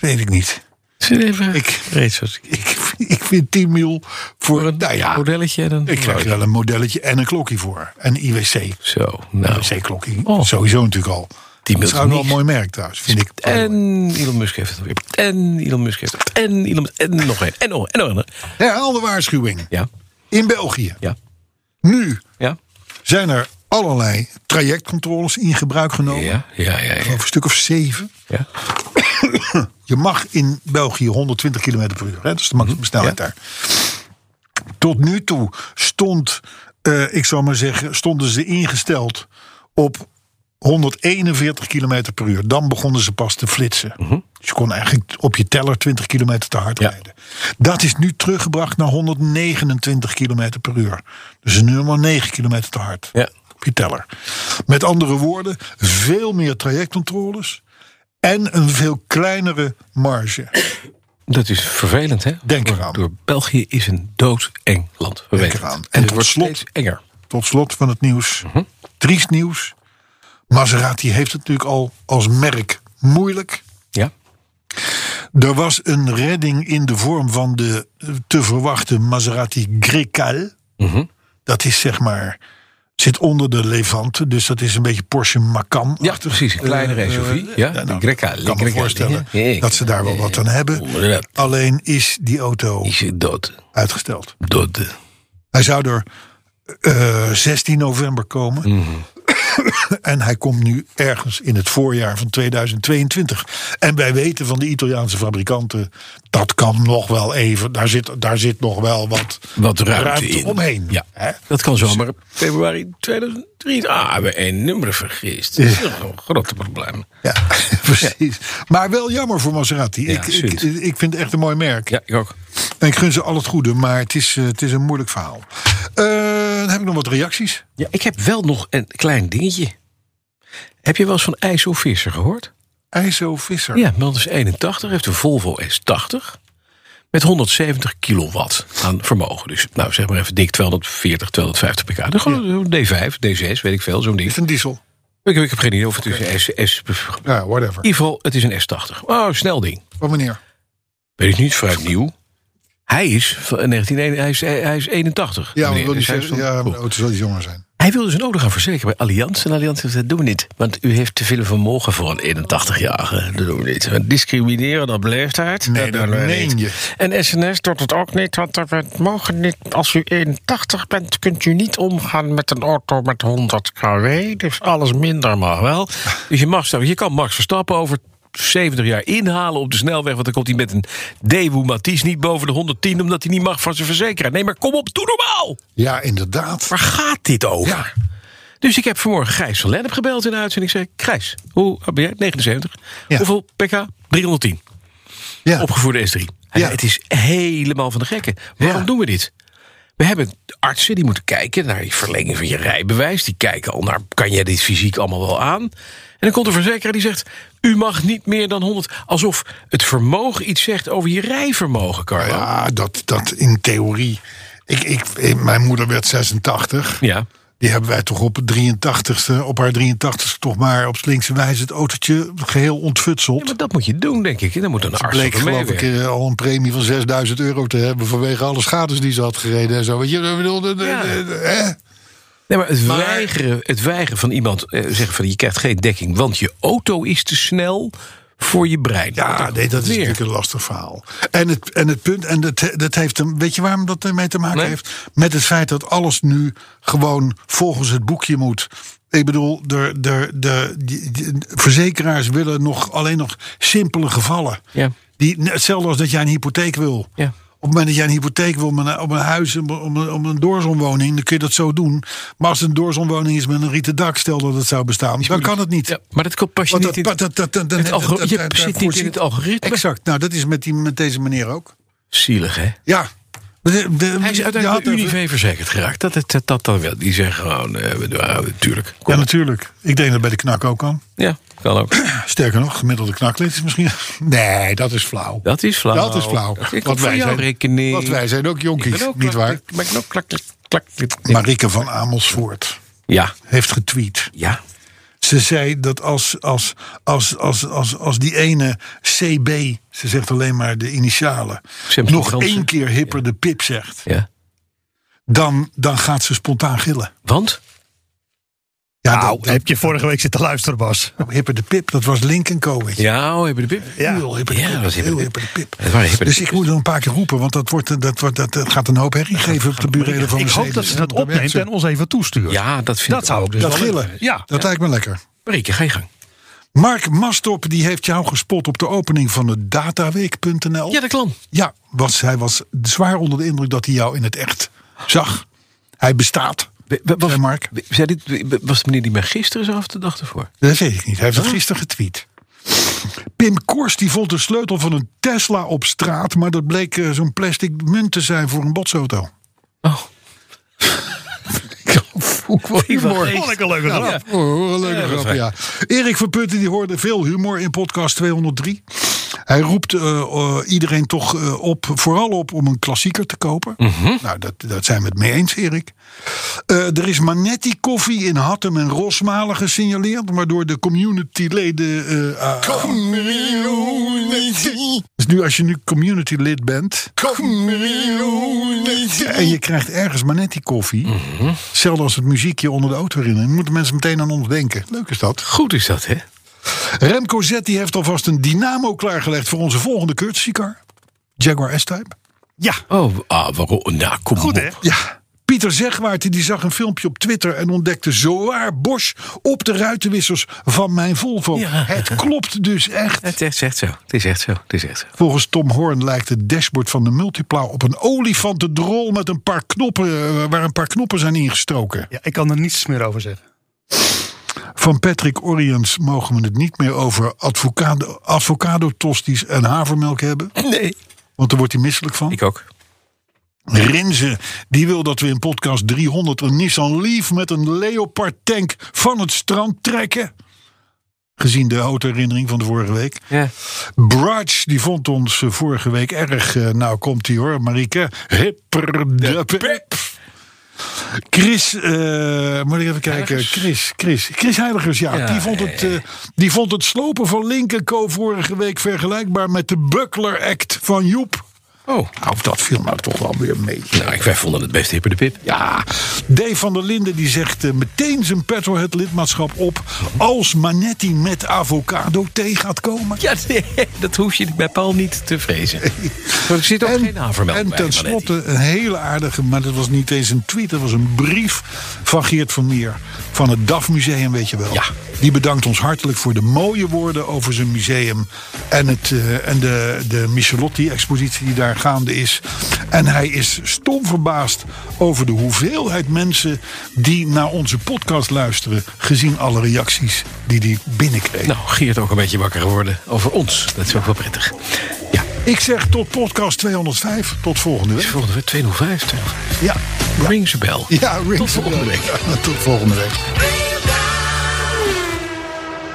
[SPEAKER 2] Weet ik niet.
[SPEAKER 1] Zit even...
[SPEAKER 2] Ik-
[SPEAKER 1] reed zoals...
[SPEAKER 2] Ik, ik vind 10 mil voor
[SPEAKER 1] Voor een
[SPEAKER 2] nou ja,
[SPEAKER 1] modelletje en een...
[SPEAKER 2] Ik krijg er wel een modelletje en een klokje voor. En IWC.
[SPEAKER 1] Zo, nou.
[SPEAKER 2] IWC klokje.
[SPEAKER 1] Oh.
[SPEAKER 2] Sowieso natuurlijk al.
[SPEAKER 1] Die
[SPEAKER 2] Dat is trouwens wel
[SPEAKER 1] Milton
[SPEAKER 2] een mooi merk trouwens, vind ik.
[SPEAKER 1] En Elon Musk heeft het weer. En Elon Musk heeft het. En Elon Musk- En nog één. En nog een. En nog een.
[SPEAKER 2] Herhaalde waarschuwing.
[SPEAKER 1] Ja.
[SPEAKER 2] In België.
[SPEAKER 1] Ja.
[SPEAKER 2] Nu
[SPEAKER 1] Ja.
[SPEAKER 2] zijn er allerlei trajectcontroles in gebruik genomen.
[SPEAKER 1] Ja. Ja. Ja.
[SPEAKER 2] Over
[SPEAKER 1] ja,
[SPEAKER 2] een stuk of zeven.
[SPEAKER 1] ja.
[SPEAKER 2] Je mag in België 120 km per uur. Hè? Dat is de maximum snelheid
[SPEAKER 1] Mhm. Ja.
[SPEAKER 2] daar. Tot nu toe stond, eh, ik zal maar zeggen, stonden ze ingesteld op 141 km per uur. Dan begonnen ze pas te flitsen. Dus je kon eigenlijk op je teller 20 km te hard
[SPEAKER 1] Mhm. Ja.
[SPEAKER 2] rijden. Dat is nu teruggebracht naar 129 km per uur. Dus nu maar 9 km te hard
[SPEAKER 1] Ja.
[SPEAKER 2] op je teller. Met andere woorden, veel meer trajectcontroles en een veel kleinere marge.
[SPEAKER 1] Dat is vervelend, hè?
[SPEAKER 2] Denk
[SPEAKER 1] door,
[SPEAKER 2] eraan.
[SPEAKER 1] Door België is een doodeng land. We weten
[SPEAKER 2] eraan.
[SPEAKER 1] het.
[SPEAKER 2] En
[SPEAKER 1] En het
[SPEAKER 2] tot
[SPEAKER 1] wordt
[SPEAKER 2] slot-
[SPEAKER 1] steeds enger.
[SPEAKER 2] Tot slot van het nieuws,
[SPEAKER 1] Mhm.
[SPEAKER 2] triest nieuws. Maserati heeft het natuurlijk al als merk moeilijk.
[SPEAKER 1] Ja.
[SPEAKER 2] Er was een redding in de vorm van de eh, te verwachten Maserati Grecale.
[SPEAKER 1] Mhm.
[SPEAKER 2] Dat is zeg maar, zit onder de Levante, dus dat is een beetje Porsche Macan.
[SPEAKER 1] Ja, precies. Een kleinere SUV. ja, de
[SPEAKER 2] nou,
[SPEAKER 1] Grecale.
[SPEAKER 2] Ik kan me
[SPEAKER 1] Grecale.
[SPEAKER 2] voorstellen
[SPEAKER 1] Ja, ja.
[SPEAKER 2] dat ze daar wel wat aan hebben.
[SPEAKER 1] Inderdaad.
[SPEAKER 2] Alleen is die auto
[SPEAKER 1] Die zit dood.
[SPEAKER 2] uitgesteld.
[SPEAKER 1] Dood.
[SPEAKER 2] Hij zou er eh, 16 november komen.
[SPEAKER 1] Mhm.
[SPEAKER 2] en hij komt nu ergens in het voorjaar van 2022. En wij weten van de Italiaanse fabrikanten... dat kan nog wel even, daar zit, daar zit nog wel wat,
[SPEAKER 1] Wat ruimte, in.
[SPEAKER 2] omheen.
[SPEAKER 1] Ja.
[SPEAKER 2] Hè?
[SPEAKER 1] Dat kan zomaar februari 2003. Ah, hebben we één nummer vergist. Dat is nog een grote probleem.
[SPEAKER 2] Ja, precies. Maar wel jammer voor Maserati.
[SPEAKER 1] Ja,
[SPEAKER 2] ik, ik,
[SPEAKER 1] zuur.
[SPEAKER 2] ik vind het echt een mooi merk.
[SPEAKER 1] Ja, ik ook.
[SPEAKER 2] En ik gun ze al het goede, maar het is, eh, het is een moeilijk verhaal. Eh, dan heb ik nog wat reacties.
[SPEAKER 1] Ja, ik heb wel nog een klein dingetje. Heb je wel eens van IJssel Visser gehoord?
[SPEAKER 2] IJso Visser.
[SPEAKER 1] Ja, man is 81, heeft een Volvo S80 met 170 kilowatt aan vermogen. Dus nou, zeg maar even dik 240, 250 pk. Dan gewoon een D5, D6, weet ik veel, zo'n ding.
[SPEAKER 2] Is een diesel.
[SPEAKER 1] Ik, ik heb geen idee of het is een S... S in
[SPEAKER 2] Ja, whatever.
[SPEAKER 1] ieder geval, het is een S80. Oh, snel ding.
[SPEAKER 2] Wat meneer?
[SPEAKER 1] Weet ik niet, vrij nieuw. Hij is van 19, hij is, hij is 81.
[SPEAKER 2] Ja, maar
[SPEAKER 1] meneer.
[SPEAKER 2] wil niet
[SPEAKER 1] Dus hij is
[SPEAKER 2] zeggen,
[SPEAKER 1] van-
[SPEAKER 2] ja, nou-
[SPEAKER 1] Goed.
[SPEAKER 2] maar de auto zal iets jonger zijn.
[SPEAKER 1] Hij wilde zijn auto gaan verzekeren bij Allianz. En Allianz heeft gezegd, doen we niet. Want u heeft te veel vermogen voor een 81-jarige. Dat doen we niet. Want discrimineren, dat beleefdheid.
[SPEAKER 2] Nee, dat
[SPEAKER 1] doen we
[SPEAKER 2] meen
[SPEAKER 1] niet.
[SPEAKER 2] je.
[SPEAKER 1] En SNS doet het ook niet. Want we mogen niet, als u 81 bent, kunt u niet omgaan met een auto met 100 kW. Dus alles minder mag wel. Dus je, mag, zo- je kan Max Verstappen over 70 jaar inhalen op de snelweg. Want dan komt hij met een Dewoe Matisse niet boven de 110... omdat hij niet mag van zijn verzekeraar. Nee, maar kom op, doe normaal!
[SPEAKER 2] Ja, inderdaad.
[SPEAKER 1] Waar gaat dit over?
[SPEAKER 2] Ja.
[SPEAKER 1] Dus ik heb vanmorgen Gijs van Lennep gebeld in de uitzending. Ik zei, Gijs, hoe oud ben jij? 79.
[SPEAKER 2] Ja.
[SPEAKER 1] Hoeveel pk? 310.
[SPEAKER 2] Ja.
[SPEAKER 1] Opgevoerde S3. Hij
[SPEAKER 2] Ja.
[SPEAKER 1] zei, het is helemaal van de gekke. Waarom
[SPEAKER 2] Ja.
[SPEAKER 1] doen we dit? We hebben artsen die moeten kijken naar die verlenging van je rijbewijs. Die kijken al naar, kan jij dit fysiek allemaal wel aan? En dan komt de verzekeraar die zegt, u mag niet meer dan 100. Alsof het vermogen iets zegt over je rijvermogen, Carlo. Ja.
[SPEAKER 2] Ja, dat, dat in theorie. Ik, ik, mijn moeder werd 86. Die hebben wij toch op, het 83ste, op haar 83ste toch maar op slinkse wijze het autootje geheel
[SPEAKER 1] Ja,
[SPEAKER 2] ontfutseld.
[SPEAKER 1] maar dat moet je doen, denk ik. En dan moet een arts
[SPEAKER 2] bleek
[SPEAKER 1] over
[SPEAKER 2] geloof ik
[SPEAKER 1] meewerken.
[SPEAKER 2] eh, al een premie van 6000 euro te hebben vanwege alle schades die ze had gereden en zo. Weet je, ik bedoel, de- de-
[SPEAKER 1] Ja.
[SPEAKER 2] de- de- hè?
[SPEAKER 1] Nee, maar het, weigeren, het weigeren van iemand eh, zeggen van je krijgt geen dekking, want je auto is te snel voor je brein.
[SPEAKER 2] Ja, nee, dat is
[SPEAKER 1] weer.
[SPEAKER 2] natuurlijk een lastig verhaal. En het, en het punt, en dat, dat heeft hem, weet je waarom dat ermee te maken
[SPEAKER 1] Nee.
[SPEAKER 2] heeft? Met het feit dat alles nu gewoon volgens het boekje moet. Ik bedoel, de, de, de, die- die- verzekeraars willen nog alleen nog simpele gevallen.
[SPEAKER 1] Ja.
[SPEAKER 2] Die, hetzelfde als dat jij een hypotheek wil.
[SPEAKER 1] Ja.
[SPEAKER 2] Op het moment dat jij een hypotheek wil om een, op een huis, om, om, om een doorzonwoning, dan kun je dat zo doen. Maar als het een doorzonwoning is met een rieten dak, stel dat het zou bestaan, dan kan het niet.
[SPEAKER 1] Ja, maar dat komt pas je
[SPEAKER 2] Want
[SPEAKER 1] niet in
[SPEAKER 2] dat- dat- dat- dat- dat-
[SPEAKER 1] het algo-
[SPEAKER 2] dat-
[SPEAKER 1] Je
[SPEAKER 2] dat-
[SPEAKER 1] zit
[SPEAKER 2] dat-
[SPEAKER 1] niet in het algoritme.
[SPEAKER 2] Exact. Nou, dat is met, die, met deze meneer ook.
[SPEAKER 1] Zielig, hè?
[SPEAKER 2] Ja. De- de-
[SPEAKER 1] Hij is
[SPEAKER 2] je
[SPEAKER 1] uiteindelijk
[SPEAKER 2] had
[SPEAKER 1] bij
[SPEAKER 2] over-
[SPEAKER 1] Univé verzekerd geraakt. Dat, dat, dat, dat dan wel. Die zeggen gewoon, eh, we doen- ah, natuurlijk. Kom.
[SPEAKER 2] Ja, natuurlijk. Ik denk dat bij de knak ook kan.
[SPEAKER 1] Ja, kan ook.
[SPEAKER 2] Sterker nog, gemiddelde knaklid is misschien... Nee, dat is flauw.
[SPEAKER 1] Dat is flauw.
[SPEAKER 2] Dat is flauw.
[SPEAKER 1] Ik wat wij zijn. Rekening.
[SPEAKER 2] want wij zijn ook jonkies,
[SPEAKER 1] Ik ben ook
[SPEAKER 2] niet waar?
[SPEAKER 1] klak- Maar ik ben ook klak, klak, klak, klak.
[SPEAKER 2] Marike van Amersfoort
[SPEAKER 1] Ja,
[SPEAKER 2] heeft getweet.
[SPEAKER 1] ja.
[SPEAKER 2] Ze zei dat als, als, als, als, als, als die ene CB, ze zegt alleen maar de initialen...
[SPEAKER 1] Samson
[SPEAKER 2] nog
[SPEAKER 1] Jansen.
[SPEAKER 2] één keer hipper de pip zegt...
[SPEAKER 1] ja.
[SPEAKER 2] Dan, dan gaat ze spontaan gillen.
[SPEAKER 1] Want?
[SPEAKER 2] Ja,
[SPEAKER 3] nou,
[SPEAKER 2] dat- dat-
[SPEAKER 3] heb je vorige week zitten luisteren, Bas.
[SPEAKER 2] Hipper de Pip, dat was Link Co. Weet je.
[SPEAKER 1] Ja, oh, hebben de pip.
[SPEAKER 3] Ja.
[SPEAKER 2] Heel Hipper de
[SPEAKER 1] Ja,
[SPEAKER 2] Pip,
[SPEAKER 1] dat was Hipper de
[SPEAKER 2] heel
[SPEAKER 1] Pip.
[SPEAKER 2] Hipper de Pip.
[SPEAKER 1] Het waren Hipper de
[SPEAKER 2] Dus ik moet er een paar keer roepen, want dat, wordt, eh, dat, wordt, dat, dat gaat een hoop herrie geven op de burelen van
[SPEAKER 3] Ik hoop dat
[SPEAKER 2] Mercedes,
[SPEAKER 3] ze
[SPEAKER 2] hè,
[SPEAKER 3] dat
[SPEAKER 2] want daar werkt
[SPEAKER 3] opneemt
[SPEAKER 2] ze.
[SPEAKER 3] en ons even toestuurt.
[SPEAKER 1] Ja, dat vind
[SPEAKER 3] Dat
[SPEAKER 1] ik
[SPEAKER 3] zou
[SPEAKER 1] ook.
[SPEAKER 3] ik dus
[SPEAKER 2] Dat gillen,
[SPEAKER 3] Ja.
[SPEAKER 2] dat lijkt me lekker.
[SPEAKER 1] Marieke, ga je gang.
[SPEAKER 2] Mark Mastop die heeft jou gespot op de opening van het dataweek.nl.
[SPEAKER 1] Ja, dat kan.
[SPEAKER 2] Ja, was, hij was zwaar onder de indruk dat hij jou in het echt zag. Hij bestaat.
[SPEAKER 1] Be- be- Was,
[SPEAKER 2] Zei Mark.
[SPEAKER 1] zei dit, be- was de meneer die mij gisteren zag of de dag ervoor?
[SPEAKER 2] Dat weet ik niet. Hij heeft het gisteren getweet. Pim Kors die vond de sleutel van een Tesla op straat, maar dat bleek eh, zo'n plastic munt te zijn voor een botsauto.
[SPEAKER 1] Oh.
[SPEAKER 2] Humor.
[SPEAKER 3] Vond ik een leuke grap.
[SPEAKER 2] Ja. Oh, een leuke grap, ja. Erik Verputten die hoorde veel humor in podcast 203. Hij roept eh, eh, iedereen toch eh, op, vooral op om een klassieker te kopen. Nou, dat, dat zijn we het mee eens, Erik. Eh, er is Manetti koffie in Hattem en Rosmalen gesignaleerd, waardoor de communityleden. eh ah, dus nu, als je nu community-lid bent. En je krijgt ergens Manetti koffie. Hetzelfde als het muziekje onder de auto herinneren. Moeten mensen meteen aan ons denken. Leuk is dat.
[SPEAKER 1] Goed is dat, hè?
[SPEAKER 2] Remco Zetti heeft alvast een dynamo klaargelegd voor onze volgende courtesy car. Jaguar S-Type.
[SPEAKER 3] Ja.
[SPEAKER 1] Oh, ah, waarom? Nou, kom
[SPEAKER 3] Goed,
[SPEAKER 1] op.
[SPEAKER 3] hè?
[SPEAKER 2] Ja. Pieter Zegwaarten die zag een filmpje op Twitter en ontdekte zowaar Bosch op de ruitenwissers van mijn Volvo.
[SPEAKER 1] Ja.
[SPEAKER 2] Het klopt dus echt.
[SPEAKER 1] Het is echt- echt zo. Het is echt zo. Het is echt zo.
[SPEAKER 2] Volgens Tom Horn lijkt het dashboard van de Multipla op een olifantendrol met een paar knoppen, eh, waar een paar knoppen zijn ingestoken.
[SPEAKER 3] Ja, ik kan er niets meer over zeggen.
[SPEAKER 2] Van Patrick Oriens mogen we het niet meer over advocado, avocado tosties en havermelk hebben.
[SPEAKER 1] Nee.
[SPEAKER 2] Want daar wordt hij misselijk van.
[SPEAKER 1] Ik ook.
[SPEAKER 2] Renze, die wil dat we in podcast 300 een Nissan Leaf met een Leopard tank van het strand trekken. Gezien de autoherinnering van de vorige week.
[SPEAKER 1] Ja.
[SPEAKER 2] Brudge, die vond ons eh, vorige week erg. eh, nou komt hij hoor, Marieke. Hipper de pep. Chris, eh, moet ik even kijken. Chris, Chris, Chris Heiligers, ja.
[SPEAKER 1] Ja,
[SPEAKER 2] die, vond het, eh, die vond het slopen van Linkenko vorige week vergelijkbaar met de Buckler Act van Joep.
[SPEAKER 1] Oh.
[SPEAKER 2] Nou, dat viel nou toch wel weer mee.
[SPEAKER 1] Nou, ik, wij vonden het best hipper de pip.
[SPEAKER 2] Ja, Dave van der Linden die zegt eh, meteen zijn Petrohead lidmaatschap op... als Manetti met avocado thee gaat komen.
[SPEAKER 1] Ja, nee, dat hoef je bij Paul niet te vrezen. Er zit ook geen havermelk
[SPEAKER 2] en
[SPEAKER 1] bij, maar net
[SPEAKER 2] tenslotte een hele aardige, maar dat was niet eens een tweet... dat was een brief van Geert Vermeer van het DAF Museum, weet je wel.
[SPEAKER 1] Ja.
[SPEAKER 2] Die bedankt ons hartelijk voor de mooie woorden over zijn museum... en, het, eh, en de, de Michelotti-expositie die daar gaande is. En hij is stom verbaasd over de hoeveelheid mensen... die naar onze podcast luisteren... gezien alle reacties die hij binnenkreeg.
[SPEAKER 1] Nou, Geert ook een beetje wakker geworden over ons. Dat is ook wel prettig. Ja,
[SPEAKER 2] Ik zeg tot podcast 205, tot volgende
[SPEAKER 1] Nou. is
[SPEAKER 2] week.
[SPEAKER 1] volgende week 205. 205.
[SPEAKER 2] Ja,
[SPEAKER 1] Rings a bell.
[SPEAKER 2] ja Rick,
[SPEAKER 1] Tot volgende week.
[SPEAKER 2] ja, tot volgende week.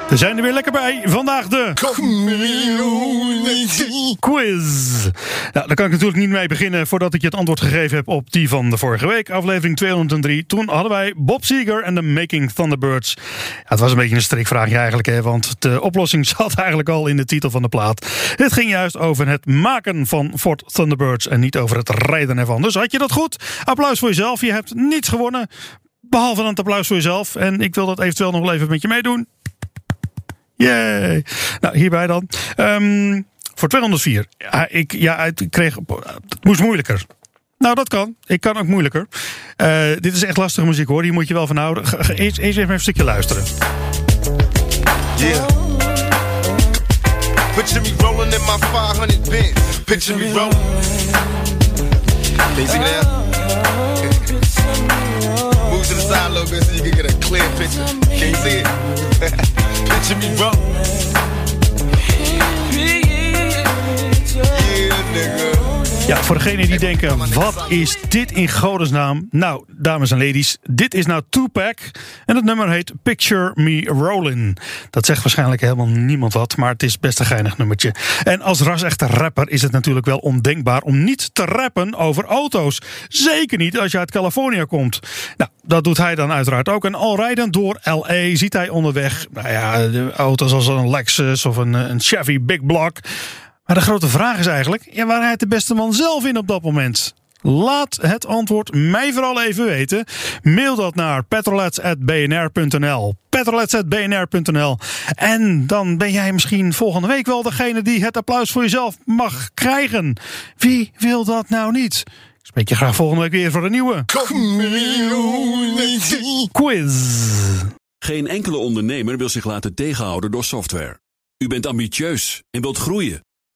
[SPEAKER 3] We zijn er weer lekker bij. Vandaag de... Quiz. Nou, daar kan ik natuurlijk niet mee beginnen voordat ik je het antwoord gegeven heb op die van de vorige week, aflevering 203. Toen hadden wij Bob Seeger en de Making Thunderbirds. Ja, het was een beetje een strikvraagje eigenlijk, hè, want de oplossing zat eigenlijk al in de titel van de plaat. Het ging juist over het maken van Ford Thunderbirds en niet over het rijden ervan. Dus had je dat goed? Applaus voor jezelf. Je hebt niets gewonnen. Behalve dan het applaus voor jezelf. En ik wil dat eventueel nog wel even met je meedoen. Yay! Nou, hierbij dan. Ehm, voor 204. Ja, ik, ja, het, ik kreeg, het moest moeilijker. Nou, dat kan. Ik kan ook moeilijker. Eh, dit is echt lastige muziek hoor. Die moet je wel van houden. Ga- ga- Eerst, eerst even een stukje luisteren.
[SPEAKER 5] Yeah. Picture me rolling in my 500 bin. Picture me rolling. Can you see me now? Move to the side a little bit so you can get a clear picture. Can you see it? picture me rolling. Yeah, nigga.
[SPEAKER 3] Ja, voor degenen die denken, wat is dit in godesnaam? Nou, dames en ladies, dit is nou Tupac. En het nummer heet Picture Me Rollin'. Dat zegt waarschijnlijk helemaal niemand wat, maar het is best een geinig nummertje. En als ras-echte rapper is het natuurlijk wel ondenkbaar om niet te rappen over auto's. Zeker niet als je uit Californië komt. Nou, dat doet hij dan uiteraard ook. En al rijdend door L.A. ziet hij onderweg nou ja, de auto's als een Lexus of een, eh, een Chevy Big Block... Maar de grote vraag is eigenlijk: ja, waar rijdt de beste man zelf in op dat moment? Laat het antwoord mij vooral even weten. Mail dat naar petrolets.bnr.nl petrolets.bnr.nl En dan ben jij misschien volgende week wel degene die het applaus voor jezelf mag krijgen. Wie wil dat nou niet? Ik spreek je graag volgende week weer voor een nieuwe quiz.
[SPEAKER 6] Geen enkele ondernemer wil zich laten tegenhouden door software. U bent ambitieus en wilt groeien.